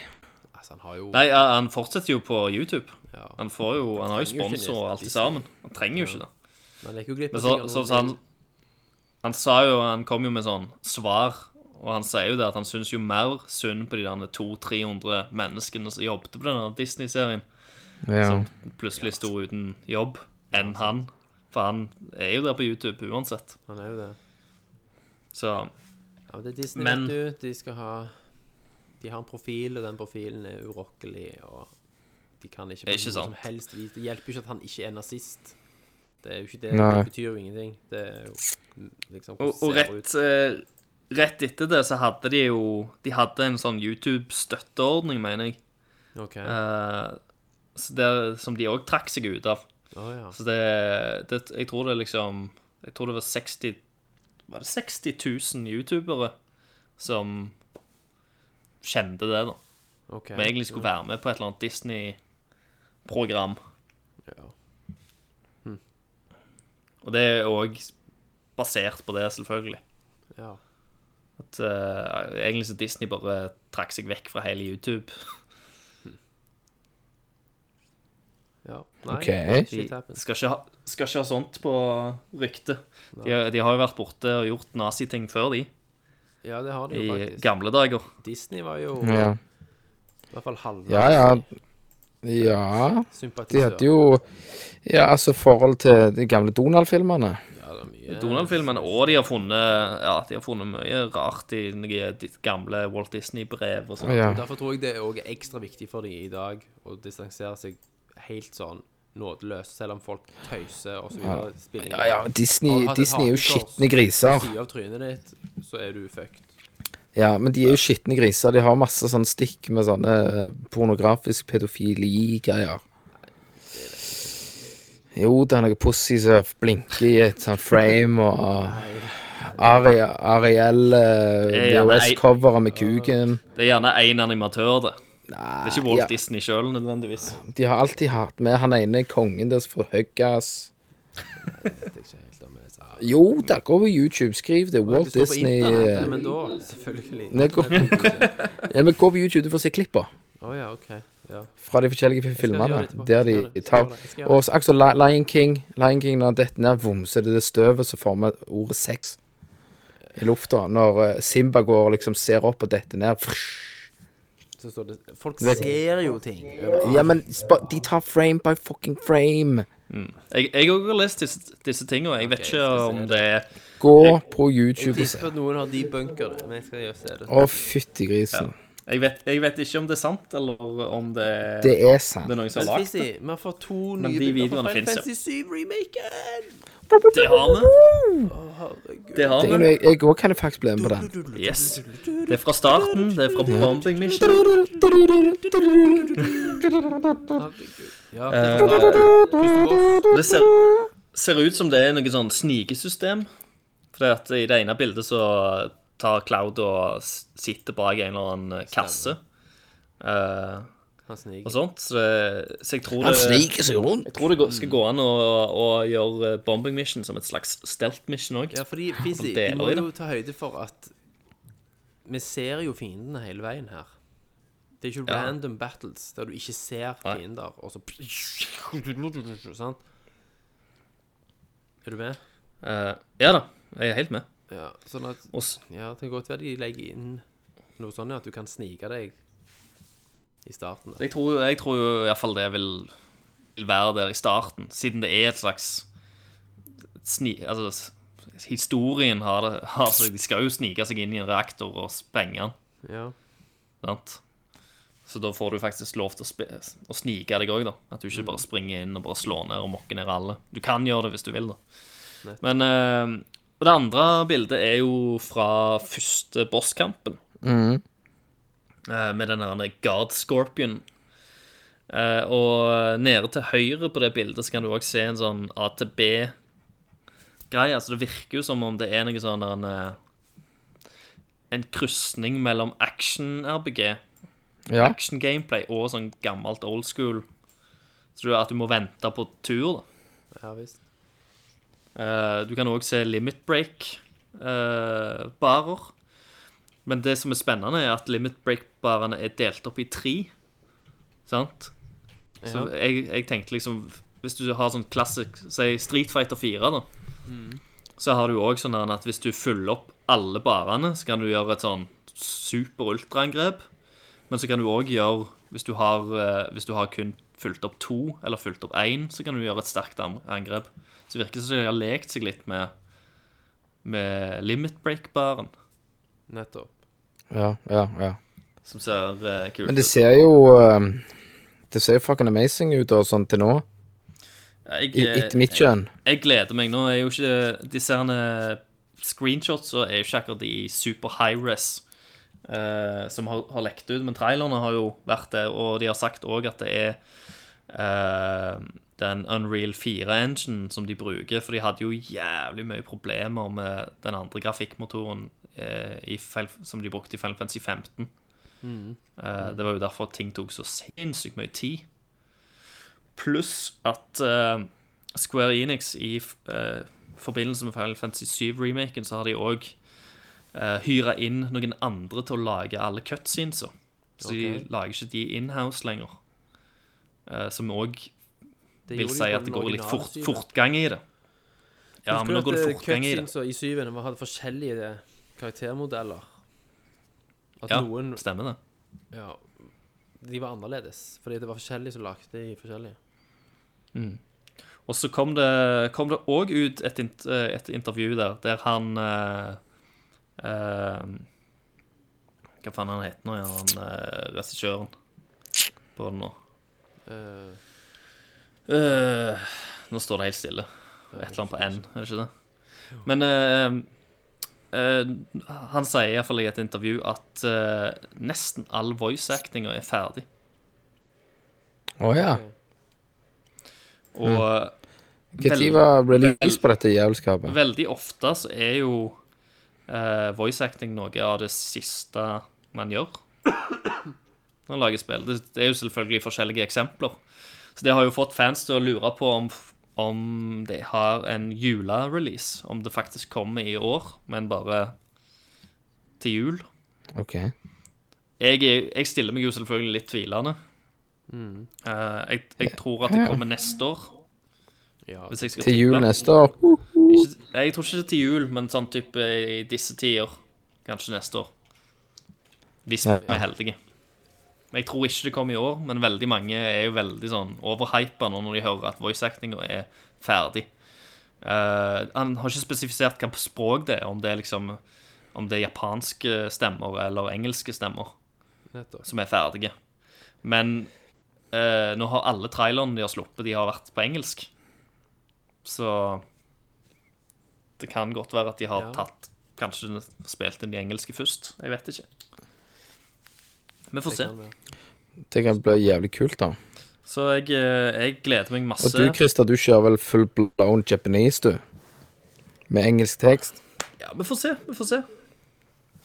[SPEAKER 4] Altså, han har jo
[SPEAKER 1] Nei, ja, han fortsetter jo på YouTube.
[SPEAKER 4] Ja.
[SPEAKER 1] Han, får jo, han har jo
[SPEAKER 4] trenger jo ikke
[SPEAKER 1] sponsor og alt
[SPEAKER 4] Disney.
[SPEAKER 1] sammen. Han trenger jo ikke det.
[SPEAKER 4] Han gikk jo glipp
[SPEAKER 1] Men
[SPEAKER 4] av
[SPEAKER 1] så,
[SPEAKER 4] sikkert
[SPEAKER 1] så,
[SPEAKER 4] noen
[SPEAKER 1] så han, han sa jo Han kom jo med sånn svar, og han sier jo det at han syns jo mer synd på de der 200-300 menneskene som jobbet på denne Disney-serien,
[SPEAKER 5] Ja.
[SPEAKER 1] som plutselig sto uten jobb, enn han. For han er jo der på YouTube uansett.
[SPEAKER 4] Han er jo det.
[SPEAKER 1] Så
[SPEAKER 4] Ja, men det er Disney,
[SPEAKER 1] Men-
[SPEAKER 4] vet du. De skal ha De har en profil, og den profilen er urokkelig, og de kan ikke på
[SPEAKER 1] Ikke
[SPEAKER 4] noe
[SPEAKER 1] sant.
[SPEAKER 4] som helst vis Det hjelper jo ikke at han ikke er nazist. Det er jo ikke det.
[SPEAKER 5] Nei.
[SPEAKER 4] Det betyr jo ingenting. Det er jo mm, liksom
[SPEAKER 1] Og,
[SPEAKER 4] hvordan
[SPEAKER 1] og
[SPEAKER 4] ser det
[SPEAKER 1] rett, eh, rett etter det så hadde de jo De hadde en sånn YouTube-støtteordning, mener jeg.
[SPEAKER 4] ut. OK.
[SPEAKER 1] Eh, så det, som de òg trakk seg ut av.
[SPEAKER 4] Å ja.
[SPEAKER 1] Så det, det Jeg tror det liksom Jeg tror det var 60 Var det 60 000 youtubere som kjente det, da.
[SPEAKER 4] OK.
[SPEAKER 1] Som egentlig skulle være med på et eller annet Disney-program.
[SPEAKER 4] Ja.
[SPEAKER 1] Og det er òg basert på det, selvfølgelig.
[SPEAKER 4] ja.
[SPEAKER 1] At eh, egentlig så Disney bare trakk seg vekk fra hele YouTube.
[SPEAKER 4] Ja. Nei,
[SPEAKER 5] Ok.
[SPEAKER 1] De
[SPEAKER 4] shit happens.
[SPEAKER 1] skal ikke ha, skal ikke ha sånt på ryktet. De, de har jo vært borte og gjort naziting før, de.
[SPEAKER 4] Ja, det har de
[SPEAKER 1] I
[SPEAKER 4] jo faktisk.
[SPEAKER 1] gamle dager.
[SPEAKER 4] Disney var jo
[SPEAKER 5] Ja.
[SPEAKER 4] i hvert fall halvveis
[SPEAKER 5] Ja, ja. Ja, de
[SPEAKER 4] sympatisør.
[SPEAKER 5] hadde jo Altså, Ja, altså forhold til de gamle Donald-filmerne.
[SPEAKER 4] Ja, det er mye.
[SPEAKER 1] Donald-filmene, og de har funnet Ja, de har funnet mye rart i noen de gamle Walt Disney-brev og sånn.
[SPEAKER 5] Ja.
[SPEAKER 4] Derfor tror jeg det òg er ekstra viktig for dem i dag å distansere seg helt sånn nådeløst, selv om folk tøyser og så videre. Spiller ingen
[SPEAKER 5] Ja, ja, Disney,
[SPEAKER 4] Har du
[SPEAKER 5] Disney er jo
[SPEAKER 4] hakenkors?
[SPEAKER 5] skitne griser.
[SPEAKER 4] Sier av trynet ditt, så er du fucked.
[SPEAKER 5] Ja, men de er jo skitne griser. De har masse sånn stikk med sånne eh, pornografisk pedofili-greier. Jo, det er noe pussy som blinker i et sånt frame, og Ari Ariel eh,
[SPEAKER 1] Det er gjerne ei-
[SPEAKER 5] VHS-coveret med kuken.
[SPEAKER 1] Det er gjerne én animatør, det. Det er ikke Walt
[SPEAKER 5] ja.
[SPEAKER 1] Disney sjøl, nødvendigvis.
[SPEAKER 5] De har alltid hatt med han ene kongen der som får huggas.
[SPEAKER 4] Det er ikke helt om jeg sa.
[SPEAKER 5] Jo, da går på YouTube, skriv det. Walt
[SPEAKER 4] Det står på
[SPEAKER 5] Disney
[SPEAKER 4] internett,
[SPEAKER 5] eh,
[SPEAKER 4] ja, Men da, selvfølgelig.
[SPEAKER 5] Nei, gå,
[SPEAKER 4] [laughs]
[SPEAKER 5] ja, men gå på YouTube, du får se klipp på.
[SPEAKER 4] Å ja, OK. Ja.
[SPEAKER 5] fra de forskjellige
[SPEAKER 4] gjøre det
[SPEAKER 5] filmene.
[SPEAKER 4] etterpå. Jeg
[SPEAKER 5] Der
[SPEAKER 4] skal gjøre
[SPEAKER 5] de
[SPEAKER 4] det. Jeg skal
[SPEAKER 5] tar
[SPEAKER 4] gjøre det. Jeg skal gjøre
[SPEAKER 5] Og så akkurat Li- Lion King. Lion King når han detter ned, vom, så er det det støvet som former ordet sex i lufta. Når eh, Simba går og liksom ser opp og detter ned. Frsh.
[SPEAKER 4] Så står det Folk ser jo ting.
[SPEAKER 5] Ja, men sp- de tar frame by fucking frame.
[SPEAKER 1] Jeg jeg òg har lest disse, disse tingene. Jeg vet ikke om det er
[SPEAKER 5] Gå på YouTube og se.
[SPEAKER 4] Tipper at noen har debunker det, men jeg skal jo se det.
[SPEAKER 5] Å, fytti grisen.
[SPEAKER 1] Jeg vet, jeg vet ikke om det er sant, eller om det,
[SPEAKER 5] Det
[SPEAKER 1] det,
[SPEAKER 5] er sant.
[SPEAKER 1] er noen som
[SPEAKER 4] Men
[SPEAKER 1] har lagd det.
[SPEAKER 4] Fizzy, vi har fått to
[SPEAKER 1] Men
[SPEAKER 4] nye
[SPEAKER 1] de
[SPEAKER 4] bilder
[SPEAKER 1] videoene
[SPEAKER 4] fra Final
[SPEAKER 1] finnes, ja.
[SPEAKER 4] Fantasy 7-remaken!
[SPEAKER 1] Det har vi. Det
[SPEAKER 5] Det
[SPEAKER 1] har
[SPEAKER 5] er
[SPEAKER 1] vi.
[SPEAKER 5] jo, jeg jeg òg kan faktisk bli med på den.
[SPEAKER 1] Yes. Det er fra starten. Det er fra Bombing Mission.
[SPEAKER 4] Ja,
[SPEAKER 1] Eh,
[SPEAKER 4] det var Christopher.
[SPEAKER 1] Det ser, ser ut som det er noe sånn snikesystem. For at i det ene bildet så tar Cloud og s- sitter bak en eller annen kasse. eh,
[SPEAKER 4] Han
[SPEAKER 1] og
[SPEAKER 4] sniker.
[SPEAKER 1] sånt. Så, det, så jeg tror det
[SPEAKER 5] seg rundt.
[SPEAKER 1] Jeg tror det går- skal gå an å, å gjøre eh, bombing mission som et slags stealth mission òg.
[SPEAKER 4] Ja, fordi Fizzy,
[SPEAKER 1] deler
[SPEAKER 4] vi må
[SPEAKER 1] i det.
[SPEAKER 4] jo ta høyde for at vi ser jo fiendene hele veien her. Det er ikke
[SPEAKER 1] Ja.
[SPEAKER 4] random battles der du ikke ser
[SPEAKER 1] Nei.
[SPEAKER 4] fiender, og så Sant? Er du med?
[SPEAKER 1] Eh, ja da, jeg er helt med.
[SPEAKER 4] Ja, sånn at
[SPEAKER 1] Og s-
[SPEAKER 4] Ja, det kan godt være de legger inn noe sånn ja, at du kan snike deg i starten. da.
[SPEAKER 1] jeg tror jo- jeg tror jo iallfall det vil, vil være der i starten, siden det er et slags sni... Altså, s- historien har det har seg De skal jo snike seg inn i en reaktor og sprenge den,
[SPEAKER 4] Ja.
[SPEAKER 1] sant? Så da får du faktisk lov til å, spe, å snike deg òg, da. At du ikke bare springer inn og bare slår ned og mokker ned alle. Du kan gjøre det hvis du vil, da. Men eh, og det andre bildet er jo fra første bosskampen. eh, med den der Guard Scorpion. Eh, og nede til høyre på det bildet så kan du òg se en sånn AtB-greie. Altså det virker jo som om det er noe sånn der en, eh, en krysning mellom action-RBG,
[SPEAKER 5] Ja.
[SPEAKER 1] action-gameplay, og sånn gammelt old school. Så du, at du må vente på tur, da.
[SPEAKER 4] ja visst.
[SPEAKER 1] Eh, du kan òg se limit break-barer. Men det som er spennende, er at limit break-barene er delt opp i tre. Sant? Så
[SPEAKER 4] Ja.
[SPEAKER 1] jeg, jeg tenkte liksom Hvis du har sånn klassisk Si Street Fighter 4, da. Så har du òg sånn der at hvis du fyller opp alle barene, så kan du gjøre et sånn super-ultra-angrep. Men så kan du òg gjøre hvis du, har, eh, hvis du har kun fulgt opp to, eller fulgt opp én, så kan du gjøre et sterkt an- angrep. Så det virker som de har lekt seg litt med, med limit break-baren,
[SPEAKER 4] Nettopp.
[SPEAKER 5] Ja, ja, ja.
[SPEAKER 1] som ser eh, kult
[SPEAKER 5] Men det
[SPEAKER 1] ut.
[SPEAKER 5] ser jo eh, Det ser jo fucking amazing ut og sånn til nå, i-
[SPEAKER 1] Jeg,
[SPEAKER 5] etter mitt skjønn.
[SPEAKER 1] jeg gleder meg. Nå er jo ikke disse her eh, screenshots og er jo ikke akkurat de super high res eh, som har, har lekt ut, men trailerne har jo vært det, og de har sagt òg at det er eh, den Unreal 4-engine som de bruker, for de hadde jo jævlig mye problemer med den andre grafikkmotoren eh, i, Final- som de brukte i Final Fantasy 15. Eh, det var jo derfor ting tok så sinnssykt mye tid. Pluss at eh, Square Enix i eh, forbindelse med Final Fantasy 7-remaken, så har de òg uh, hyra inn noen andre til å lage alle cutsceneser. Så
[SPEAKER 4] Ok.
[SPEAKER 1] de lager ikke de inhouse lenger. Eh, som òg
[SPEAKER 4] Det
[SPEAKER 1] vil
[SPEAKER 4] gjorde de
[SPEAKER 1] si
[SPEAKER 4] på
[SPEAKER 1] at det
[SPEAKER 4] den
[SPEAKER 1] går litt
[SPEAKER 4] originale
[SPEAKER 1] fort,
[SPEAKER 4] syven.
[SPEAKER 1] fortgang i det. Ja,
[SPEAKER 4] Husker
[SPEAKER 1] men nå
[SPEAKER 4] du
[SPEAKER 1] går
[SPEAKER 4] at,
[SPEAKER 1] det
[SPEAKER 4] eh,
[SPEAKER 1] fortgang i det.
[SPEAKER 4] cutscenes og I syvende vi hadde forskjellige
[SPEAKER 8] eh,
[SPEAKER 4] karaktermodeller. At
[SPEAKER 1] Ja,
[SPEAKER 4] noen
[SPEAKER 1] stemmer det.
[SPEAKER 4] ja, De var annerledes, fordi det var forskjellige som lagde de forskjellige.
[SPEAKER 1] Og så kom det kom det òg ut et, int- eh, et intervju der, der han eh, eh, Hva faen han heter nå, ja, han eh, regissøren på den nå?
[SPEAKER 4] Eh,
[SPEAKER 1] Eh, nå står det helt stille. Et eller annet på N, er det ikke det? Men eh, eh, han sier iallfall i et intervju at eh, nesten all voice-actinga er ferdig.
[SPEAKER 5] Å ja.
[SPEAKER 1] Og eh,
[SPEAKER 5] Når var release på dette jævelskapet?
[SPEAKER 1] Veldig ofte så er jo eh, voice acting noe av det siste man gjør når man lager spill. Det, det er jo selvfølgelig forskjellige eksempler. Så det har jo fått fans til å lure på om, om det har en julerelease. Om det faktisk kommer i år, men bare til jul.
[SPEAKER 5] OK.
[SPEAKER 1] Jeg, er- jeg stiller meg jo selvfølgelig litt tvilende. Eh, jeg, jeg tror at det kommer neste år.
[SPEAKER 4] Ja.
[SPEAKER 1] hvis jeg skal
[SPEAKER 5] Til jul
[SPEAKER 1] tippe.
[SPEAKER 5] neste år.
[SPEAKER 1] Ikke, nei, jeg tror ikke det er til jul, men sånn type i disse tider. Kanskje neste år. Hvis vi
[SPEAKER 5] Ja.
[SPEAKER 1] er heldige. Men Jeg tror ikke det kommer i år, men veldig mange er jo veldig sånn overhypa nå når de hører at voice-actinga er ferdig. Eh, han har ikke spesifisert hvilket språk det er, om det er liksom Om det er japanske stemmer eller engelske stemmer.
[SPEAKER 8] Nettopp.
[SPEAKER 1] som er ferdige. Men eh, nå har alle trailerne de har sluppet, de har vært på engelsk. Så det kan godt være at de har
[SPEAKER 8] Ja.
[SPEAKER 1] tatt Kanskje spilt inn de engelske først. Jeg vet ikke. Vi får se.
[SPEAKER 8] kan være.
[SPEAKER 5] Det kan bli jævlig kult, da.
[SPEAKER 1] Så jeg, eh, jeg gleder meg masse.
[SPEAKER 5] Og du, Christer, du kjører vel full blown Japanese, du? Med engelsk tekst?
[SPEAKER 1] Ja, vi får se. Vi får se.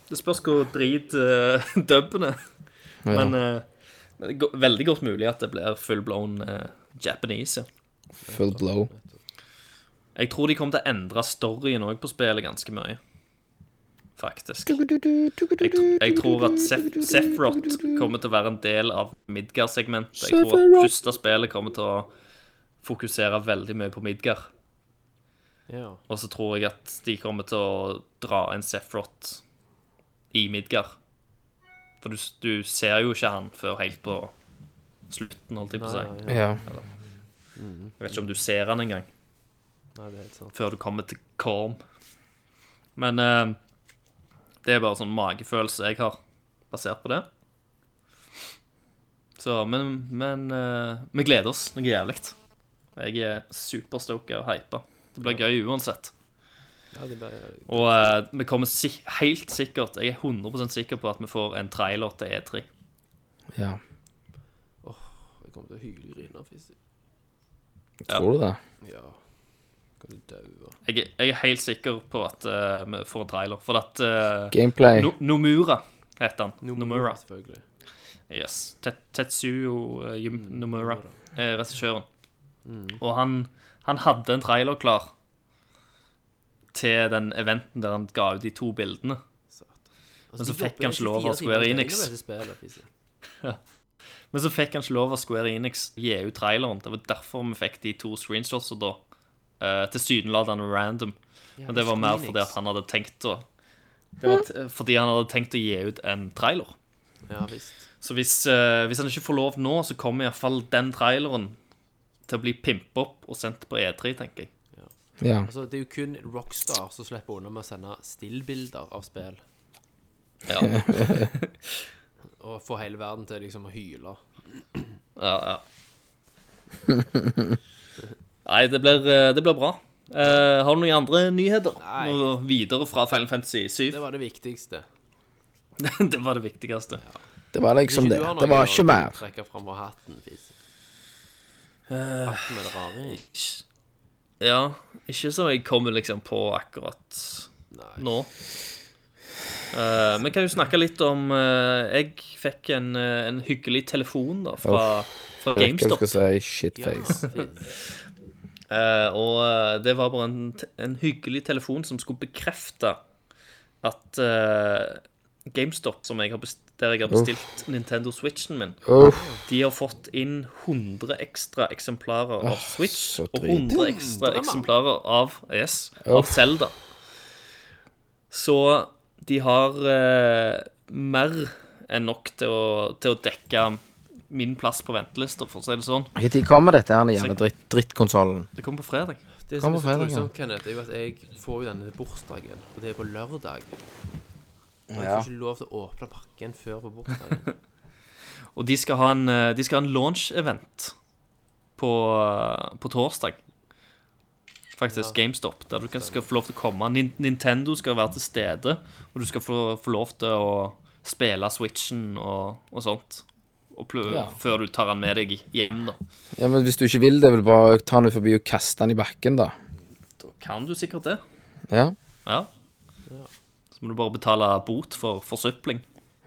[SPEAKER 1] Det spørs hvor drit uh, [laughs] dubben er.
[SPEAKER 5] Ja.
[SPEAKER 1] Men eh, men det er go- veldig godt mulig at det blir full blown eh, Japanese. ja.
[SPEAKER 5] Full blow.
[SPEAKER 1] Jeg tror de kommer til å endre storyen òg på spillet ganske mye. Faktisk. Jeg, tr- jeg tror at Sef Sefrot kommer til å være en del av Midgar-segmentet. Jeg tror at
[SPEAKER 5] Sephiroth.
[SPEAKER 1] første spillet kommer til å fokusere veldig mye på Midgar.
[SPEAKER 8] Ja.
[SPEAKER 1] Og så tror jeg at de kommer til å dra en Sefrot i Midgar. For du, s- du ser jo ikke han før helt på slutten, holdt jeg på å si.
[SPEAKER 8] Nei, ja.
[SPEAKER 5] Ja.
[SPEAKER 1] Jeg vet ikke om du ser han engang
[SPEAKER 8] Nei, det er helt sant.
[SPEAKER 1] før du kommer til Korm. Men eh, det er bare sånn magefølelse jeg har, basert på det. Så, men, men eh, vi gleder oss noe jævlig. Jeg er superstoka og hypa. Det blir gøy uansett.
[SPEAKER 8] Ja, det ble,
[SPEAKER 1] Og eh, vi kommer sik helt sikkert Jeg er 100 sikker på at vi får en trailer til E E3.
[SPEAKER 5] ja.
[SPEAKER 8] jeg kommer til å hylgrine. hvis-
[SPEAKER 5] Tror du det?
[SPEAKER 8] Ja. Kan du daue?
[SPEAKER 1] Jeg, er- jeg er helt sikker på at eh, vi får en trailer. For at eh,
[SPEAKER 5] Gameplay.
[SPEAKER 1] no Nomura heter han. Nomura.
[SPEAKER 8] Selvfølgelig.
[SPEAKER 1] Yes. Tet- Tetsuo eh, Yum- Nomura, eh, regissøren. Og han, han hadde en trailer klar til den eventen der han ga ut de to bildene.
[SPEAKER 8] Altså,
[SPEAKER 1] Men så fikk han ikke lov av Square Enix. Men så fikk han ikke lov av Square Enix gi ut traileren. Det var derfor vi fikk de to screenshotsene da. Uh, Tilsynelatende random. Men det var mer fordi at han hadde tenkt å Det var t- fordi han hadde tenkt å gi ut en trailer.
[SPEAKER 8] Ja visst.
[SPEAKER 1] Så hvis, eh, hvis han ikke får lov nå, så kommer iallfall den traileren til å bli pimpa opp og sendt på E3, tenker jeg.
[SPEAKER 5] Ja.
[SPEAKER 8] Altså, det er jo kun Rockstar som slipper unna med å sende stillbilder av spill.
[SPEAKER 1] Ja,
[SPEAKER 8] Og få hele verden til liksom å hyle.
[SPEAKER 1] [laughs] ja, ja. Nei, det blir, eh, det blir bra. Eh, har du noen andre nyheter?
[SPEAKER 8] Nei.
[SPEAKER 1] Noe videre fra Final Fantasy 7?
[SPEAKER 8] Det var det viktigste.
[SPEAKER 1] [laughs] Det var det viktigste.
[SPEAKER 5] Det var liksom det. Det var ikke
[SPEAKER 8] Å
[SPEAKER 5] mer.
[SPEAKER 8] trekke fram av hatten, Fis.
[SPEAKER 1] Eh.
[SPEAKER 8] Hatten med det rare i.
[SPEAKER 1] Ja, ikke som jeg kommer liksom på akkurat
[SPEAKER 8] Nei.
[SPEAKER 1] nå. Eh, Vi kan jo snakke litt om eh, Jeg fikk en, eh, en hyggelig telefon da fra, fra
[SPEAKER 5] Jeg vet ikke
[SPEAKER 1] GameStop.
[SPEAKER 5] hva jeg skal si. Shitface.
[SPEAKER 1] Eh, og eh, det var bare en, te- en hyggelig telefon som skulle bekrefte at eh, GameStop, som jeg har bestilt, der jeg har bestilt Nintendo Switchen min,
[SPEAKER 5] Uff.
[SPEAKER 1] de har fått inn 100 ekstra eksemplarer av Switch
[SPEAKER 5] så
[SPEAKER 1] og
[SPEAKER 5] drit.
[SPEAKER 1] 100 ekstra eksemplarer av yes, av
[SPEAKER 5] Uff.
[SPEAKER 1] Zelda. Så de har eh, mer enn nok til å, til å dekke min plass på ventelista, for å si det sånn.
[SPEAKER 5] Når kommer dette her, den jævla dritt, drittkonsollen?
[SPEAKER 1] Det kommer på fredag.
[SPEAKER 8] Det som
[SPEAKER 5] Kom
[SPEAKER 8] er
[SPEAKER 5] på
[SPEAKER 8] så
[SPEAKER 5] fredag,
[SPEAKER 8] grusomt, Kenneth, er jo at jeg får jo denne til bursdagen, og det er på lørdag. Og jeg
[SPEAKER 5] Ja.
[SPEAKER 8] får ikke lov til å åpne pakken før på
[SPEAKER 1] [laughs]
[SPEAKER 8] bursdagen.
[SPEAKER 1] Og de skal ha en, eh, de skal ha en launch-event på, eh, på torsdag. Faktisk GameStop, der du kan, skal få lov til å komme. Nin- Nintendo skal være til stede, og du skal få, få lov til å spille Switchen og, og sånt. Og plø,
[SPEAKER 5] Ja.
[SPEAKER 1] Før du tar den med deg hjem, da.
[SPEAKER 5] Ja, men Hvis du ikke vil det, vil du bare ta den ut forbi og kaste den i bakken, da.
[SPEAKER 1] Da kan du sikkert det.
[SPEAKER 5] Ja,
[SPEAKER 1] Ja. Så må du bare betale bot for [laughs] forsøpling.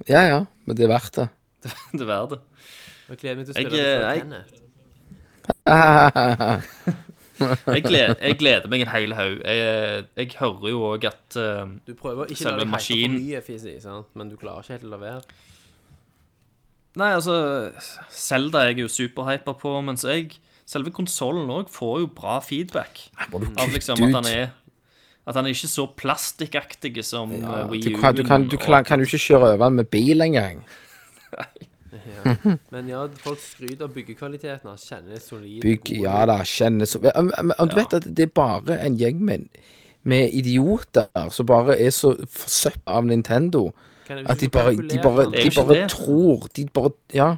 [SPEAKER 5] ja. ja. Men det er verdt det.
[SPEAKER 1] Det er verdt det.
[SPEAKER 8] Jeg gleder meg til å
[SPEAKER 1] Jeg,
[SPEAKER 8] spille det
[SPEAKER 1] eh,
[SPEAKER 8] for
[SPEAKER 1] jeg-
[SPEAKER 8] Kenneth.
[SPEAKER 1] Jeg gleder, jeg gleder meg en hel haug. Jeg, jeg hører jo òg at eh,
[SPEAKER 8] Du prøver å ikke
[SPEAKER 1] Selve
[SPEAKER 8] la deg hype for
[SPEAKER 1] maskinen-
[SPEAKER 8] mye, Fisi, sant? men du klarer ikke helt å la være.
[SPEAKER 1] Nei, altså Zelda er jeg jo superhypa på, mens jeg Selve konsollen òg får jo bra feedback. Av liksom at
[SPEAKER 5] kutte
[SPEAKER 1] han
[SPEAKER 5] ut.
[SPEAKER 1] er At han er ikke så plastikkaktig som eh, Wii
[SPEAKER 5] Du
[SPEAKER 1] U.
[SPEAKER 5] kan, du kan, du kan, kan du ikke kjøre over den med bil engang.
[SPEAKER 8] Men ja, folk skryter av byggekvaliteten. Han kjenner solid
[SPEAKER 5] Bygg,
[SPEAKER 8] god-
[SPEAKER 5] ja da, kjennes Men- men- men Du vet at det er bare en gjeng med, med idioter som bare er så forsøpla av Nintendo
[SPEAKER 9] Kan jeg-
[SPEAKER 5] At de bare, de bare,
[SPEAKER 1] Det er
[SPEAKER 5] de
[SPEAKER 1] jo ikke
[SPEAKER 5] bare
[SPEAKER 1] det.
[SPEAKER 5] tror De bare Ja.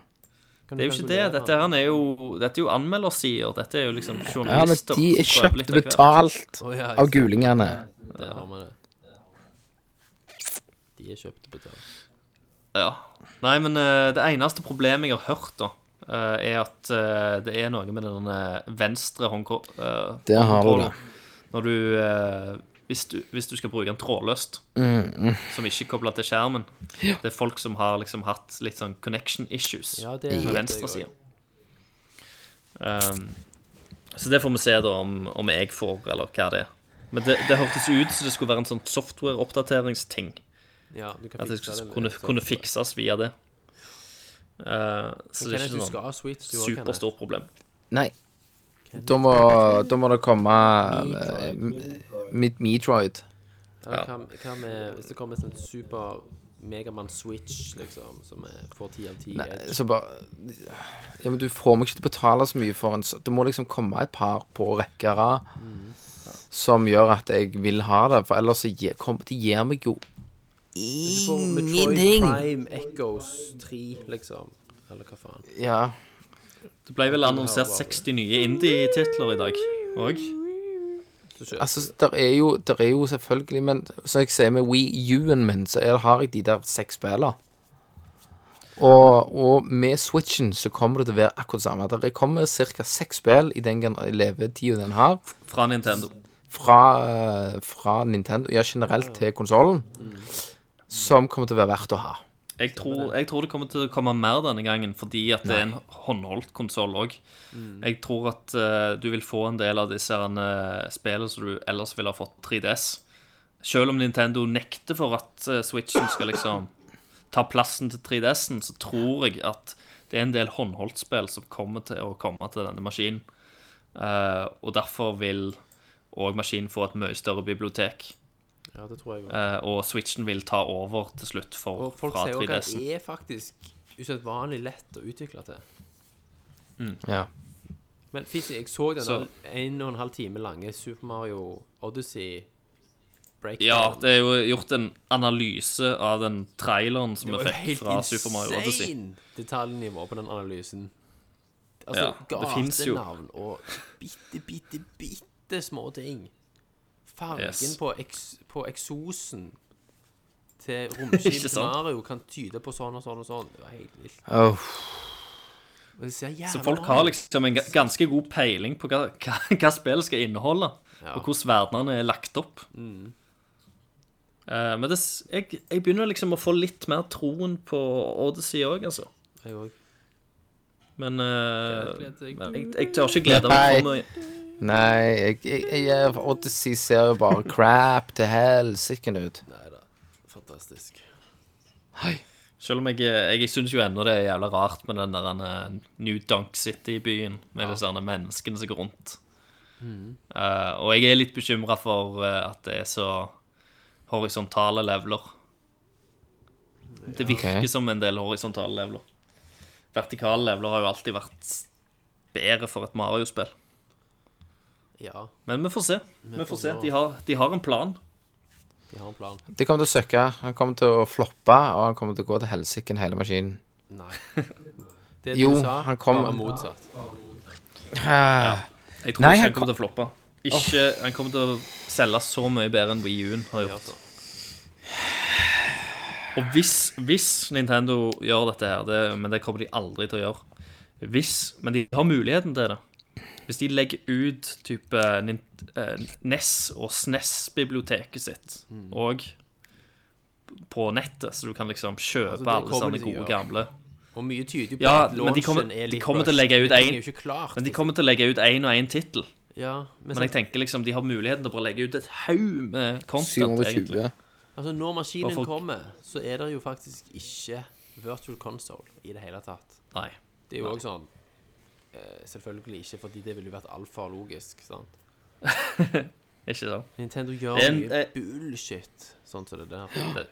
[SPEAKER 9] kan
[SPEAKER 1] Det er jo ikke det. Dette her er jo, dette er jo anmeldersider. Dette er jo liksom
[SPEAKER 5] ja men
[SPEAKER 1] journalister.
[SPEAKER 5] de er
[SPEAKER 1] som prøver
[SPEAKER 5] kjøpt
[SPEAKER 1] litt
[SPEAKER 5] og
[SPEAKER 1] av hvert.
[SPEAKER 5] betalt
[SPEAKER 4] Å, ja,
[SPEAKER 5] av gulingene.
[SPEAKER 4] Der har vi det. De er kjøpt og betalt.
[SPEAKER 1] Ja. Nei, men eh, det eneste problemet jeg har hørt, da, eh, er at eh, det er noe med den eh, venstre håndko- eh,
[SPEAKER 5] Der har du
[SPEAKER 1] håndkontrollen. Når du, eh, hvis du Hvis du skal bruke den trådløst, som ikke er kobla til skjermen Det er folk som har liksom hatt litt sånn connection issues
[SPEAKER 4] Ja, det
[SPEAKER 1] på
[SPEAKER 4] hørte jeg
[SPEAKER 1] venstresida. Um, så det får vi se da om, om jeg får, eller hva det er. Men det, det hørtes ut som det skulle være en sånn software-oppdateringsting.
[SPEAKER 4] Ja, du kan
[SPEAKER 1] At det
[SPEAKER 4] fikse
[SPEAKER 1] skulle
[SPEAKER 4] det
[SPEAKER 1] kunne,
[SPEAKER 4] med-
[SPEAKER 1] kunne fikses via det. Eh, så det
[SPEAKER 4] Kenneth,
[SPEAKER 1] er ikke
[SPEAKER 4] du
[SPEAKER 1] noe
[SPEAKER 4] skal ha Switch, du også, Kenneth.
[SPEAKER 1] superstort problem.
[SPEAKER 5] Nei. Da må, da må det komme eh, Meat Metroid.
[SPEAKER 4] Eller hva, hva med hvis det kommer en sånn super Megaman Switch, liksom, som er- får 10 av 10 Edge?
[SPEAKER 5] Så bare Ja, men du får meg ikke til å betale så mye for en så- Det må liksom komme et par på rekke og rad som gjør at jeg vil ha det, for ellers så gir, kom, det gir meg jo
[SPEAKER 4] Hvis du får Metroid Prime Echoes 3, liksom, eller hva faen.
[SPEAKER 5] Ja.
[SPEAKER 1] Det ble vel annonsert 60 nye indie-titler i dag òg.
[SPEAKER 5] Altså, der er jo, der er jo selvfølgelig Men som jeg sier med Wii U-en min, så er, har jeg de der seks spillene. Og, og med Switchen så kommer det til å være akkurat samme. Der kommer ca. seks spill i den gener- levetida den har.
[SPEAKER 1] Fra Nintendo.
[SPEAKER 5] fra, eh, fra Nintendo, ja, generelt til konsollen, som kommer til å være verdt å ha.
[SPEAKER 1] Jeg tror, jeg tror det kommer til å komme mer denne gangen, fordi at det er en håndholdt konsoll òg. Jeg tror at eh, du vil få en del av disse her, eh, spillene som du ellers ville ha fått 3DS. Selv om Nintendo nekter for at eh, Switchen skal liksom ta plassen til 3DS-en, så tror jeg at det er en del håndholdtspill som kommer til å komme til denne maskinen. Eh, og derfor vil òg maskinen få et mye større bibliotek.
[SPEAKER 4] Ja, det tror jeg også.
[SPEAKER 1] eh, og Switchen vil ta over til slutt for,
[SPEAKER 4] Og folk
[SPEAKER 1] fra
[SPEAKER 4] sier også at
[SPEAKER 1] 3DS-en.
[SPEAKER 4] det er faktisk usedvanlig lett å utvikle til.
[SPEAKER 5] Ja.
[SPEAKER 4] Men Fizzy, jeg så den
[SPEAKER 1] Så-
[SPEAKER 4] der en og en halv time lange Super Mario Odyssey breakdown.
[SPEAKER 1] Ja, det er jo gjort en analyse av den traileren som vi
[SPEAKER 4] var jo
[SPEAKER 1] fikk fra Super Mario Odyssey.
[SPEAKER 4] insane detaljnivå på den analysen.
[SPEAKER 1] Ja,
[SPEAKER 4] Altså,
[SPEAKER 1] det finnes jo.
[SPEAKER 4] gatenavn og bitte, bitte, bitte små ting. Fargen
[SPEAKER 1] Yes.
[SPEAKER 4] på, eks på eksosen
[SPEAKER 1] [laughs]
[SPEAKER 4] til romskipet
[SPEAKER 1] sant?
[SPEAKER 4] Mario kan tyde på sånn og sånn og sånn. Det var helt vilt. Og det ser jævla
[SPEAKER 1] Så folk
[SPEAKER 4] bra
[SPEAKER 1] har
[SPEAKER 4] ut.
[SPEAKER 1] liksom en ga- ganske god peiling på hva, [laughs] hva, hva spillet skal inneholde,
[SPEAKER 4] Ja. Mm.
[SPEAKER 1] og hvordan verdenene er lagt opp. Eh, men det, s- jeg, jeg begynner liksom å få litt mer troen på Odyssey òg, altså.
[SPEAKER 4] Jeg også.
[SPEAKER 1] Men eh,
[SPEAKER 4] Jeg gleder meg.
[SPEAKER 1] men jeg, jeg tør ikke glede meg for mye.
[SPEAKER 5] Nei, jeg, jeg, jeg, jeg Odyssey ser jo bare crap til helsike ut.
[SPEAKER 4] Neida, Fantastisk.
[SPEAKER 1] Selv om jeg, jeg syns jo ennå det er jævla rart med den der eh, New Dunk City-byen, med disse disse menneskene som går rundt. Eh, og jeg er litt bekymra for eh, at det er så horisontale leveler. Det virker
[SPEAKER 5] Ok.
[SPEAKER 1] som en del horisontale leveler. Vertikale leveler har jo alltid vært bedre for et Mario-spill.
[SPEAKER 4] Ja,
[SPEAKER 1] Men vi får se. Vi får se. De har, de har en plan.
[SPEAKER 4] de har en plan.
[SPEAKER 5] Det kommer til å søkke. Han kommer til å floppe, og han kommer til å gå til helsike, hele maskinen.
[SPEAKER 1] [laughs]
[SPEAKER 4] Nei. Det
[SPEAKER 5] Jo,
[SPEAKER 4] du sa,
[SPEAKER 5] han kom-
[SPEAKER 4] var motsatt.
[SPEAKER 1] Ah. Jeg tror
[SPEAKER 5] Nei,
[SPEAKER 1] ikke
[SPEAKER 5] han
[SPEAKER 1] han kommer til å floppe. Ikke, Han kommer til å selge så mye bedre enn Wii U-en har
[SPEAKER 4] altså.
[SPEAKER 1] gjort. Og hvis, hvis Nintendo gjør dette her, det, men det kommer de aldri til å gjøre Hvis, Men de har muligheten til det. Hvis de legger ut type Nin- eh, NES og SNES-biblioteket sitt
[SPEAKER 4] Hmm.
[SPEAKER 1] og på nettet, så du kan liksom kjøpe
[SPEAKER 4] Altså, det
[SPEAKER 1] alle
[SPEAKER 4] kommer
[SPEAKER 1] sånne
[SPEAKER 4] de til å
[SPEAKER 1] gode
[SPEAKER 4] gjøre.
[SPEAKER 1] gamle
[SPEAKER 4] Og mye tyder på
[SPEAKER 1] Ja,
[SPEAKER 4] at
[SPEAKER 1] men de kommer-
[SPEAKER 4] launchen er
[SPEAKER 1] de
[SPEAKER 4] litt
[SPEAKER 1] kommer til å
[SPEAKER 4] rushed.
[SPEAKER 1] legge ut
[SPEAKER 4] Ting
[SPEAKER 1] en-
[SPEAKER 4] er jo ikke klart.
[SPEAKER 1] Men de kommer til å legge ut én og én tittel.
[SPEAKER 4] Ja, men,
[SPEAKER 1] Men jeg
[SPEAKER 4] sant,
[SPEAKER 1] tenker liksom, de har muligheten til å bare legge ut et haug med content, egentlig.
[SPEAKER 5] 720.
[SPEAKER 4] altså når maskinen
[SPEAKER 1] Bare folk-
[SPEAKER 4] kommer, så er det jo faktisk ikke virtual console i det hele tatt.
[SPEAKER 1] Nei.
[SPEAKER 4] Det er jo òg sånn eh, Selvfølgelig ikke, fordi det ville jo vært altfor logisk. sant?
[SPEAKER 1] Ikke sant?
[SPEAKER 4] Nintendo gjør
[SPEAKER 1] Det er en-
[SPEAKER 4] mye
[SPEAKER 1] eh,
[SPEAKER 4] bullshit, sånn som det der.
[SPEAKER 1] Det,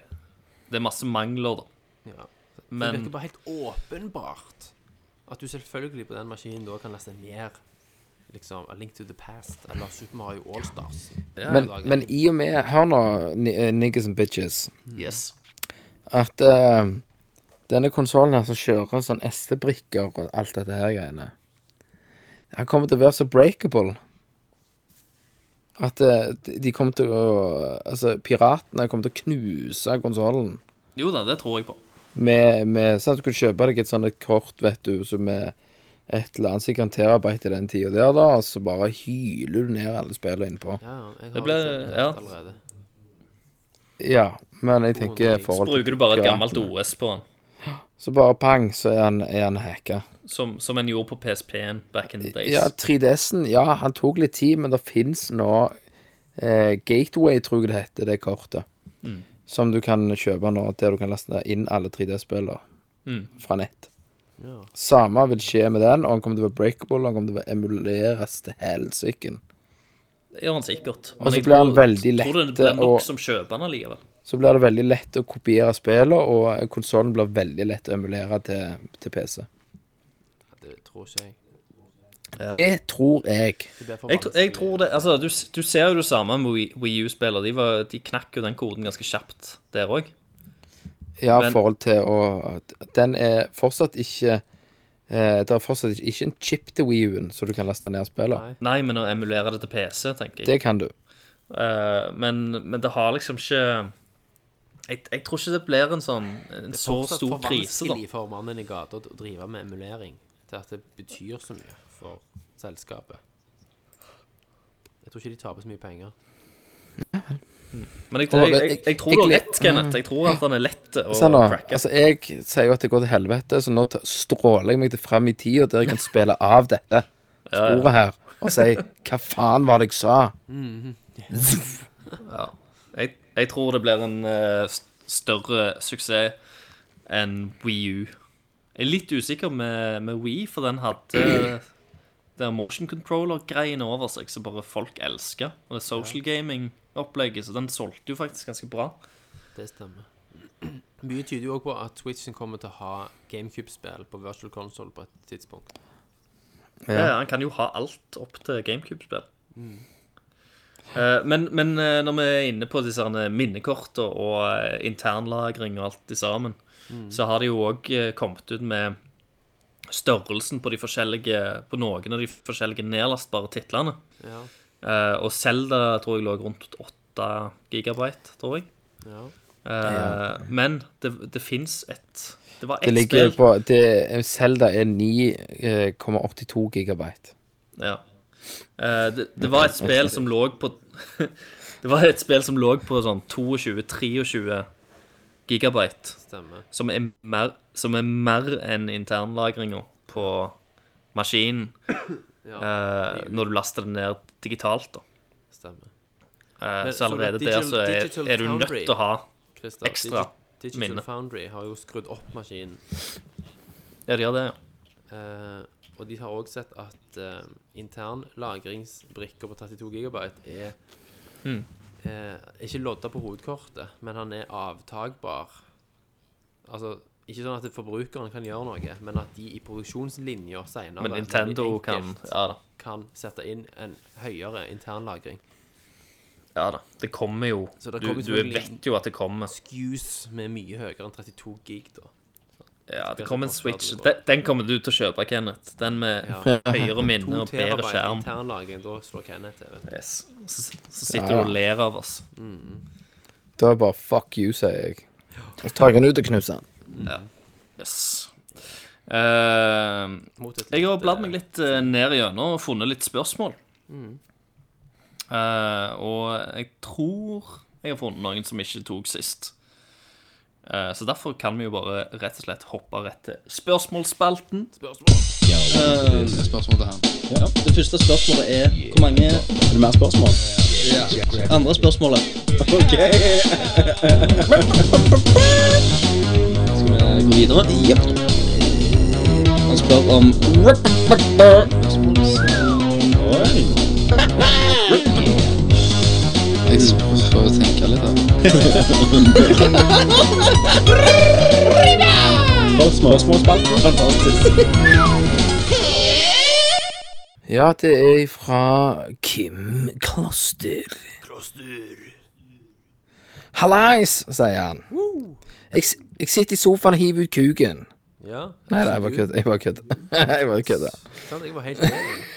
[SPEAKER 1] det er masse mangler, da.
[SPEAKER 4] Ja. Det
[SPEAKER 1] Men
[SPEAKER 4] virker bare helt åpenbart at du selvfølgelig på den maskinen da kan laste ned liksom A Link to the Past eller Super Mario Allstars.
[SPEAKER 5] Men, men i og med Hør nå, ni- eh, niggas and bitches.
[SPEAKER 1] yes.
[SPEAKER 5] at eh, denne konsollen her som kjører sånn SD-brikker og alt dette her greiene Han kommer til å være så breakable at eh, de- de kommer til å Altså, piratene kommer til å knuse konsollen
[SPEAKER 1] Jo da, det tror jeg på.
[SPEAKER 5] med, med sånn at du kunne kjøpe deg et sånt et kort, vet du, som er et eller annet sikkert en terabyte i den tida der, da, og så bare hyler du ned alle spillene innpå.
[SPEAKER 4] Ja, ja, jeg har
[SPEAKER 1] Det ble
[SPEAKER 4] liksom
[SPEAKER 1] Ja.
[SPEAKER 4] allerede.
[SPEAKER 5] Ja, men jeg tenker i
[SPEAKER 1] Så
[SPEAKER 5] forhold til
[SPEAKER 1] bruker du bare et
[SPEAKER 5] piratene.
[SPEAKER 1] gammelt OS på den,
[SPEAKER 5] Så bare pang, så er han, er han hacka.
[SPEAKER 1] som, som en gjorde på PSP-en back in the days.
[SPEAKER 5] Ja, 3DS-en, ja, han tok litt tid, men det fins nå eh, Gateway, tror jeg det heter, det kortet. Som du kan kjøpe nå, der du kan laste inn alle 3D-spillene fra nett. Samme vil skje med den, og han kommer til å være breakable, og han kommer til å emuleres til helsiken.
[SPEAKER 1] Det gjør han sikkert.
[SPEAKER 5] Og så
[SPEAKER 1] jeg
[SPEAKER 5] blir han
[SPEAKER 1] tror-
[SPEAKER 5] veldig
[SPEAKER 1] Tror det
[SPEAKER 5] lett,
[SPEAKER 1] blir nok
[SPEAKER 5] og-
[SPEAKER 1] som kjøper han allikevel.
[SPEAKER 5] Så blir det veldig lett å kopiere spillene, og konsollen blir veldig lett å emulere til, til PC.
[SPEAKER 4] Det tror ikke jeg.
[SPEAKER 5] Det tror jeg.
[SPEAKER 4] Det blir for
[SPEAKER 1] Jeg, tr- jeg tror det, altså, du, s- du ser jo det samme med Wii- Wii U-spillere. De, var- de knakk jo den koden ganske kjapt der òg.
[SPEAKER 5] Ja, i
[SPEAKER 1] Men-
[SPEAKER 5] forhold til å Den er fortsatt ikke eh, Det er fortsatt ikke, ikke en chip til WiiU-en som du kan laste ned spillet.
[SPEAKER 1] Nei, men å emulere det til PC, tenker jeg.
[SPEAKER 5] Det kan du.
[SPEAKER 1] Eh, men, men det har liksom ikke jeg, jeg tror ikke det blir en sånn en så stor krise, da.
[SPEAKER 4] vanskelig for mannen i gata å drive med emulering til at det betyr så mye for selskapet. Jeg tror ikke de taper så mye penger.
[SPEAKER 1] Men jeg, jeg, jeg, jeg, jeg Mm. tror det er lett, Kenneth. Jeg tror at han er lett å
[SPEAKER 5] Se nå.
[SPEAKER 1] cracke.
[SPEAKER 5] Altså, jeg sier jo at det går til helvete, så nå ta- stråler jeg meg til fram i tida der jeg kan spille av dette sporet her og si Hva faen var det jeg sa?
[SPEAKER 1] Jeg, jeg tror det blir en eh, st- større suksess enn Wii U. Jeg er litt usikker med, med Wii, for den hadde eh, det motion controller-greiene over seg som bare folk elsker. Og det social gaming-opplegget, så den solgte jo faktisk ganske bra.
[SPEAKER 4] Det stemmer. Mye tyder jo òg på at Switchen kommer til å ha GameCube-spill på virtual console på et tidspunkt.
[SPEAKER 1] Ja. Eh, han kan jo ha alt opp til GameCube-spill. Eh, men, men eh, når vi er inne på disse herne minnekortene og eh, internlagring og alt det sammen, så har de jo òg kommet ut med størrelsen på de forskjellige På noen av de forskjellige nedlastbare titlene.
[SPEAKER 4] Ja.
[SPEAKER 1] Eh, og Zelda tror jeg lå rundt 8 gigabyte, tror jeg.
[SPEAKER 4] Ja.
[SPEAKER 1] Eh, Men det, det fins et Det var
[SPEAKER 5] Det
[SPEAKER 1] ett
[SPEAKER 5] ligger
[SPEAKER 1] spill.
[SPEAKER 5] på det, Zelda er 9,82 gigabyte.
[SPEAKER 1] Ja. Eh, det, det var et spill som lå på [laughs] Det var et spill som lå på sånn 22-23 gigabyte,
[SPEAKER 4] Stemmer.
[SPEAKER 1] som er mer, som er mer enn internlagringa på maskinen eh, når du laster det ned digitalt. Da.
[SPEAKER 4] Stemmer.
[SPEAKER 1] Eh,
[SPEAKER 4] Men
[SPEAKER 1] så
[SPEAKER 4] så
[SPEAKER 1] allerede
[SPEAKER 4] digital-
[SPEAKER 1] der så er,
[SPEAKER 4] digital
[SPEAKER 1] er du nødt
[SPEAKER 4] foundry.
[SPEAKER 1] til å ha
[SPEAKER 4] Christer,
[SPEAKER 1] Ekstra
[SPEAKER 4] Digi- Digital
[SPEAKER 1] minne.
[SPEAKER 4] Foundry har jo skrudd opp maskinen.
[SPEAKER 1] Ja, de gjør det, ja.
[SPEAKER 4] Eh, og de har òg sett at eh, intern lagringsbrikker på 32 GB er
[SPEAKER 1] Hmm.
[SPEAKER 4] eh, Ikke lodda på hovedkortet, men han er avtagbar. Altså ikke sånn at forbrukeren kan gjøre noe, men at de i produksjonslinja senere
[SPEAKER 1] Men Nintendo
[SPEAKER 4] veldig
[SPEAKER 1] kan
[SPEAKER 4] enkelt
[SPEAKER 1] Ja da.
[SPEAKER 4] kan sette inn en høyere internlagring.
[SPEAKER 1] Ja da. Det kommer jo.
[SPEAKER 4] Så det
[SPEAKER 1] du
[SPEAKER 4] kommer
[SPEAKER 1] du
[SPEAKER 4] selvfølgelig-
[SPEAKER 1] vet jo at det kommer.
[SPEAKER 4] Excuse med mye høyere enn 32 gig, da.
[SPEAKER 1] Ja, det
[SPEAKER 4] Spesielt
[SPEAKER 1] kom en
[SPEAKER 4] på
[SPEAKER 1] Switch.
[SPEAKER 4] Stadia.
[SPEAKER 1] Den, den kommer du til å kjøpe, Kenneth. Den med høyere minne og bedre skjerm.
[SPEAKER 4] internlagring, da slår Kenneth til. vet du.
[SPEAKER 1] Yes. Så, så sitter du og ler av oss.
[SPEAKER 5] Da er det bare fuck you, sier jeg. Og så tar jeg den ut og knuser den.
[SPEAKER 1] Yes. Eh,
[SPEAKER 4] Mot et
[SPEAKER 1] jeg har
[SPEAKER 4] litt,
[SPEAKER 1] bladd
[SPEAKER 4] eh,
[SPEAKER 1] meg litt eh, ned igjennom og funnet litt spørsmål. Eh, og jeg tror jeg har funnet noen som ikke tok sist. Eh, så derfor kan vi jo bare rett og slett hoppe rett til spørsmålsspalten. Ja, det første spørsmålet er Hvor mange Er det mer spørsmål? Andre spørsmålet Ok Skal vi gå videre? Jep Han spør om
[SPEAKER 5] Ja, det er fra Kim Kloster. Kloster. Hallais, sier han. Jeg, s- jeg sitter i sofaen og hiver ut kuken.
[SPEAKER 4] Ja.
[SPEAKER 5] Nei, nei, jeg bare kødder. Jeg bare kødder. [laughs] Jeg bare kødder.
[SPEAKER 4] Sant? Jeg var helt enig.
[SPEAKER 1] [laughs]
[SPEAKER 5] [laughs]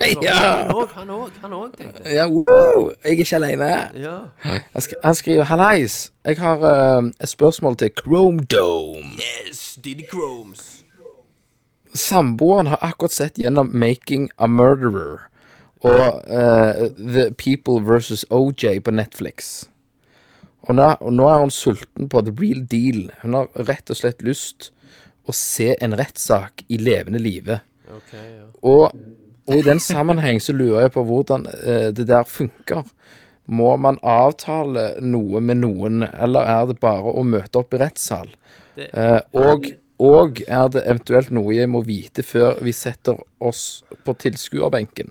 [SPEAKER 4] Han
[SPEAKER 5] Ja!
[SPEAKER 4] òg, han òg, han òg, tenkte jeg.
[SPEAKER 5] ja wow, jeg er ikke alene.
[SPEAKER 4] Ja.
[SPEAKER 5] Han, sk han skriver 'Hallais, jeg har eh, et spørsmål til Chrome Dome'.
[SPEAKER 4] Yes, Diddy Chromes.
[SPEAKER 5] Samboeren har akkurat sett gjennom 'Making a Murderer' og eh, 'The People versus OJ' på Netflix. Og nå, og nå er hun sulten på the real deal. Hun har rett og slett lyst å se en rettssak i levende live.
[SPEAKER 4] OK, ja.
[SPEAKER 5] Og, og i den sammenheng så lurer jeg på hvordan eh, det der funker. Må man avtale noe med noen, eller er det bare å møte opp i rettssal?
[SPEAKER 4] Det-
[SPEAKER 5] Eh, og, og er det eventuelt noe jeg må vite før vi setter oss på tilskuerbenken?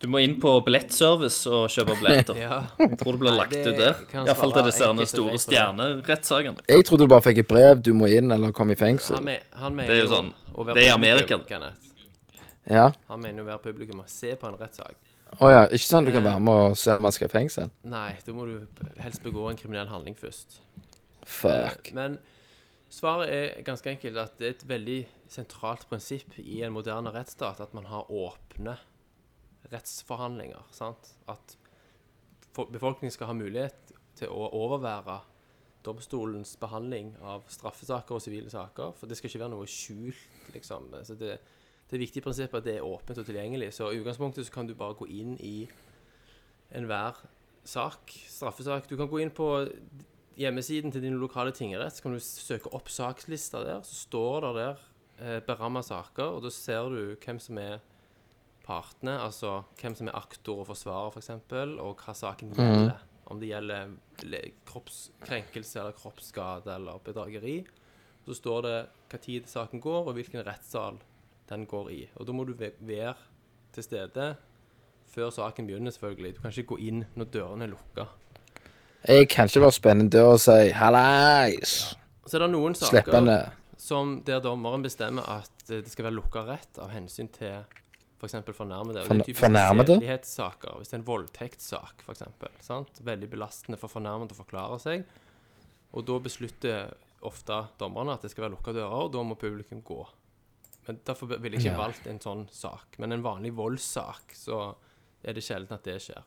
[SPEAKER 1] Du må inn på billettservice og kjøpe billetter.
[SPEAKER 4] [laughs] ja.
[SPEAKER 1] Jeg tror det blir lagt
[SPEAKER 4] det
[SPEAKER 1] ut der.
[SPEAKER 4] kan
[SPEAKER 1] Iallfall
[SPEAKER 4] svare
[SPEAKER 1] til disse
[SPEAKER 4] enkelt og greit på
[SPEAKER 1] her store
[SPEAKER 4] det.
[SPEAKER 1] stjernerettssakene.
[SPEAKER 5] Jeg trodde du bare fikk et brev, du må inn eller komme i fengsel.
[SPEAKER 4] Han, me han mener
[SPEAKER 1] Det er jo sånn, det er i Amerika.
[SPEAKER 4] Kenneth.
[SPEAKER 5] Ja,
[SPEAKER 4] Han mener jo å være publikum og se på en rettssak.
[SPEAKER 5] Å ja, ikke sånn du kan være med og se om man skal i fengsel?
[SPEAKER 4] Nei, da må du helst begå en kriminell handling først.
[SPEAKER 5] Fuck.
[SPEAKER 4] Men svaret er ganske enkelt at det er et veldig sentralt prinsipp i en moderne rettsstat at man har åpne rettsforhandlinger. sant? At fo- befolkningen skal ha mulighet til å overvære domstolens behandling av straffesaker og sivile saker. For det skal ikke være noe skjult, liksom. Så det, det er et viktig prinsipp at det er åpent og tilgjengelig. Så i utgangspunktet så kan du bare gå inn i enhver sak, straffesak. Du kan gå inn på hjemmesiden til din lokale tingrett, så kan du søke opp sakslista der. Så står det der eh, beramma saker, og da ser du hvem som er partene, altså hvem som er aktor og forsvarer, f.eks., eksempel, og hva saken gjelder. Om det gjelder le- kroppskrenkelse eller kroppsskade eller bedrageri. Så står det hva tid saken går, og hvilken rettssal den går i. Og da må du ve- være til stede før saken begynner, selvfølgelig. Du kan ikke gå inn når dørene er lukka.
[SPEAKER 5] Jeg kan ikke være spennende dør og si 'hallais'.
[SPEAKER 4] Så er det noen saker
[SPEAKER 5] Slippe han ned.
[SPEAKER 4] som der dommeren bestemmer at eh, det skal være lukka rett av hensyn til f.eks. fornærmede. Og
[SPEAKER 5] Forn-
[SPEAKER 4] det er typisk
[SPEAKER 5] fornærmede?
[SPEAKER 4] sedelighetssaker. Hvis det er en voldtektssak, f.eks. Veldig belastende for fornærmede å forklare seg. Og da beslutter ofte dommerne at det skal være lukka dører, og da må publikum gå. Men Derfor ville jeg ikke valgt en sånn sak. Men en vanlig voldssak, så er det sjelden at det skjer.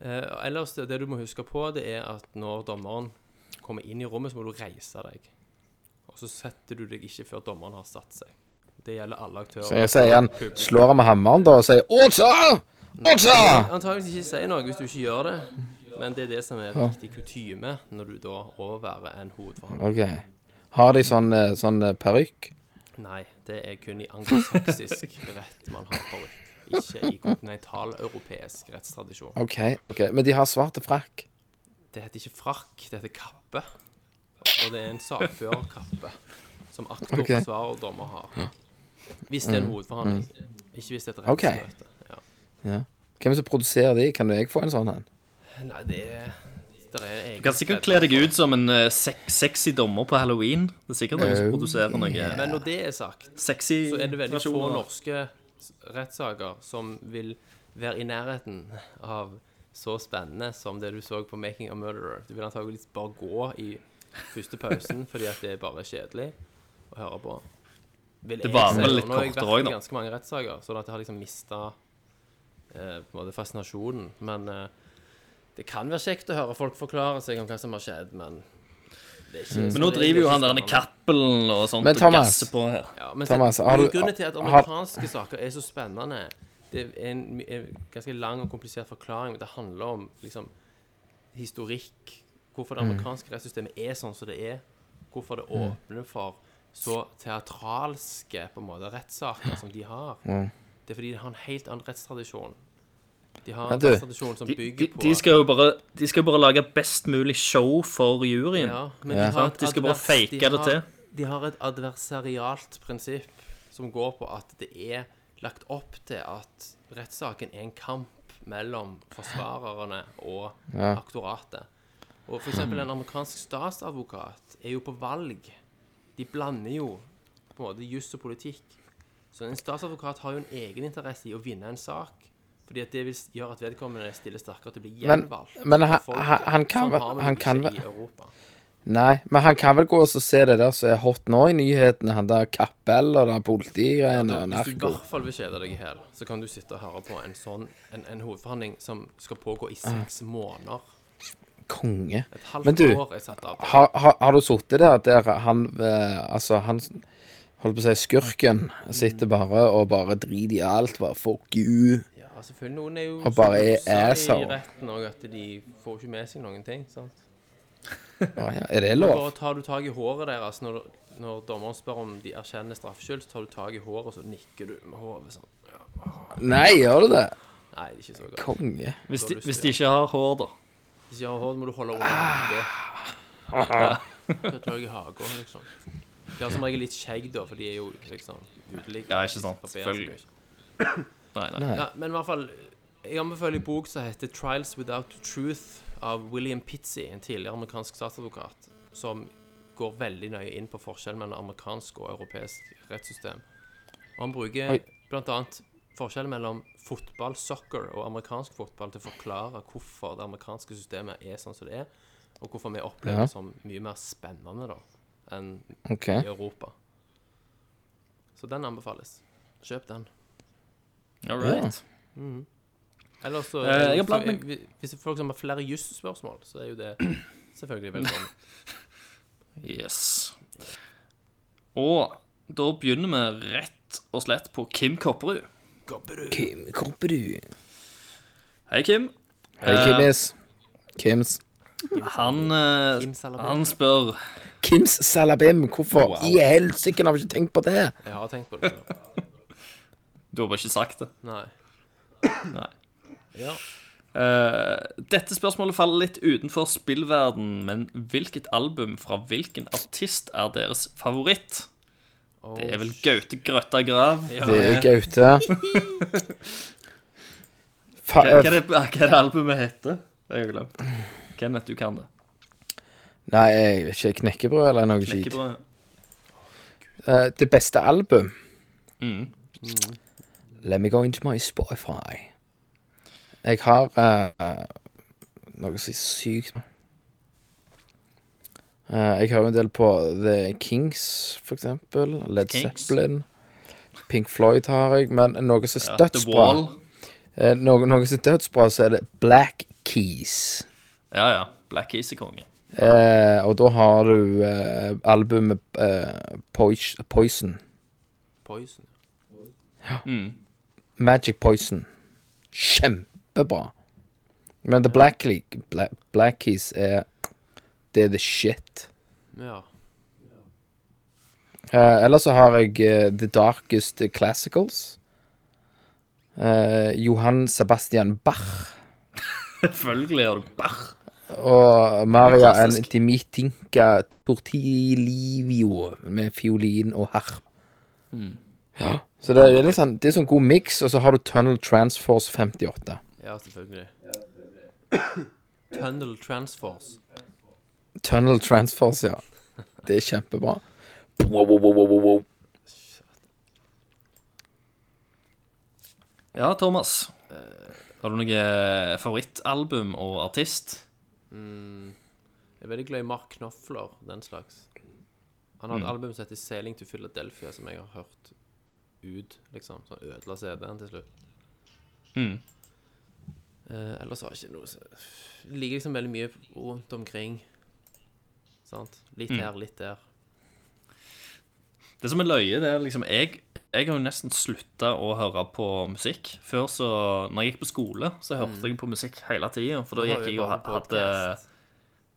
[SPEAKER 4] Eh, og ellers, det det du må huske på, det er at når dommeren kommer inn i rommet, så må du reise deg. Og så setter du deg ikke før dommeren har satt seg. Det gjelder alle aktører.
[SPEAKER 5] Så jeg sier han slår han med hammeren da og sier 'Åsa! Åsa!'
[SPEAKER 4] Antakeligvis ikke si noe hvis du ikke gjør det, men det er det som er riktig kutyme når du da overværer en hovedforhandling.
[SPEAKER 5] Ok. Har de sånn, eh, sånn eh, parykk?
[SPEAKER 4] Nei, det er kun i
[SPEAKER 5] [laughs]
[SPEAKER 4] anglosaksisk rett man har forut. Ikke i kontinentaleuropeisk rettstradisjon.
[SPEAKER 5] Ok, ok. Men de har svarte frakk.
[SPEAKER 4] Det heter ikke frakk, det heter kappe. Og det er en sakførerkappe som aktor,
[SPEAKER 5] Ok.
[SPEAKER 4] forsvarer og dommer har. Hvis det er en hovedforhandling. Ikke hvis det er et
[SPEAKER 5] Ok.
[SPEAKER 4] rettsmøte. Ja.
[SPEAKER 5] Hvem er det som produserer de? Kan jeg få en sånn en?
[SPEAKER 4] Nei, det er det er egen
[SPEAKER 1] Du kan sikkert kle deg ut som en eh, sek sexy dommer på halloween. Det er sikkert noen som
[SPEAKER 5] Oh,
[SPEAKER 1] produserer noe eh,
[SPEAKER 4] Men når det er sagt,
[SPEAKER 1] sexy
[SPEAKER 4] så er det veldig få
[SPEAKER 1] versjoner.
[SPEAKER 4] norske s- rettssaker som vil være i nærheten av så spennende som det du så på 'Making a Murderer'. Du vil antakeligvis bare gå i første
[SPEAKER 1] [laughs]
[SPEAKER 4] pausen fordi at det er bare kjedelig å høre på. Vil
[SPEAKER 1] Det
[SPEAKER 4] jeg
[SPEAKER 1] varer
[SPEAKER 4] si,
[SPEAKER 1] vel
[SPEAKER 4] og
[SPEAKER 1] litt
[SPEAKER 4] nå har jeg
[SPEAKER 1] kortere
[SPEAKER 4] vært i
[SPEAKER 1] også, da.
[SPEAKER 4] Ganske mange rettssaker, sånn at jeg har liksom mista eh, på en måte fascinasjonen. Men eh, det kan være kjekt å høre folk forklare seg om hva som har skjedd, men det er ikke så-
[SPEAKER 1] Mm. Men nå
[SPEAKER 4] det er
[SPEAKER 1] driver jo
[SPEAKER 4] ikke sånn
[SPEAKER 1] han der
[SPEAKER 4] spennende.
[SPEAKER 1] Cappelen og sånt
[SPEAKER 5] Men
[SPEAKER 1] og
[SPEAKER 5] Thomas-
[SPEAKER 1] gasser på her.
[SPEAKER 4] Ja, men
[SPEAKER 5] Thomas,
[SPEAKER 4] sen-
[SPEAKER 5] har du-
[SPEAKER 4] grunnen til at
[SPEAKER 5] har-
[SPEAKER 4] amerikanske saker er så spennende, det er en, my- en ganske lang og komplisert forklaring. men Det handler om liksom, historikk, hvorfor det
[SPEAKER 5] Mm.
[SPEAKER 4] amerikanske rettssystemet er sånn som det er. Hvorfor det åpner for så teatralske på en måte, rettssaker som de har.
[SPEAKER 5] Mm.
[SPEAKER 4] Det er fordi de har en helt annen rettstradisjon. De har
[SPEAKER 5] Men
[SPEAKER 4] en
[SPEAKER 5] du,
[SPEAKER 4] rettstradisjon som
[SPEAKER 1] De, de,
[SPEAKER 4] bygger på
[SPEAKER 1] de skal jo bare, de skal bare lage best mulig show for juryen.
[SPEAKER 4] Ja, men
[SPEAKER 5] Ja.
[SPEAKER 4] de, har
[SPEAKER 1] Sant?
[SPEAKER 4] et
[SPEAKER 1] De skal bare
[SPEAKER 4] advers- de
[SPEAKER 1] fake det
[SPEAKER 4] har-
[SPEAKER 1] til.
[SPEAKER 4] De har et adversarialt prinsipp som går på at det er lagt opp til at rettssaken er en kamp mellom forsvarerne og aktoratet. Og for eksempel en amerikansk statsadvokat er jo på valg. De blander jo på en måte juss og politikk. Så en statsadvokat har jo en egeninteresse i å vinne en sak. Fordi at det vil s- gjøre at vedkommende stiller sterkere til å bli
[SPEAKER 5] Men-
[SPEAKER 4] gjenvalgt.
[SPEAKER 5] men han-
[SPEAKER 4] av folket,
[SPEAKER 5] han- han kan
[SPEAKER 4] som
[SPEAKER 5] vel-
[SPEAKER 4] har vi
[SPEAKER 5] han
[SPEAKER 4] ikke
[SPEAKER 5] kan
[SPEAKER 4] i Europa.
[SPEAKER 5] Nei, men han kan vel gå og så se det der som er hot nå i nyhetene. Han der Kappel og der politigreiene og
[SPEAKER 4] Hvis du i
[SPEAKER 5] narko.
[SPEAKER 4] hvert fall vil kjede deg i hæl, så kan du sitte og høre på en sånn en, en hovedforhandling som skal pågå i seks måneder.
[SPEAKER 5] Konge.
[SPEAKER 4] Et halvt
[SPEAKER 5] Ah. Men du,
[SPEAKER 4] år er satt av.
[SPEAKER 5] Har, har, har du sittet der der han eh, Altså, han holdt på å si skurken sitter bare og bare driter i alt. Bare fuck you.
[SPEAKER 4] Ja, selvfølgelig. Noen er jo
[SPEAKER 5] Og bare er
[SPEAKER 4] så rusa i
[SPEAKER 5] asshole.
[SPEAKER 4] retten òg at de får ikke med seg noen ting. sant?
[SPEAKER 5] Å, ja, er det
[SPEAKER 4] Bare
[SPEAKER 5] lov?
[SPEAKER 4] tar du tak i håret deres når, når dommeren spør om de erkjenner straffskyld, så tar du tak i håret, og så nikker du med hodet sånn.
[SPEAKER 5] Nei, gjør du det?
[SPEAKER 4] Nei, det er ikke så godt.
[SPEAKER 5] Konge.
[SPEAKER 1] Hvis de, hvis de ikke har hår, da.
[SPEAKER 4] Hvis jeg har hår, må du holde under det.
[SPEAKER 5] Ah. [laughs]
[SPEAKER 4] Så tar jeg i hagen, liksom. De har som regel litt skjegg, da, for de er jo liksom uteligger.
[SPEAKER 1] Ja, ikke sant.
[SPEAKER 4] Barberer seg
[SPEAKER 1] Selvfølgelig.
[SPEAKER 4] ikke.
[SPEAKER 1] Nei, nei.
[SPEAKER 4] Ja, men i hvert fall Jeg anbefaler en bok som heter 'Trials Without Truth' av William Pitzy, en tidligere amerikansk statsadvokat, som går veldig nøye inn på forskjellen mellom amerikansk og europeisk rettssystem. Og han bruker
[SPEAKER 5] Oi.
[SPEAKER 4] bl.a. forskjellen mellom fotball, soccer, og amerikansk fotball til å forklare hvorfor det amerikanske systemet er sånn som det er, og hvorfor vi opplever
[SPEAKER 5] Ja.
[SPEAKER 4] det som mye mer spennende da, enn
[SPEAKER 5] OK.
[SPEAKER 4] i Europa. Så den anbefales. Kjøp den.
[SPEAKER 1] All right.
[SPEAKER 4] Eller så,
[SPEAKER 1] Eh, jeg har blant
[SPEAKER 4] så- vi- Hvis det er folk som har flere jusspørsmål, så er jo det [clears throat] selvfølgelig velkommen.
[SPEAKER 1] Yes. Og da begynner vi rett og slett på Kim Kopperud.
[SPEAKER 5] Kim, kommer du?
[SPEAKER 1] Hei, Kim.
[SPEAKER 5] Hei,
[SPEAKER 1] Eh,
[SPEAKER 5] Kimis. Kims.
[SPEAKER 1] Han, eh,
[SPEAKER 4] Kim Salabim.
[SPEAKER 1] han spør
[SPEAKER 5] Kims Salabim, hvorfor i helsike har vi ikke tenkt på det?
[SPEAKER 4] Jeg har tenkt på det før.
[SPEAKER 1] Du har bare ikke sagt det.
[SPEAKER 4] Nei.
[SPEAKER 1] Eh, dette spørsmålet faller litt utenfor spillverden, men hvilket album fra hvilken artist er deres favoritt? Det er vel Gaute Grøtta Grav.
[SPEAKER 5] Det er jo
[SPEAKER 1] [laughs]
[SPEAKER 5] Gaute. Fa
[SPEAKER 1] Hva, hva, er det, hva er det albumet heter? Det har jeg glemt. Kenneth, du kan det.
[SPEAKER 5] Nei, jeg vet ikke. Knekkebrød eller noe skit.
[SPEAKER 1] Knekkebrød.
[SPEAKER 5] Eh, det beste album?
[SPEAKER 1] Mm.
[SPEAKER 5] Mm. Let me go into my Spotify. Jeg har eh, noe så sykt Eh, Jeg har jo en del på The Kings, for eksempel. Led
[SPEAKER 1] Kings?
[SPEAKER 5] Zeppelin. Pink Floyd har jeg, men noe som
[SPEAKER 1] Ja,
[SPEAKER 5] er
[SPEAKER 1] The
[SPEAKER 5] dødsbra.
[SPEAKER 1] Wall.
[SPEAKER 5] Eh, noe, noe som er dødsbra, så er det Black Keys.
[SPEAKER 1] Ja, ja. Black Keys er konge.
[SPEAKER 5] Eh, og da har du eh, albumet eh, Pois- Poison.
[SPEAKER 4] Poison.
[SPEAKER 5] Magic Poison. Kjempebra. Men The Black, Le- Bla Black Keys er Det er the shit.
[SPEAKER 4] Ja.
[SPEAKER 5] Eh, ellers så har jeg eh, The Darkest Classicals. Eh, Johan Sebastian Bach
[SPEAKER 1] Selvfølgelig gjør du barr.
[SPEAKER 5] og Maria N.
[SPEAKER 1] Klassisk.
[SPEAKER 5] Dimitinka Tortilivio med fiolin og harp. Ja, så det er liksom Det er sånn god miks, og så har du Tunnel Transforce 58.
[SPEAKER 4] Ja, selvfølgelig. Tunnel Transforce.
[SPEAKER 5] Tunnel Transforce, ja. Det er kjempebra. Wow, wow, wow, wow, wow.
[SPEAKER 1] Ja, Thomas. Har du noe favorittalbum og artist?
[SPEAKER 4] Jeg er veldig glad i Mark Knopfler, den slags. Han
[SPEAKER 1] Mm.
[SPEAKER 4] har et album som heter 'Sailing to Philadelphia', som jeg har hørt ut, liksom. Så han ødela CD-en til slutt.
[SPEAKER 1] Mm.
[SPEAKER 4] Eh, ellers har jeg ikke noe så- Det ligger liksom veldig mye rundt omkring. Sant? Litt
[SPEAKER 1] Mm.
[SPEAKER 4] her, litt der.
[SPEAKER 1] Det som er løye, det er liksom Jeg, jeg har jo nesten slutta å høre på musikk. Før så Når jeg gikk på skole, så hørte
[SPEAKER 4] Mm.
[SPEAKER 1] jeg på musikk hele tida. For da gikk jeg og ha- hadde,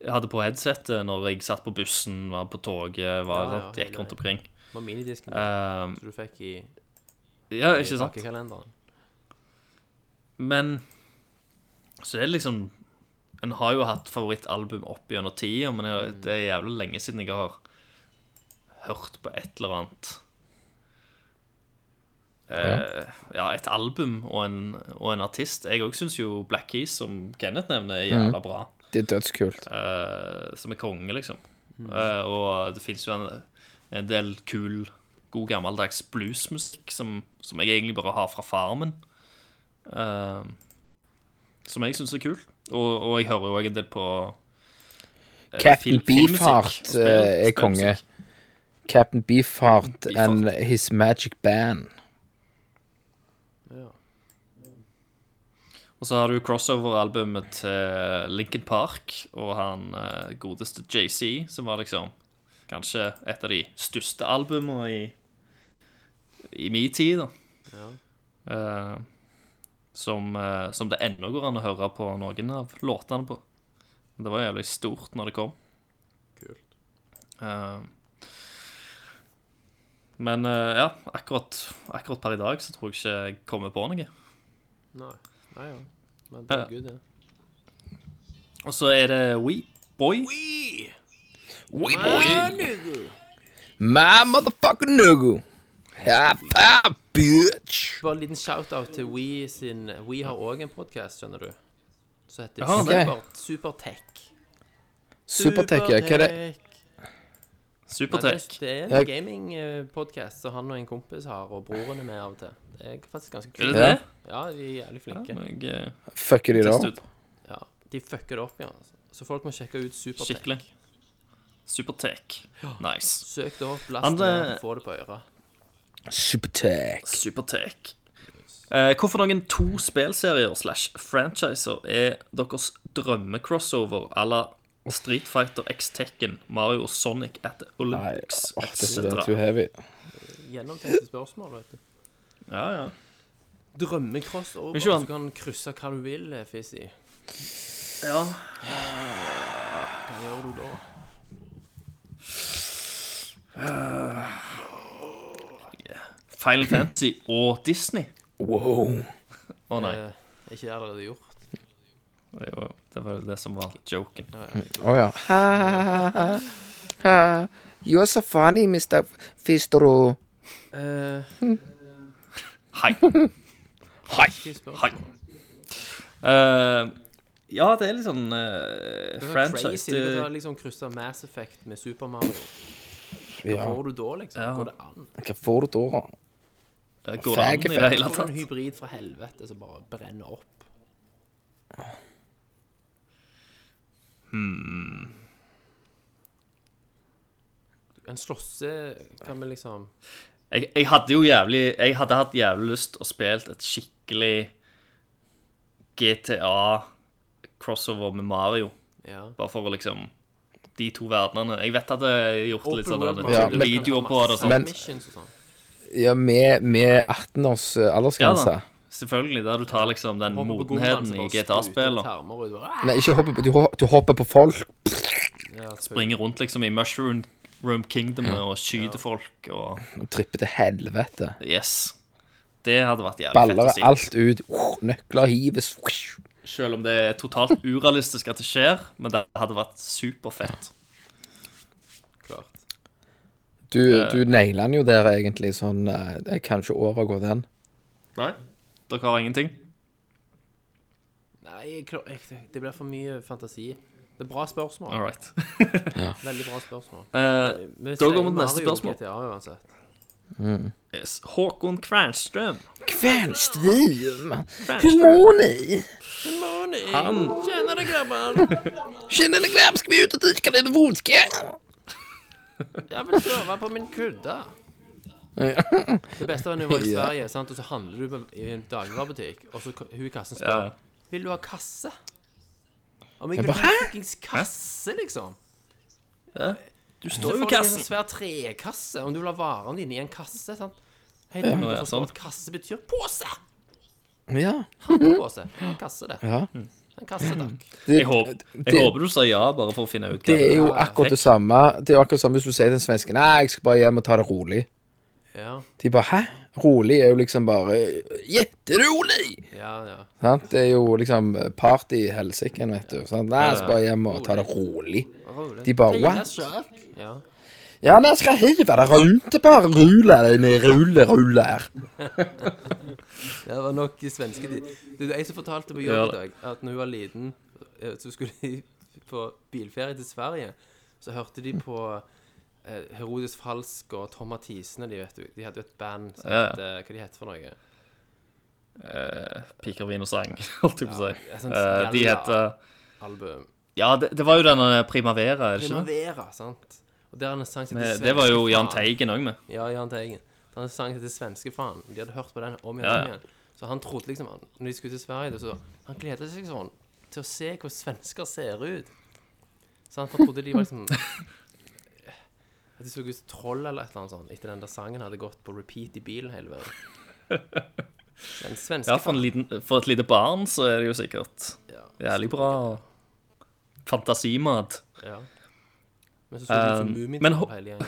[SPEAKER 1] jeg hadde på headsetet når jeg satt på bussen, var på toget, var,
[SPEAKER 4] Ja, ja,
[SPEAKER 1] gikk rundt omkring.
[SPEAKER 4] Med minidisken
[SPEAKER 1] Eh,
[SPEAKER 4] som du fikk i,
[SPEAKER 1] ja,
[SPEAKER 4] i
[SPEAKER 1] ikke sant?
[SPEAKER 4] pakkekalenderen.
[SPEAKER 1] Men så er det liksom En har jo hatt favorittalbum opp gjennom tida, men jeg, det er jævlig lenge siden jeg har hørt på et eller annet. Eh, ja, et album og en, og en artist. Jeg òg syns jo Black Keys, som Kenneth nevner, er jævla bra.
[SPEAKER 5] Det er dødskult.
[SPEAKER 1] Eh, som er konge, liksom. Eh, og det fins jo en, en del kul, god gammeldags bluesmusikk som, som jeg egentlig bare har fra farmen. Eh, som jeg syns er kul. Og, og jeg hører jo òg en del på film-
[SPEAKER 5] Captain
[SPEAKER 1] filmmusikk.
[SPEAKER 5] Beefheart eh,
[SPEAKER 1] Spill-
[SPEAKER 5] er konge.
[SPEAKER 1] spillmusikk.
[SPEAKER 5] Captain Beefheart and
[SPEAKER 1] Beefheart.
[SPEAKER 5] His Magic Band.
[SPEAKER 1] Og så har du crossover-albumet til Linkin Park og han eh, godeste JC, som var liksom kanskje et av de største albumene i, i min tid, da. Eh, som, eh, som det ennå går an å høre på noen av låtene på. Det var jævlig stort når det kom. Kult. men eh, ja, akkurat, akkurat per i dag så tror jeg ikke jeg kommer på noe.
[SPEAKER 4] Nei. Nei ja. Men det
[SPEAKER 1] Ja.
[SPEAKER 4] er good, det.
[SPEAKER 1] Og så er det We Boy.
[SPEAKER 5] My motherfucking nuggo! High five, bitch!
[SPEAKER 4] Bare en liten shout-out til We sin We har òg en podkast, skjønner du. Som heter
[SPEAKER 1] Jaha,
[SPEAKER 5] ok.
[SPEAKER 4] Super, Supertech.
[SPEAKER 5] Supertech, ja. Hva er det?
[SPEAKER 4] Nei, det,
[SPEAKER 1] Supertech.
[SPEAKER 4] er- det er
[SPEAKER 5] Ja.
[SPEAKER 4] en gamingpodkast som han og en kompis har, og broren er med av og til. Det er faktisk ganske
[SPEAKER 1] Er
[SPEAKER 4] kult.
[SPEAKER 1] det
[SPEAKER 5] Ja.
[SPEAKER 1] det?
[SPEAKER 4] Ja, de er jævlig flinke.
[SPEAKER 1] Jeg eh,
[SPEAKER 5] Fucker de da
[SPEAKER 1] tester
[SPEAKER 5] opp?
[SPEAKER 1] ut
[SPEAKER 4] Ja, De fucker det opp, ja. Så folk må sjekke ut Supertech.
[SPEAKER 1] skikkelig. Supertech. Nice.
[SPEAKER 4] Søk det opp, last
[SPEAKER 1] Han,
[SPEAKER 4] det ned,
[SPEAKER 1] eh,
[SPEAKER 4] og få det på øret.
[SPEAKER 5] Supertech.
[SPEAKER 1] Supertech. Eh, hvorfor noen to spillserier slash franchiser er deres drømme-crossover à la Street Fighter X Tekken, Mario og Sonic at the
[SPEAKER 5] Nei,
[SPEAKER 1] Olympics
[SPEAKER 5] åh, dette er
[SPEAKER 1] etc.?
[SPEAKER 5] too heavy.
[SPEAKER 4] Gjennomtenkte spørsmål, vet du.
[SPEAKER 1] Ja, ja.
[SPEAKER 4] Drømmekross over,
[SPEAKER 1] Ikke
[SPEAKER 4] så du
[SPEAKER 1] sant?
[SPEAKER 4] kan krysse hva du vil, eh, Fizzy.
[SPEAKER 1] ja.
[SPEAKER 4] Hva gjør du da?
[SPEAKER 1] Final Fantasy og Disney.
[SPEAKER 5] Wow.
[SPEAKER 1] Å nei.
[SPEAKER 4] Eh, er ikke det allerede gjort?
[SPEAKER 1] Det var- det var jo det som var joken.
[SPEAKER 5] Å ja. Ha, ha, ha. You're so funny, Mr. Fistro.
[SPEAKER 4] Eh,
[SPEAKER 1] Hei. Hei.
[SPEAKER 4] ikke spørsmål.
[SPEAKER 1] Hei. Eh, ja, det er litt sånn eh,
[SPEAKER 4] Det er
[SPEAKER 1] franchise
[SPEAKER 4] crazy. Du kan ta
[SPEAKER 1] det,
[SPEAKER 4] liksom krysse Mass Effect med Super Mario. Hva
[SPEAKER 5] Ja.
[SPEAKER 4] får du da, liksom?
[SPEAKER 1] Ja.
[SPEAKER 4] Går det an?
[SPEAKER 5] Hva får du da?
[SPEAKER 1] det Går an i det hele
[SPEAKER 4] Får du en
[SPEAKER 1] tatt?
[SPEAKER 4] hybrid fra helvete som bare brenner opp?
[SPEAKER 1] Hmm.
[SPEAKER 4] En slåsse kan vi liksom
[SPEAKER 1] Jeg, jeg hadde jo jævlig Jeg hadde hatt jævlig lyst å spille et skikkelig GTA-crossover med Mario.
[SPEAKER 4] Ja.
[SPEAKER 1] Bare for å liksom De to verdenene. Jeg vet at jeg gjort litt
[SPEAKER 4] Open world
[SPEAKER 1] sånn
[SPEAKER 4] Mario,
[SPEAKER 5] Ja,
[SPEAKER 4] du kan
[SPEAKER 5] men-
[SPEAKER 1] videoer
[SPEAKER 4] ha
[SPEAKER 1] på det og
[SPEAKER 4] masse
[SPEAKER 1] sånn.
[SPEAKER 5] Men-
[SPEAKER 4] liksom. missions og sånn.
[SPEAKER 5] Ja, med, med 18 års eh,
[SPEAKER 1] Ja
[SPEAKER 5] aldersgrense.
[SPEAKER 1] da. Selvfølgelig. Der du tar liksom den
[SPEAKER 4] Hopper på
[SPEAKER 1] modenheten
[SPEAKER 4] gommen, så bare
[SPEAKER 1] i
[SPEAKER 4] spruter
[SPEAKER 1] GTA-spillet.
[SPEAKER 4] termer ut, bare,
[SPEAKER 5] Nei, ikke hoppe på, du, ho- du hopper på folk.
[SPEAKER 4] Ja, spring.
[SPEAKER 1] Springer rundt liksom i Mushroom Room Kingdom og skyter folk og
[SPEAKER 5] og Tripper til helvete.
[SPEAKER 1] Yes. Det hadde vært jævlig
[SPEAKER 5] Baller
[SPEAKER 1] fett å si.
[SPEAKER 5] alt ut. Oh, Nøkler hives.
[SPEAKER 1] Selv om det er totalt [laughs] urealistisk at det skjer, men det hadde vært superfett.
[SPEAKER 4] Klart.
[SPEAKER 5] Du, du nailer den jo der, egentlig. Sånn eh, Jeg kan ikke overgå den.
[SPEAKER 1] Nei? Dere har ingenting?
[SPEAKER 4] Nei, jeg klar, jeg, det blir for mye fantasi. Det er bra spørsmål.
[SPEAKER 1] All right.
[SPEAKER 4] Veldig bra spørsmål.
[SPEAKER 1] Eh,
[SPEAKER 4] Men
[SPEAKER 1] Da går
[SPEAKER 4] sier
[SPEAKER 1] vi til neste
[SPEAKER 4] Mario
[SPEAKER 1] spørsmål.
[SPEAKER 4] GTA uansett.
[SPEAKER 1] yes. Håkon Kvernstrøm.
[SPEAKER 5] Kveldstrim! Hvor må ni?
[SPEAKER 4] Han Tjenere, grabber!
[SPEAKER 5] Kjenner dere hvem skal vi ut og drikke litt vodka?
[SPEAKER 4] Jeg vil sove på min kudde. Det beste var når jeg
[SPEAKER 1] [laughs]
[SPEAKER 4] var i Sverige, sant? og så handler du på- i en dagligvarebutikk, og så k- hun i kassen spør
[SPEAKER 1] Ja.
[SPEAKER 4] Vil du ha kasse? Om jeg
[SPEAKER 5] Jeg
[SPEAKER 4] vil
[SPEAKER 5] bare,
[SPEAKER 4] ha fuckings kasse, liksom.
[SPEAKER 1] Du
[SPEAKER 4] Så får du
[SPEAKER 1] står jo i
[SPEAKER 4] en sånn
[SPEAKER 1] kassen.
[SPEAKER 4] svær trekasse, om du vil ha varene dine i en kasse. sant? Helt ja,
[SPEAKER 1] ja,
[SPEAKER 4] sånn.
[SPEAKER 1] sånn.
[SPEAKER 4] at kasse betyr pose!
[SPEAKER 5] Ja.
[SPEAKER 4] Pose. En kasse, det.
[SPEAKER 5] ja.
[SPEAKER 4] En kasse, takk.
[SPEAKER 5] Det,
[SPEAKER 1] Jeg håper,
[SPEAKER 5] det-
[SPEAKER 1] jeg håper du sa ja, bare for å finne ut hva
[SPEAKER 5] det er jo
[SPEAKER 1] er.
[SPEAKER 5] akkurat det samme Det er jo akkurat det samme hvis du sier til en svenske Nei, jeg skal bare hjem og ta det rolig.
[SPEAKER 4] Ja,
[SPEAKER 5] De bare Hæ? Rolig er jo liksom bare Jetterolig!
[SPEAKER 4] ja, ja.
[SPEAKER 5] Sant? Det er jo liksom party i helsiken, vet du. Sant? Nei, jeg skal bare hjem og ta det rolig. De bare What?
[SPEAKER 4] ja.
[SPEAKER 5] Ja, men jeg skal hive deg rundt. Det er bare rulle deg ned, rulle, rulle
[SPEAKER 1] [laughs]
[SPEAKER 5] her.
[SPEAKER 4] Det var nok de svenske de. Du, det er jeg som fortalte på
[SPEAKER 1] Ja.
[SPEAKER 4] jobb i dag at når hun var liten, eh, så skulle de [laughs] på bilferie til Sverige. Så hørte de på eh, Herodes Falsk og Tom Mathisen og de, vet du. De hadde jo et band som
[SPEAKER 1] Ja.
[SPEAKER 4] het eh, Hva de het for noe?
[SPEAKER 1] Piker, vin og sang, [laughs] holdt jeg på å si.
[SPEAKER 4] Ja, sånn
[SPEAKER 1] Eh, de
[SPEAKER 4] jævla
[SPEAKER 1] heter
[SPEAKER 4] Album.
[SPEAKER 1] Ja, det, det var jo denne Primavera, er det ikke det?
[SPEAKER 4] Primavera, sant? Og der er en sang som heter
[SPEAKER 1] Med, det var jo
[SPEAKER 4] Svenske
[SPEAKER 1] Jahn
[SPEAKER 4] Faen.
[SPEAKER 1] Teigen òg med.
[SPEAKER 4] Ja, Jahn Teigen. Det er en sang som heter Svenskefaen. De hadde hørt på den om igjen.
[SPEAKER 1] Ja,
[SPEAKER 4] og
[SPEAKER 1] ja.
[SPEAKER 4] om igjen. Så han trodde liksom han, Når de skulle til Sverige, da, så Han gledet seg sånn til å se hvordan svensker ser ut. Så han trodde de var liksom [laughs] At de så ut som troll eller et eller annet sånt etter den der sangen hadde gått på repeat i bilen hele veien. Den svenske
[SPEAKER 1] Ja, for, en liten, for et lite barn så er det jo sikkert
[SPEAKER 4] ja.
[SPEAKER 1] jævlig bra fantasimat.
[SPEAKER 4] Ja. Men så så de ut som
[SPEAKER 1] Um, men
[SPEAKER 4] Mummitroll
[SPEAKER 1] ho-
[SPEAKER 4] hele gjengen.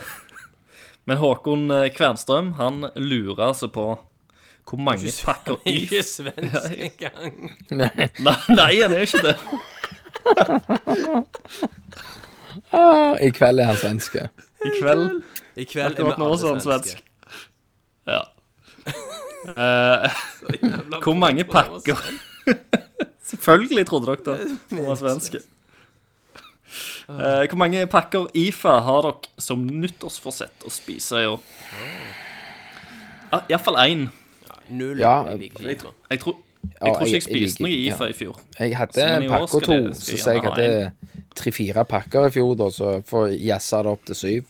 [SPEAKER 4] [laughs]
[SPEAKER 1] Men Håkon eh, Kvernstrøm, han lurer altså på hvor mange pakker
[SPEAKER 4] Ikke
[SPEAKER 1] is
[SPEAKER 4] svensk engang.
[SPEAKER 1] [laughs] Nei, nei, han er ikke det.
[SPEAKER 5] Ah, I kveld er han svenske.
[SPEAKER 1] I kveld
[SPEAKER 4] [laughs] I kveld er vi
[SPEAKER 1] Akkurat nå så er
[SPEAKER 4] alle
[SPEAKER 1] han
[SPEAKER 4] svenske.
[SPEAKER 1] svensk.
[SPEAKER 4] [laughs]
[SPEAKER 1] Ja. Eh, hvor mange pakker [laughs] Selvfølgelig trodde dere det. Han var svensk. Eh, hvor mange pakker IFA har dere som nyttårsforsett å spise i år? Ah, Iallfall én.
[SPEAKER 4] Null.
[SPEAKER 5] Ja,
[SPEAKER 4] Jeg liker ikke liksom. IFA.
[SPEAKER 1] Jeg, tror-
[SPEAKER 5] Ja,
[SPEAKER 1] jeg tror ikke jeg
[SPEAKER 5] liker
[SPEAKER 1] spiste noe
[SPEAKER 5] ikke-
[SPEAKER 1] IFA i fjor.
[SPEAKER 5] Jeg hadde
[SPEAKER 1] Så, men i
[SPEAKER 5] en
[SPEAKER 1] år
[SPEAKER 5] pakke
[SPEAKER 1] skal
[SPEAKER 5] og to,
[SPEAKER 1] det- skal
[SPEAKER 5] så
[SPEAKER 1] jeg
[SPEAKER 5] sa jeg
[SPEAKER 1] gjerne
[SPEAKER 5] at det er tre-fire pakker i fjor, da, så får jeg jazza det opp til syv.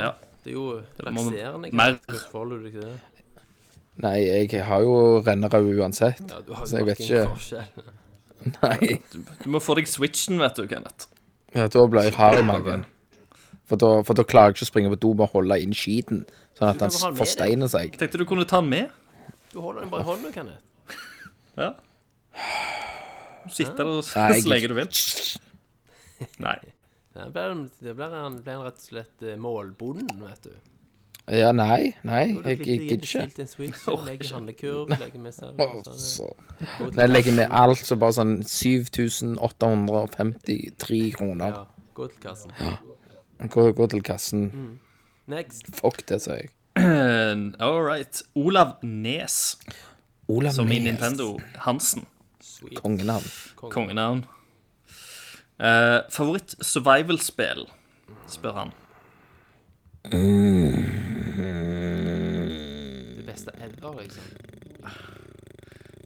[SPEAKER 1] Ja.
[SPEAKER 4] Det er jo
[SPEAKER 1] må-
[SPEAKER 4] lakserende.
[SPEAKER 1] mer.
[SPEAKER 4] Forholder du deg til det?
[SPEAKER 5] Nei, jeg har jo rennerød uansett. [laughs]
[SPEAKER 4] Ja, du har
[SPEAKER 5] Så
[SPEAKER 4] jo
[SPEAKER 5] jeg vet
[SPEAKER 4] fucking
[SPEAKER 5] ikke.
[SPEAKER 4] forskjell.
[SPEAKER 5] Nei.
[SPEAKER 1] Du må få deg switchen, vet du, Kenneth.
[SPEAKER 5] Ja, da ble jeg hard i magen. For da, for da klarer jeg ikke å springe på do med å holde inn skiten, sånn at
[SPEAKER 4] Du kan bare ha
[SPEAKER 5] han
[SPEAKER 4] den med
[SPEAKER 5] forsteiner seg.
[SPEAKER 1] Tenkte du kunne ta den med.
[SPEAKER 4] Du holder den bare i hånda, Kenneth.
[SPEAKER 1] Ja. Sitte der og
[SPEAKER 5] Nei, jeg-
[SPEAKER 1] så lenge du vil. Nei.
[SPEAKER 4] Ja, Det blir, det blir, han, blir han rett og slett eh, målbonden, vet du.
[SPEAKER 5] Ja, nei, nei, jeg jeg
[SPEAKER 4] gidder
[SPEAKER 5] gidder ikke.
[SPEAKER 4] ikke. Legger handlekurv, legger med seg
[SPEAKER 5] Å, Så. Når jeg Altså, legger med alt, så bare sånn 7853 kroner.
[SPEAKER 4] Ja, gå til kassen.
[SPEAKER 5] Gå, gå til kassen.
[SPEAKER 4] Next.
[SPEAKER 5] Fuck det, sier jeg.
[SPEAKER 1] All right. Olav Nes,
[SPEAKER 5] Olav
[SPEAKER 1] som i
[SPEAKER 5] Nes,
[SPEAKER 1] Nintendo Hansen.
[SPEAKER 4] Sweet.
[SPEAKER 5] Kongenavn.
[SPEAKER 1] Kongenavn. Eh, favoritt survival-spill, spør han.
[SPEAKER 4] Det beste ever, liksom.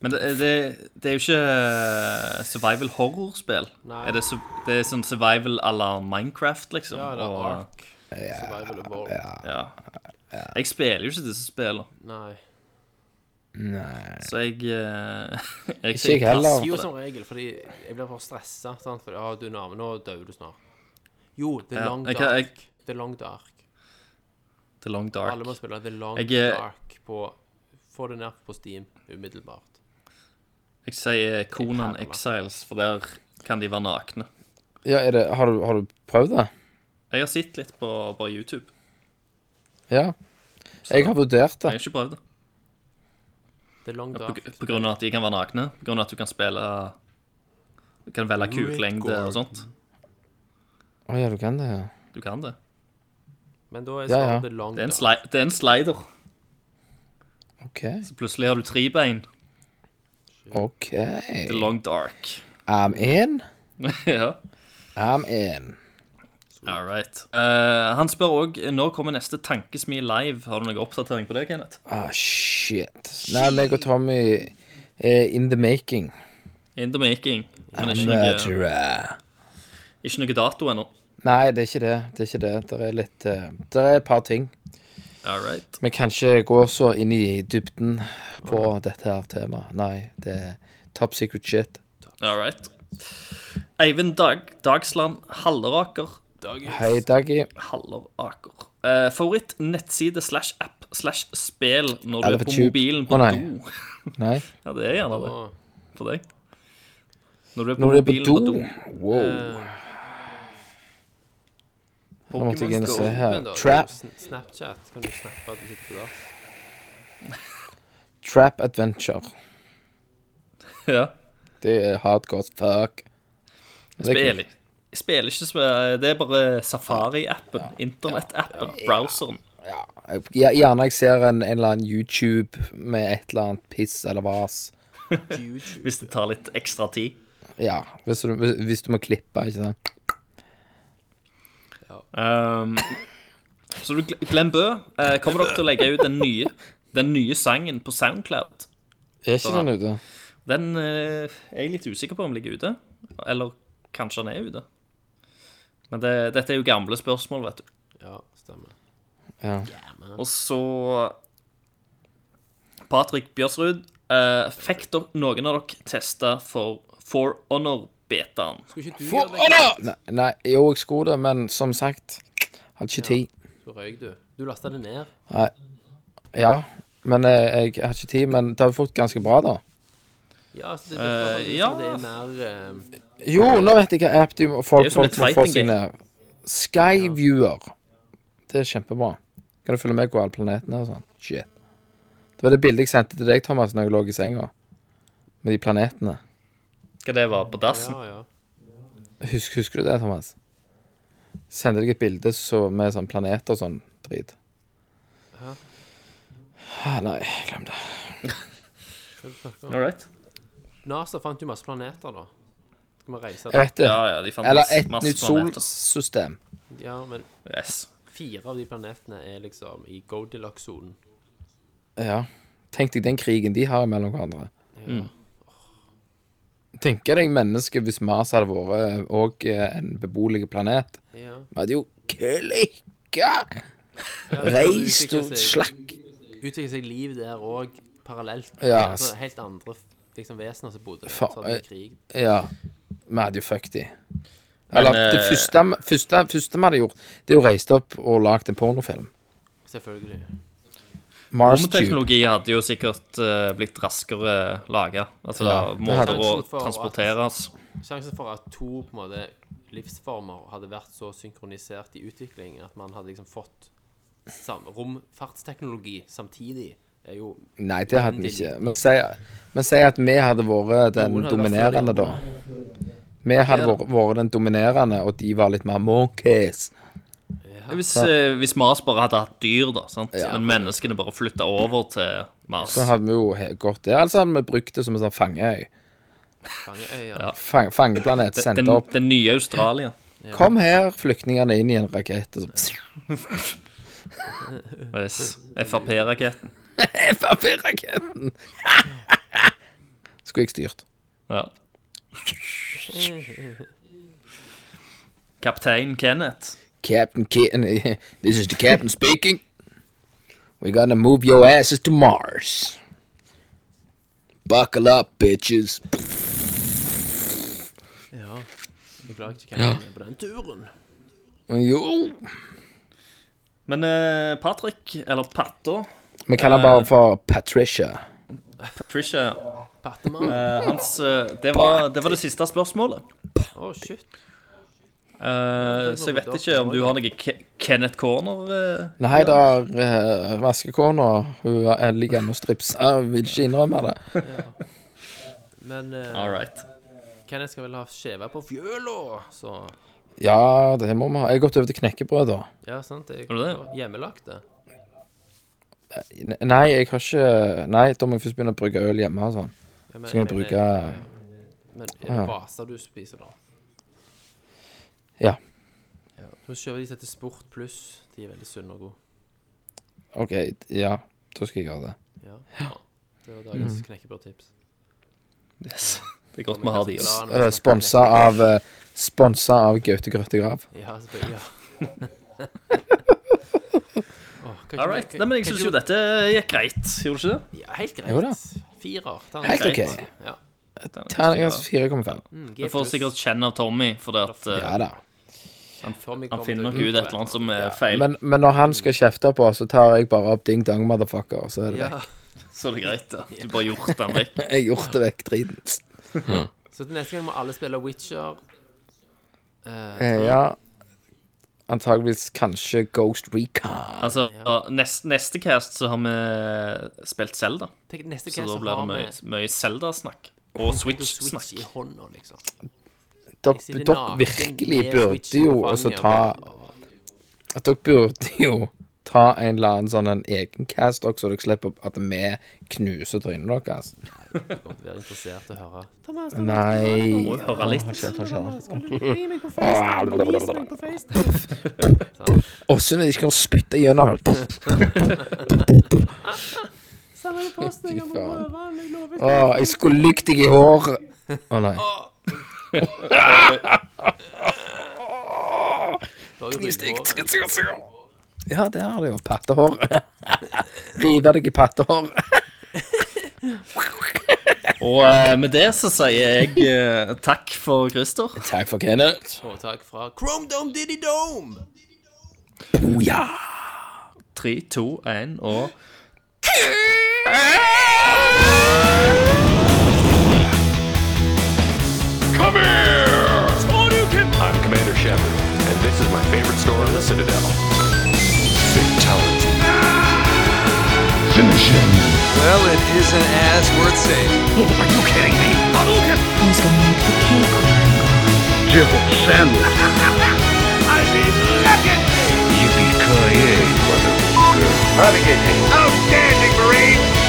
[SPEAKER 1] Men det, det, det er jo ikke survival-horror-spill.
[SPEAKER 4] Nei.
[SPEAKER 1] Er det, su- det er sånn survival à la Minecraft, liksom.
[SPEAKER 4] Ja, det er
[SPEAKER 1] og-
[SPEAKER 4] Ark. Survival of War.
[SPEAKER 1] ja. Jeg spiller jo ikke disse spillene,
[SPEAKER 4] Nei.
[SPEAKER 1] så jeg eh, [laughs] Jeg
[SPEAKER 5] Ikke jeg heller.
[SPEAKER 4] Jo, som regel, fordi jeg blir for stressa. sant? Fordi, ah, du er nærme, nå dør du snart. Jo, The
[SPEAKER 1] Ja,
[SPEAKER 4] Long
[SPEAKER 1] jeg
[SPEAKER 4] Dark.
[SPEAKER 1] kan- jeg-
[SPEAKER 4] The Long Dark.
[SPEAKER 1] The Long Dark.
[SPEAKER 4] Alle må spille The Long
[SPEAKER 1] Jeg er-
[SPEAKER 4] Dark på Få det ned på Steam umiddelbart.
[SPEAKER 1] Jeg sier Conan
[SPEAKER 4] Perla.
[SPEAKER 1] Exiles, for der kan de være nakne.
[SPEAKER 5] Ja, er det, har, du, har du prøvd det?
[SPEAKER 1] Jeg har sett litt på, på YouTube.
[SPEAKER 5] Ja. Jeg har vurdert det.
[SPEAKER 1] Jeg har ikke prøvd det.
[SPEAKER 4] The Long
[SPEAKER 1] På,
[SPEAKER 4] Dark.
[SPEAKER 1] på grunn av at de kan være nakne. På grunn av at du kan spille Du kan velge kuklengde og sånt.
[SPEAKER 5] Å ja, du kan det, ja.
[SPEAKER 1] Du kan det.
[SPEAKER 4] Men da er
[SPEAKER 5] Ja,
[SPEAKER 4] svaret
[SPEAKER 5] ja.
[SPEAKER 4] The Long
[SPEAKER 1] Det er en,
[SPEAKER 4] Dark.
[SPEAKER 1] sli det er en slider.
[SPEAKER 5] OK.
[SPEAKER 1] Så plutselig har du tre bein.
[SPEAKER 5] OK.
[SPEAKER 1] The Long Dark. [laughs]
[SPEAKER 5] I'm in.
[SPEAKER 1] ja.
[SPEAKER 5] I'm in.
[SPEAKER 1] All right. Eh, han spør òg når kommer neste Tankesmi live. Har du noen oppdatering på det, Kenneth?
[SPEAKER 5] Ah, shit. Nei, meg og Tommy er in the making.
[SPEAKER 1] In the making. Men ikke noe,
[SPEAKER 5] Murderer.
[SPEAKER 1] ikke noe dato ennå.
[SPEAKER 5] Nei, det er ikke det. Det er ikke det. Det er litt eh, Det er et par ting.
[SPEAKER 1] All right.
[SPEAKER 5] Vi kan ikke gå så inn i dybden på dette her temaet. Nei, det er top secret shit.
[SPEAKER 1] All right. Eivind Dag Dagsland Halleraker.
[SPEAKER 5] Hei, Daggy.
[SPEAKER 1] Halleraker. Eh, favoritt nettside slash app slash spel når du
[SPEAKER 5] Er
[SPEAKER 1] er
[SPEAKER 5] det
[SPEAKER 1] på
[SPEAKER 5] for tjukt?
[SPEAKER 1] mobilen
[SPEAKER 5] Å,
[SPEAKER 1] på
[SPEAKER 5] nei.
[SPEAKER 1] do.
[SPEAKER 5] Nei.
[SPEAKER 1] Ja, det er gjerne det
[SPEAKER 4] Å.
[SPEAKER 1] for deg. Når du er på
[SPEAKER 5] Når du er på
[SPEAKER 1] mobilen
[SPEAKER 5] do Eh.
[SPEAKER 1] på do.
[SPEAKER 5] Wow. Nå måtte jeg inn og se her.
[SPEAKER 4] Men da,
[SPEAKER 5] Trap,
[SPEAKER 4] Sn- Snapchat. Kan du snappe at du sitter på dass?
[SPEAKER 5] trap adventure.
[SPEAKER 1] Ja.
[SPEAKER 5] Det er hardcore as fuck. Men det er
[SPEAKER 1] Spiller. Jeg spiller ikke sp- Det er bare Safari-appen. Internettappen. Browseren.
[SPEAKER 5] kult. Ja, Gjerne jeg ser en, en eller annen YouTube med et eller annet piss eller vas.
[SPEAKER 1] Hvis det tar litt ekstra tid.
[SPEAKER 5] Ja, hvis du, hvis- hvis du må klippe, ikke sant.
[SPEAKER 1] Um, så du, Glenn Bø, eh, kommer dere til å legge ut den nye, den nye sangen på Soundcloud?
[SPEAKER 5] Er ikke den ute?
[SPEAKER 1] Den eh, er jeg litt usikker på om ligger ute. Eller Kanskje han er ute. Men det, dette er jo gamle spørsmål, vet du.
[SPEAKER 4] Ja, stemmer.
[SPEAKER 5] Ja.
[SPEAKER 1] Og så Patrick Bjørsrud. eh, fikk dere, noen av dere testa for For Honor-betaen?
[SPEAKER 4] Skulle ikke du
[SPEAKER 5] For,
[SPEAKER 4] gjøre det?
[SPEAKER 5] nei, nei, jo, jeg skulle det, men som sagt, hadde ikke tid.
[SPEAKER 4] Så røyk du. Du lasta det ned.
[SPEAKER 5] Ja, men eh, jeg hadde ikke tid, men det har jo fått ganske bra, da.
[SPEAKER 4] Ja, så det, det,
[SPEAKER 1] Eh,
[SPEAKER 4] det,
[SPEAKER 1] ja.
[SPEAKER 4] det er mer eh,
[SPEAKER 5] Jo, nå vet jeg hva app de må-
[SPEAKER 1] Det er
[SPEAKER 5] folk,
[SPEAKER 1] jo som et
[SPEAKER 5] folk må få
[SPEAKER 1] fighting
[SPEAKER 5] sine Skyviewer. Det er kjempebra. Kan du følge med på alle planetene og sånn? Shit. Det var det bildet jeg sendte til deg, Thomas, når jeg lå i senga. Med de planetene.
[SPEAKER 1] Hva det var på dassen?
[SPEAKER 4] Ja, ja.
[SPEAKER 5] Husk, husker du det, Thomas? Sendte deg et bilde så, med sånn planeter og sånn drit. Ah, nei, glem det.
[SPEAKER 1] All right.
[SPEAKER 4] NASA fant jo masse planeter, da. Skal vi reise
[SPEAKER 5] Jeg
[SPEAKER 4] der?
[SPEAKER 5] vet det.
[SPEAKER 1] Ja, ja, de fant
[SPEAKER 5] Eller
[SPEAKER 1] masse-
[SPEAKER 5] et
[SPEAKER 1] masse
[SPEAKER 5] nytt
[SPEAKER 1] planeter.
[SPEAKER 5] solsystem.
[SPEAKER 4] Ja, men
[SPEAKER 1] Yes.
[SPEAKER 4] fire av de planetene er liksom i Goldilocks-sonen.
[SPEAKER 5] Ja. Tenk deg den krigen de har mellom hverandre. Tenker deg mennesket hvis Mars hadde vært òg en beboelig planet.
[SPEAKER 4] Ja.
[SPEAKER 5] Vi hadde jo klikka! Reist og slakk.
[SPEAKER 4] Utvikler seg liv der òg, parallelt.
[SPEAKER 5] Ja,
[SPEAKER 4] Altså,
[SPEAKER 5] s-
[SPEAKER 4] helt andre liksom, vesener som bodde der.
[SPEAKER 5] Fa- eh,
[SPEAKER 4] Så hadde det krig.
[SPEAKER 5] Ja. Vi hadde jo fucked de. Eller det
[SPEAKER 1] eh,
[SPEAKER 5] første, første, første vi hadde gjort, det er jo reist opp og lagd en pornofilm.
[SPEAKER 4] Selvfølgelig.
[SPEAKER 5] Mars Tube.
[SPEAKER 1] Romteknologi hadde jo sikkert eh, blitt raskere laga. Altså
[SPEAKER 5] Ja, det
[SPEAKER 1] måter
[SPEAKER 5] hadde
[SPEAKER 1] å
[SPEAKER 4] det.
[SPEAKER 1] transporteres
[SPEAKER 4] Sjansen for at to på en måte, livsformer hadde vært så synkronisert i utvikling at man hadde liksom fått sam romfartsteknologi samtidig, er jo
[SPEAKER 5] Nei, det hadde vi ikke. Men si, men si at vi hadde vært den
[SPEAKER 4] Noen hadde vært
[SPEAKER 5] dominerende, da. Vi hadde vært- vært den dominerende, og de var litt mer monkeys.
[SPEAKER 1] hvis, eh, hvis Mars bare hadde hatt dyr, da. Sant? Men menneskene bare flytta over til Mars.
[SPEAKER 5] Så hadde vi jo he- gått der. Altså hadde vi brukt det som en sånn fangeøy.
[SPEAKER 4] fangeøyer.
[SPEAKER 5] Fang, fangeplanet
[SPEAKER 1] Den,
[SPEAKER 5] sendt opp.
[SPEAKER 1] den nye Australia.
[SPEAKER 5] Kom her, flyktningene, inn i en rakett. og så- [laughs]
[SPEAKER 1] Yes. Frp-raketten.
[SPEAKER 5] FAP-raketten! [laughs] Skulle jeg styrt.
[SPEAKER 1] Ja. Kaptein Kenneth.
[SPEAKER 5] Captain Kitten, [laughs] this is the captain speaking. We're gonna move your asses to Mars. Buckle up, bitches.
[SPEAKER 4] Ja. Jeg klarer ikke hva jeg er på den turen.
[SPEAKER 5] Jo.
[SPEAKER 1] Men eh, Patrick, eller Patta,
[SPEAKER 5] Vi kaller han
[SPEAKER 4] Eh.
[SPEAKER 5] bare for Patricia.
[SPEAKER 1] Patricia
[SPEAKER 4] Pattemann.
[SPEAKER 1] eh, hans, eh, det, var, det var det siste spørsmålet.
[SPEAKER 4] Å, shit.
[SPEAKER 1] Eh, så jeg vet ikke om du har noe Ke- Kenneth Corner eh,
[SPEAKER 5] Nei, det er uh, vaskekona. Hun er- ligger ennå og stripser. Jeg vil ikke innrømme det.
[SPEAKER 4] Men
[SPEAKER 1] All
[SPEAKER 4] uh,
[SPEAKER 1] right.
[SPEAKER 4] Kenneth skal vel ha skjeve på fjøla, så
[SPEAKER 5] Ja, det må vi ha. Jeg har gått over til knekkebrød, da.
[SPEAKER 4] Ja, sant? Jeg,
[SPEAKER 1] Har du det?
[SPEAKER 4] Hjemmelagte.
[SPEAKER 5] N- Nei, jeg har ikke Nei, da må jeg først begynne å brygge øl hjemme og sånn.
[SPEAKER 4] Ja, men-
[SPEAKER 5] Så kan jeg
[SPEAKER 4] men- eh,
[SPEAKER 5] bruke
[SPEAKER 4] Men er
[SPEAKER 5] Ja.
[SPEAKER 4] det vaser du spiser, da?
[SPEAKER 5] Ja.
[SPEAKER 4] Så kjøper de seg til Sport Pluss. De er veldig sunne og gode.
[SPEAKER 5] OK, ja. Da skal jeg gjøre det.
[SPEAKER 4] Ja. ja. Det var dagens knekkebrødtips.
[SPEAKER 1] Yes. Det er godt vi har de. altså.
[SPEAKER 4] Planen
[SPEAKER 5] Eh,
[SPEAKER 4] er å snakke
[SPEAKER 5] Sponsa av eh, Sponsa av Gaute Grøttegrav.
[SPEAKER 4] knekkebrød. Ja, selvfølgelig. Ja. [laughs] Åh, kan ikke-
[SPEAKER 1] All right.
[SPEAKER 4] kan-
[SPEAKER 1] Nei, men jeg
[SPEAKER 4] kan
[SPEAKER 1] syns
[SPEAKER 4] ikke-
[SPEAKER 1] jo dette gikk greit, gjorde ikke det?
[SPEAKER 4] ja, Helt greit.
[SPEAKER 5] Jo da.
[SPEAKER 4] Firer. ta den.
[SPEAKER 5] Helt OK.
[SPEAKER 1] Greit.
[SPEAKER 4] Ja.
[SPEAKER 5] Terningkast 4,5.
[SPEAKER 4] Mm, G
[SPEAKER 1] Vi får
[SPEAKER 4] pluss.
[SPEAKER 1] sikkert kjenne av Tommy, for at eh,
[SPEAKER 5] Ja da.
[SPEAKER 4] Tommy
[SPEAKER 1] han
[SPEAKER 4] kommer til
[SPEAKER 1] finner
[SPEAKER 4] å
[SPEAKER 1] nok ut et eller annet som er feil.
[SPEAKER 5] Men, men når han skal kjefte på, så tar jeg bare opp ding dong, motherfucker. Så er det vekk.
[SPEAKER 4] Ja.
[SPEAKER 1] Så er det greit. da. Du bare gjort den vekk.
[SPEAKER 5] Jeg har gjort det vekk driten.
[SPEAKER 4] Så til neste gang må alle spille Witcher. Eh,
[SPEAKER 5] Eh, ja. Antageligvis kanskje Ghost Recon.
[SPEAKER 1] Altså, neste, neste cast så har vi spilt Zelda,
[SPEAKER 4] tenk, neste
[SPEAKER 1] så
[SPEAKER 4] gang
[SPEAKER 1] da
[SPEAKER 4] så
[SPEAKER 1] blir
[SPEAKER 4] har
[SPEAKER 1] det
[SPEAKER 4] vi
[SPEAKER 1] mye, mye Zelda-snakk. Og
[SPEAKER 4] Switch
[SPEAKER 1] Switch-snakk.
[SPEAKER 4] i hånda, liksom.
[SPEAKER 5] Dere
[SPEAKER 4] Jeg sitter
[SPEAKER 5] dere
[SPEAKER 4] naken
[SPEAKER 5] virkelig
[SPEAKER 4] med
[SPEAKER 5] burde
[SPEAKER 4] switchen
[SPEAKER 5] jo
[SPEAKER 4] på
[SPEAKER 5] også
[SPEAKER 4] fanget,
[SPEAKER 5] ta
[SPEAKER 4] og-
[SPEAKER 5] At dere burde jo ta en eller annen sånn en egen cast også, så dere slipper at vi knuser trynet deres.
[SPEAKER 4] og Være interessert i å høre.
[SPEAKER 5] Nei
[SPEAKER 1] Må jo høre litt.
[SPEAKER 5] [laughs] Åssen er det ikke kan spytte gjennom? Fy faen. Å, jeg skulle lykt deg i håret. Å nei.
[SPEAKER 8] har jo ryggvår.
[SPEAKER 5] Ja, det har det jo. Pattehår. Rive deg i pattehår.
[SPEAKER 1] Og eh, med det så sier jeg eh, takk for Christer.
[SPEAKER 5] Takk for Kenneth.
[SPEAKER 8] Og takk fra Chrome Dome Diddy Dome!
[SPEAKER 5] Oh, ja.
[SPEAKER 1] Tre, to, én og
[SPEAKER 3] Come here! I'm Commander Shepard, and this is my favorite store in the Citadel. Fatality. Finish him.
[SPEAKER 2] Well, it isn't as worth saving.
[SPEAKER 3] Are you kidding me?
[SPEAKER 10] Who's gonna make the cake?
[SPEAKER 3] Jibble sandwich. [laughs] I mean, look at me! Yippee-ki-yay, motherfucker. Outstanding, Marine!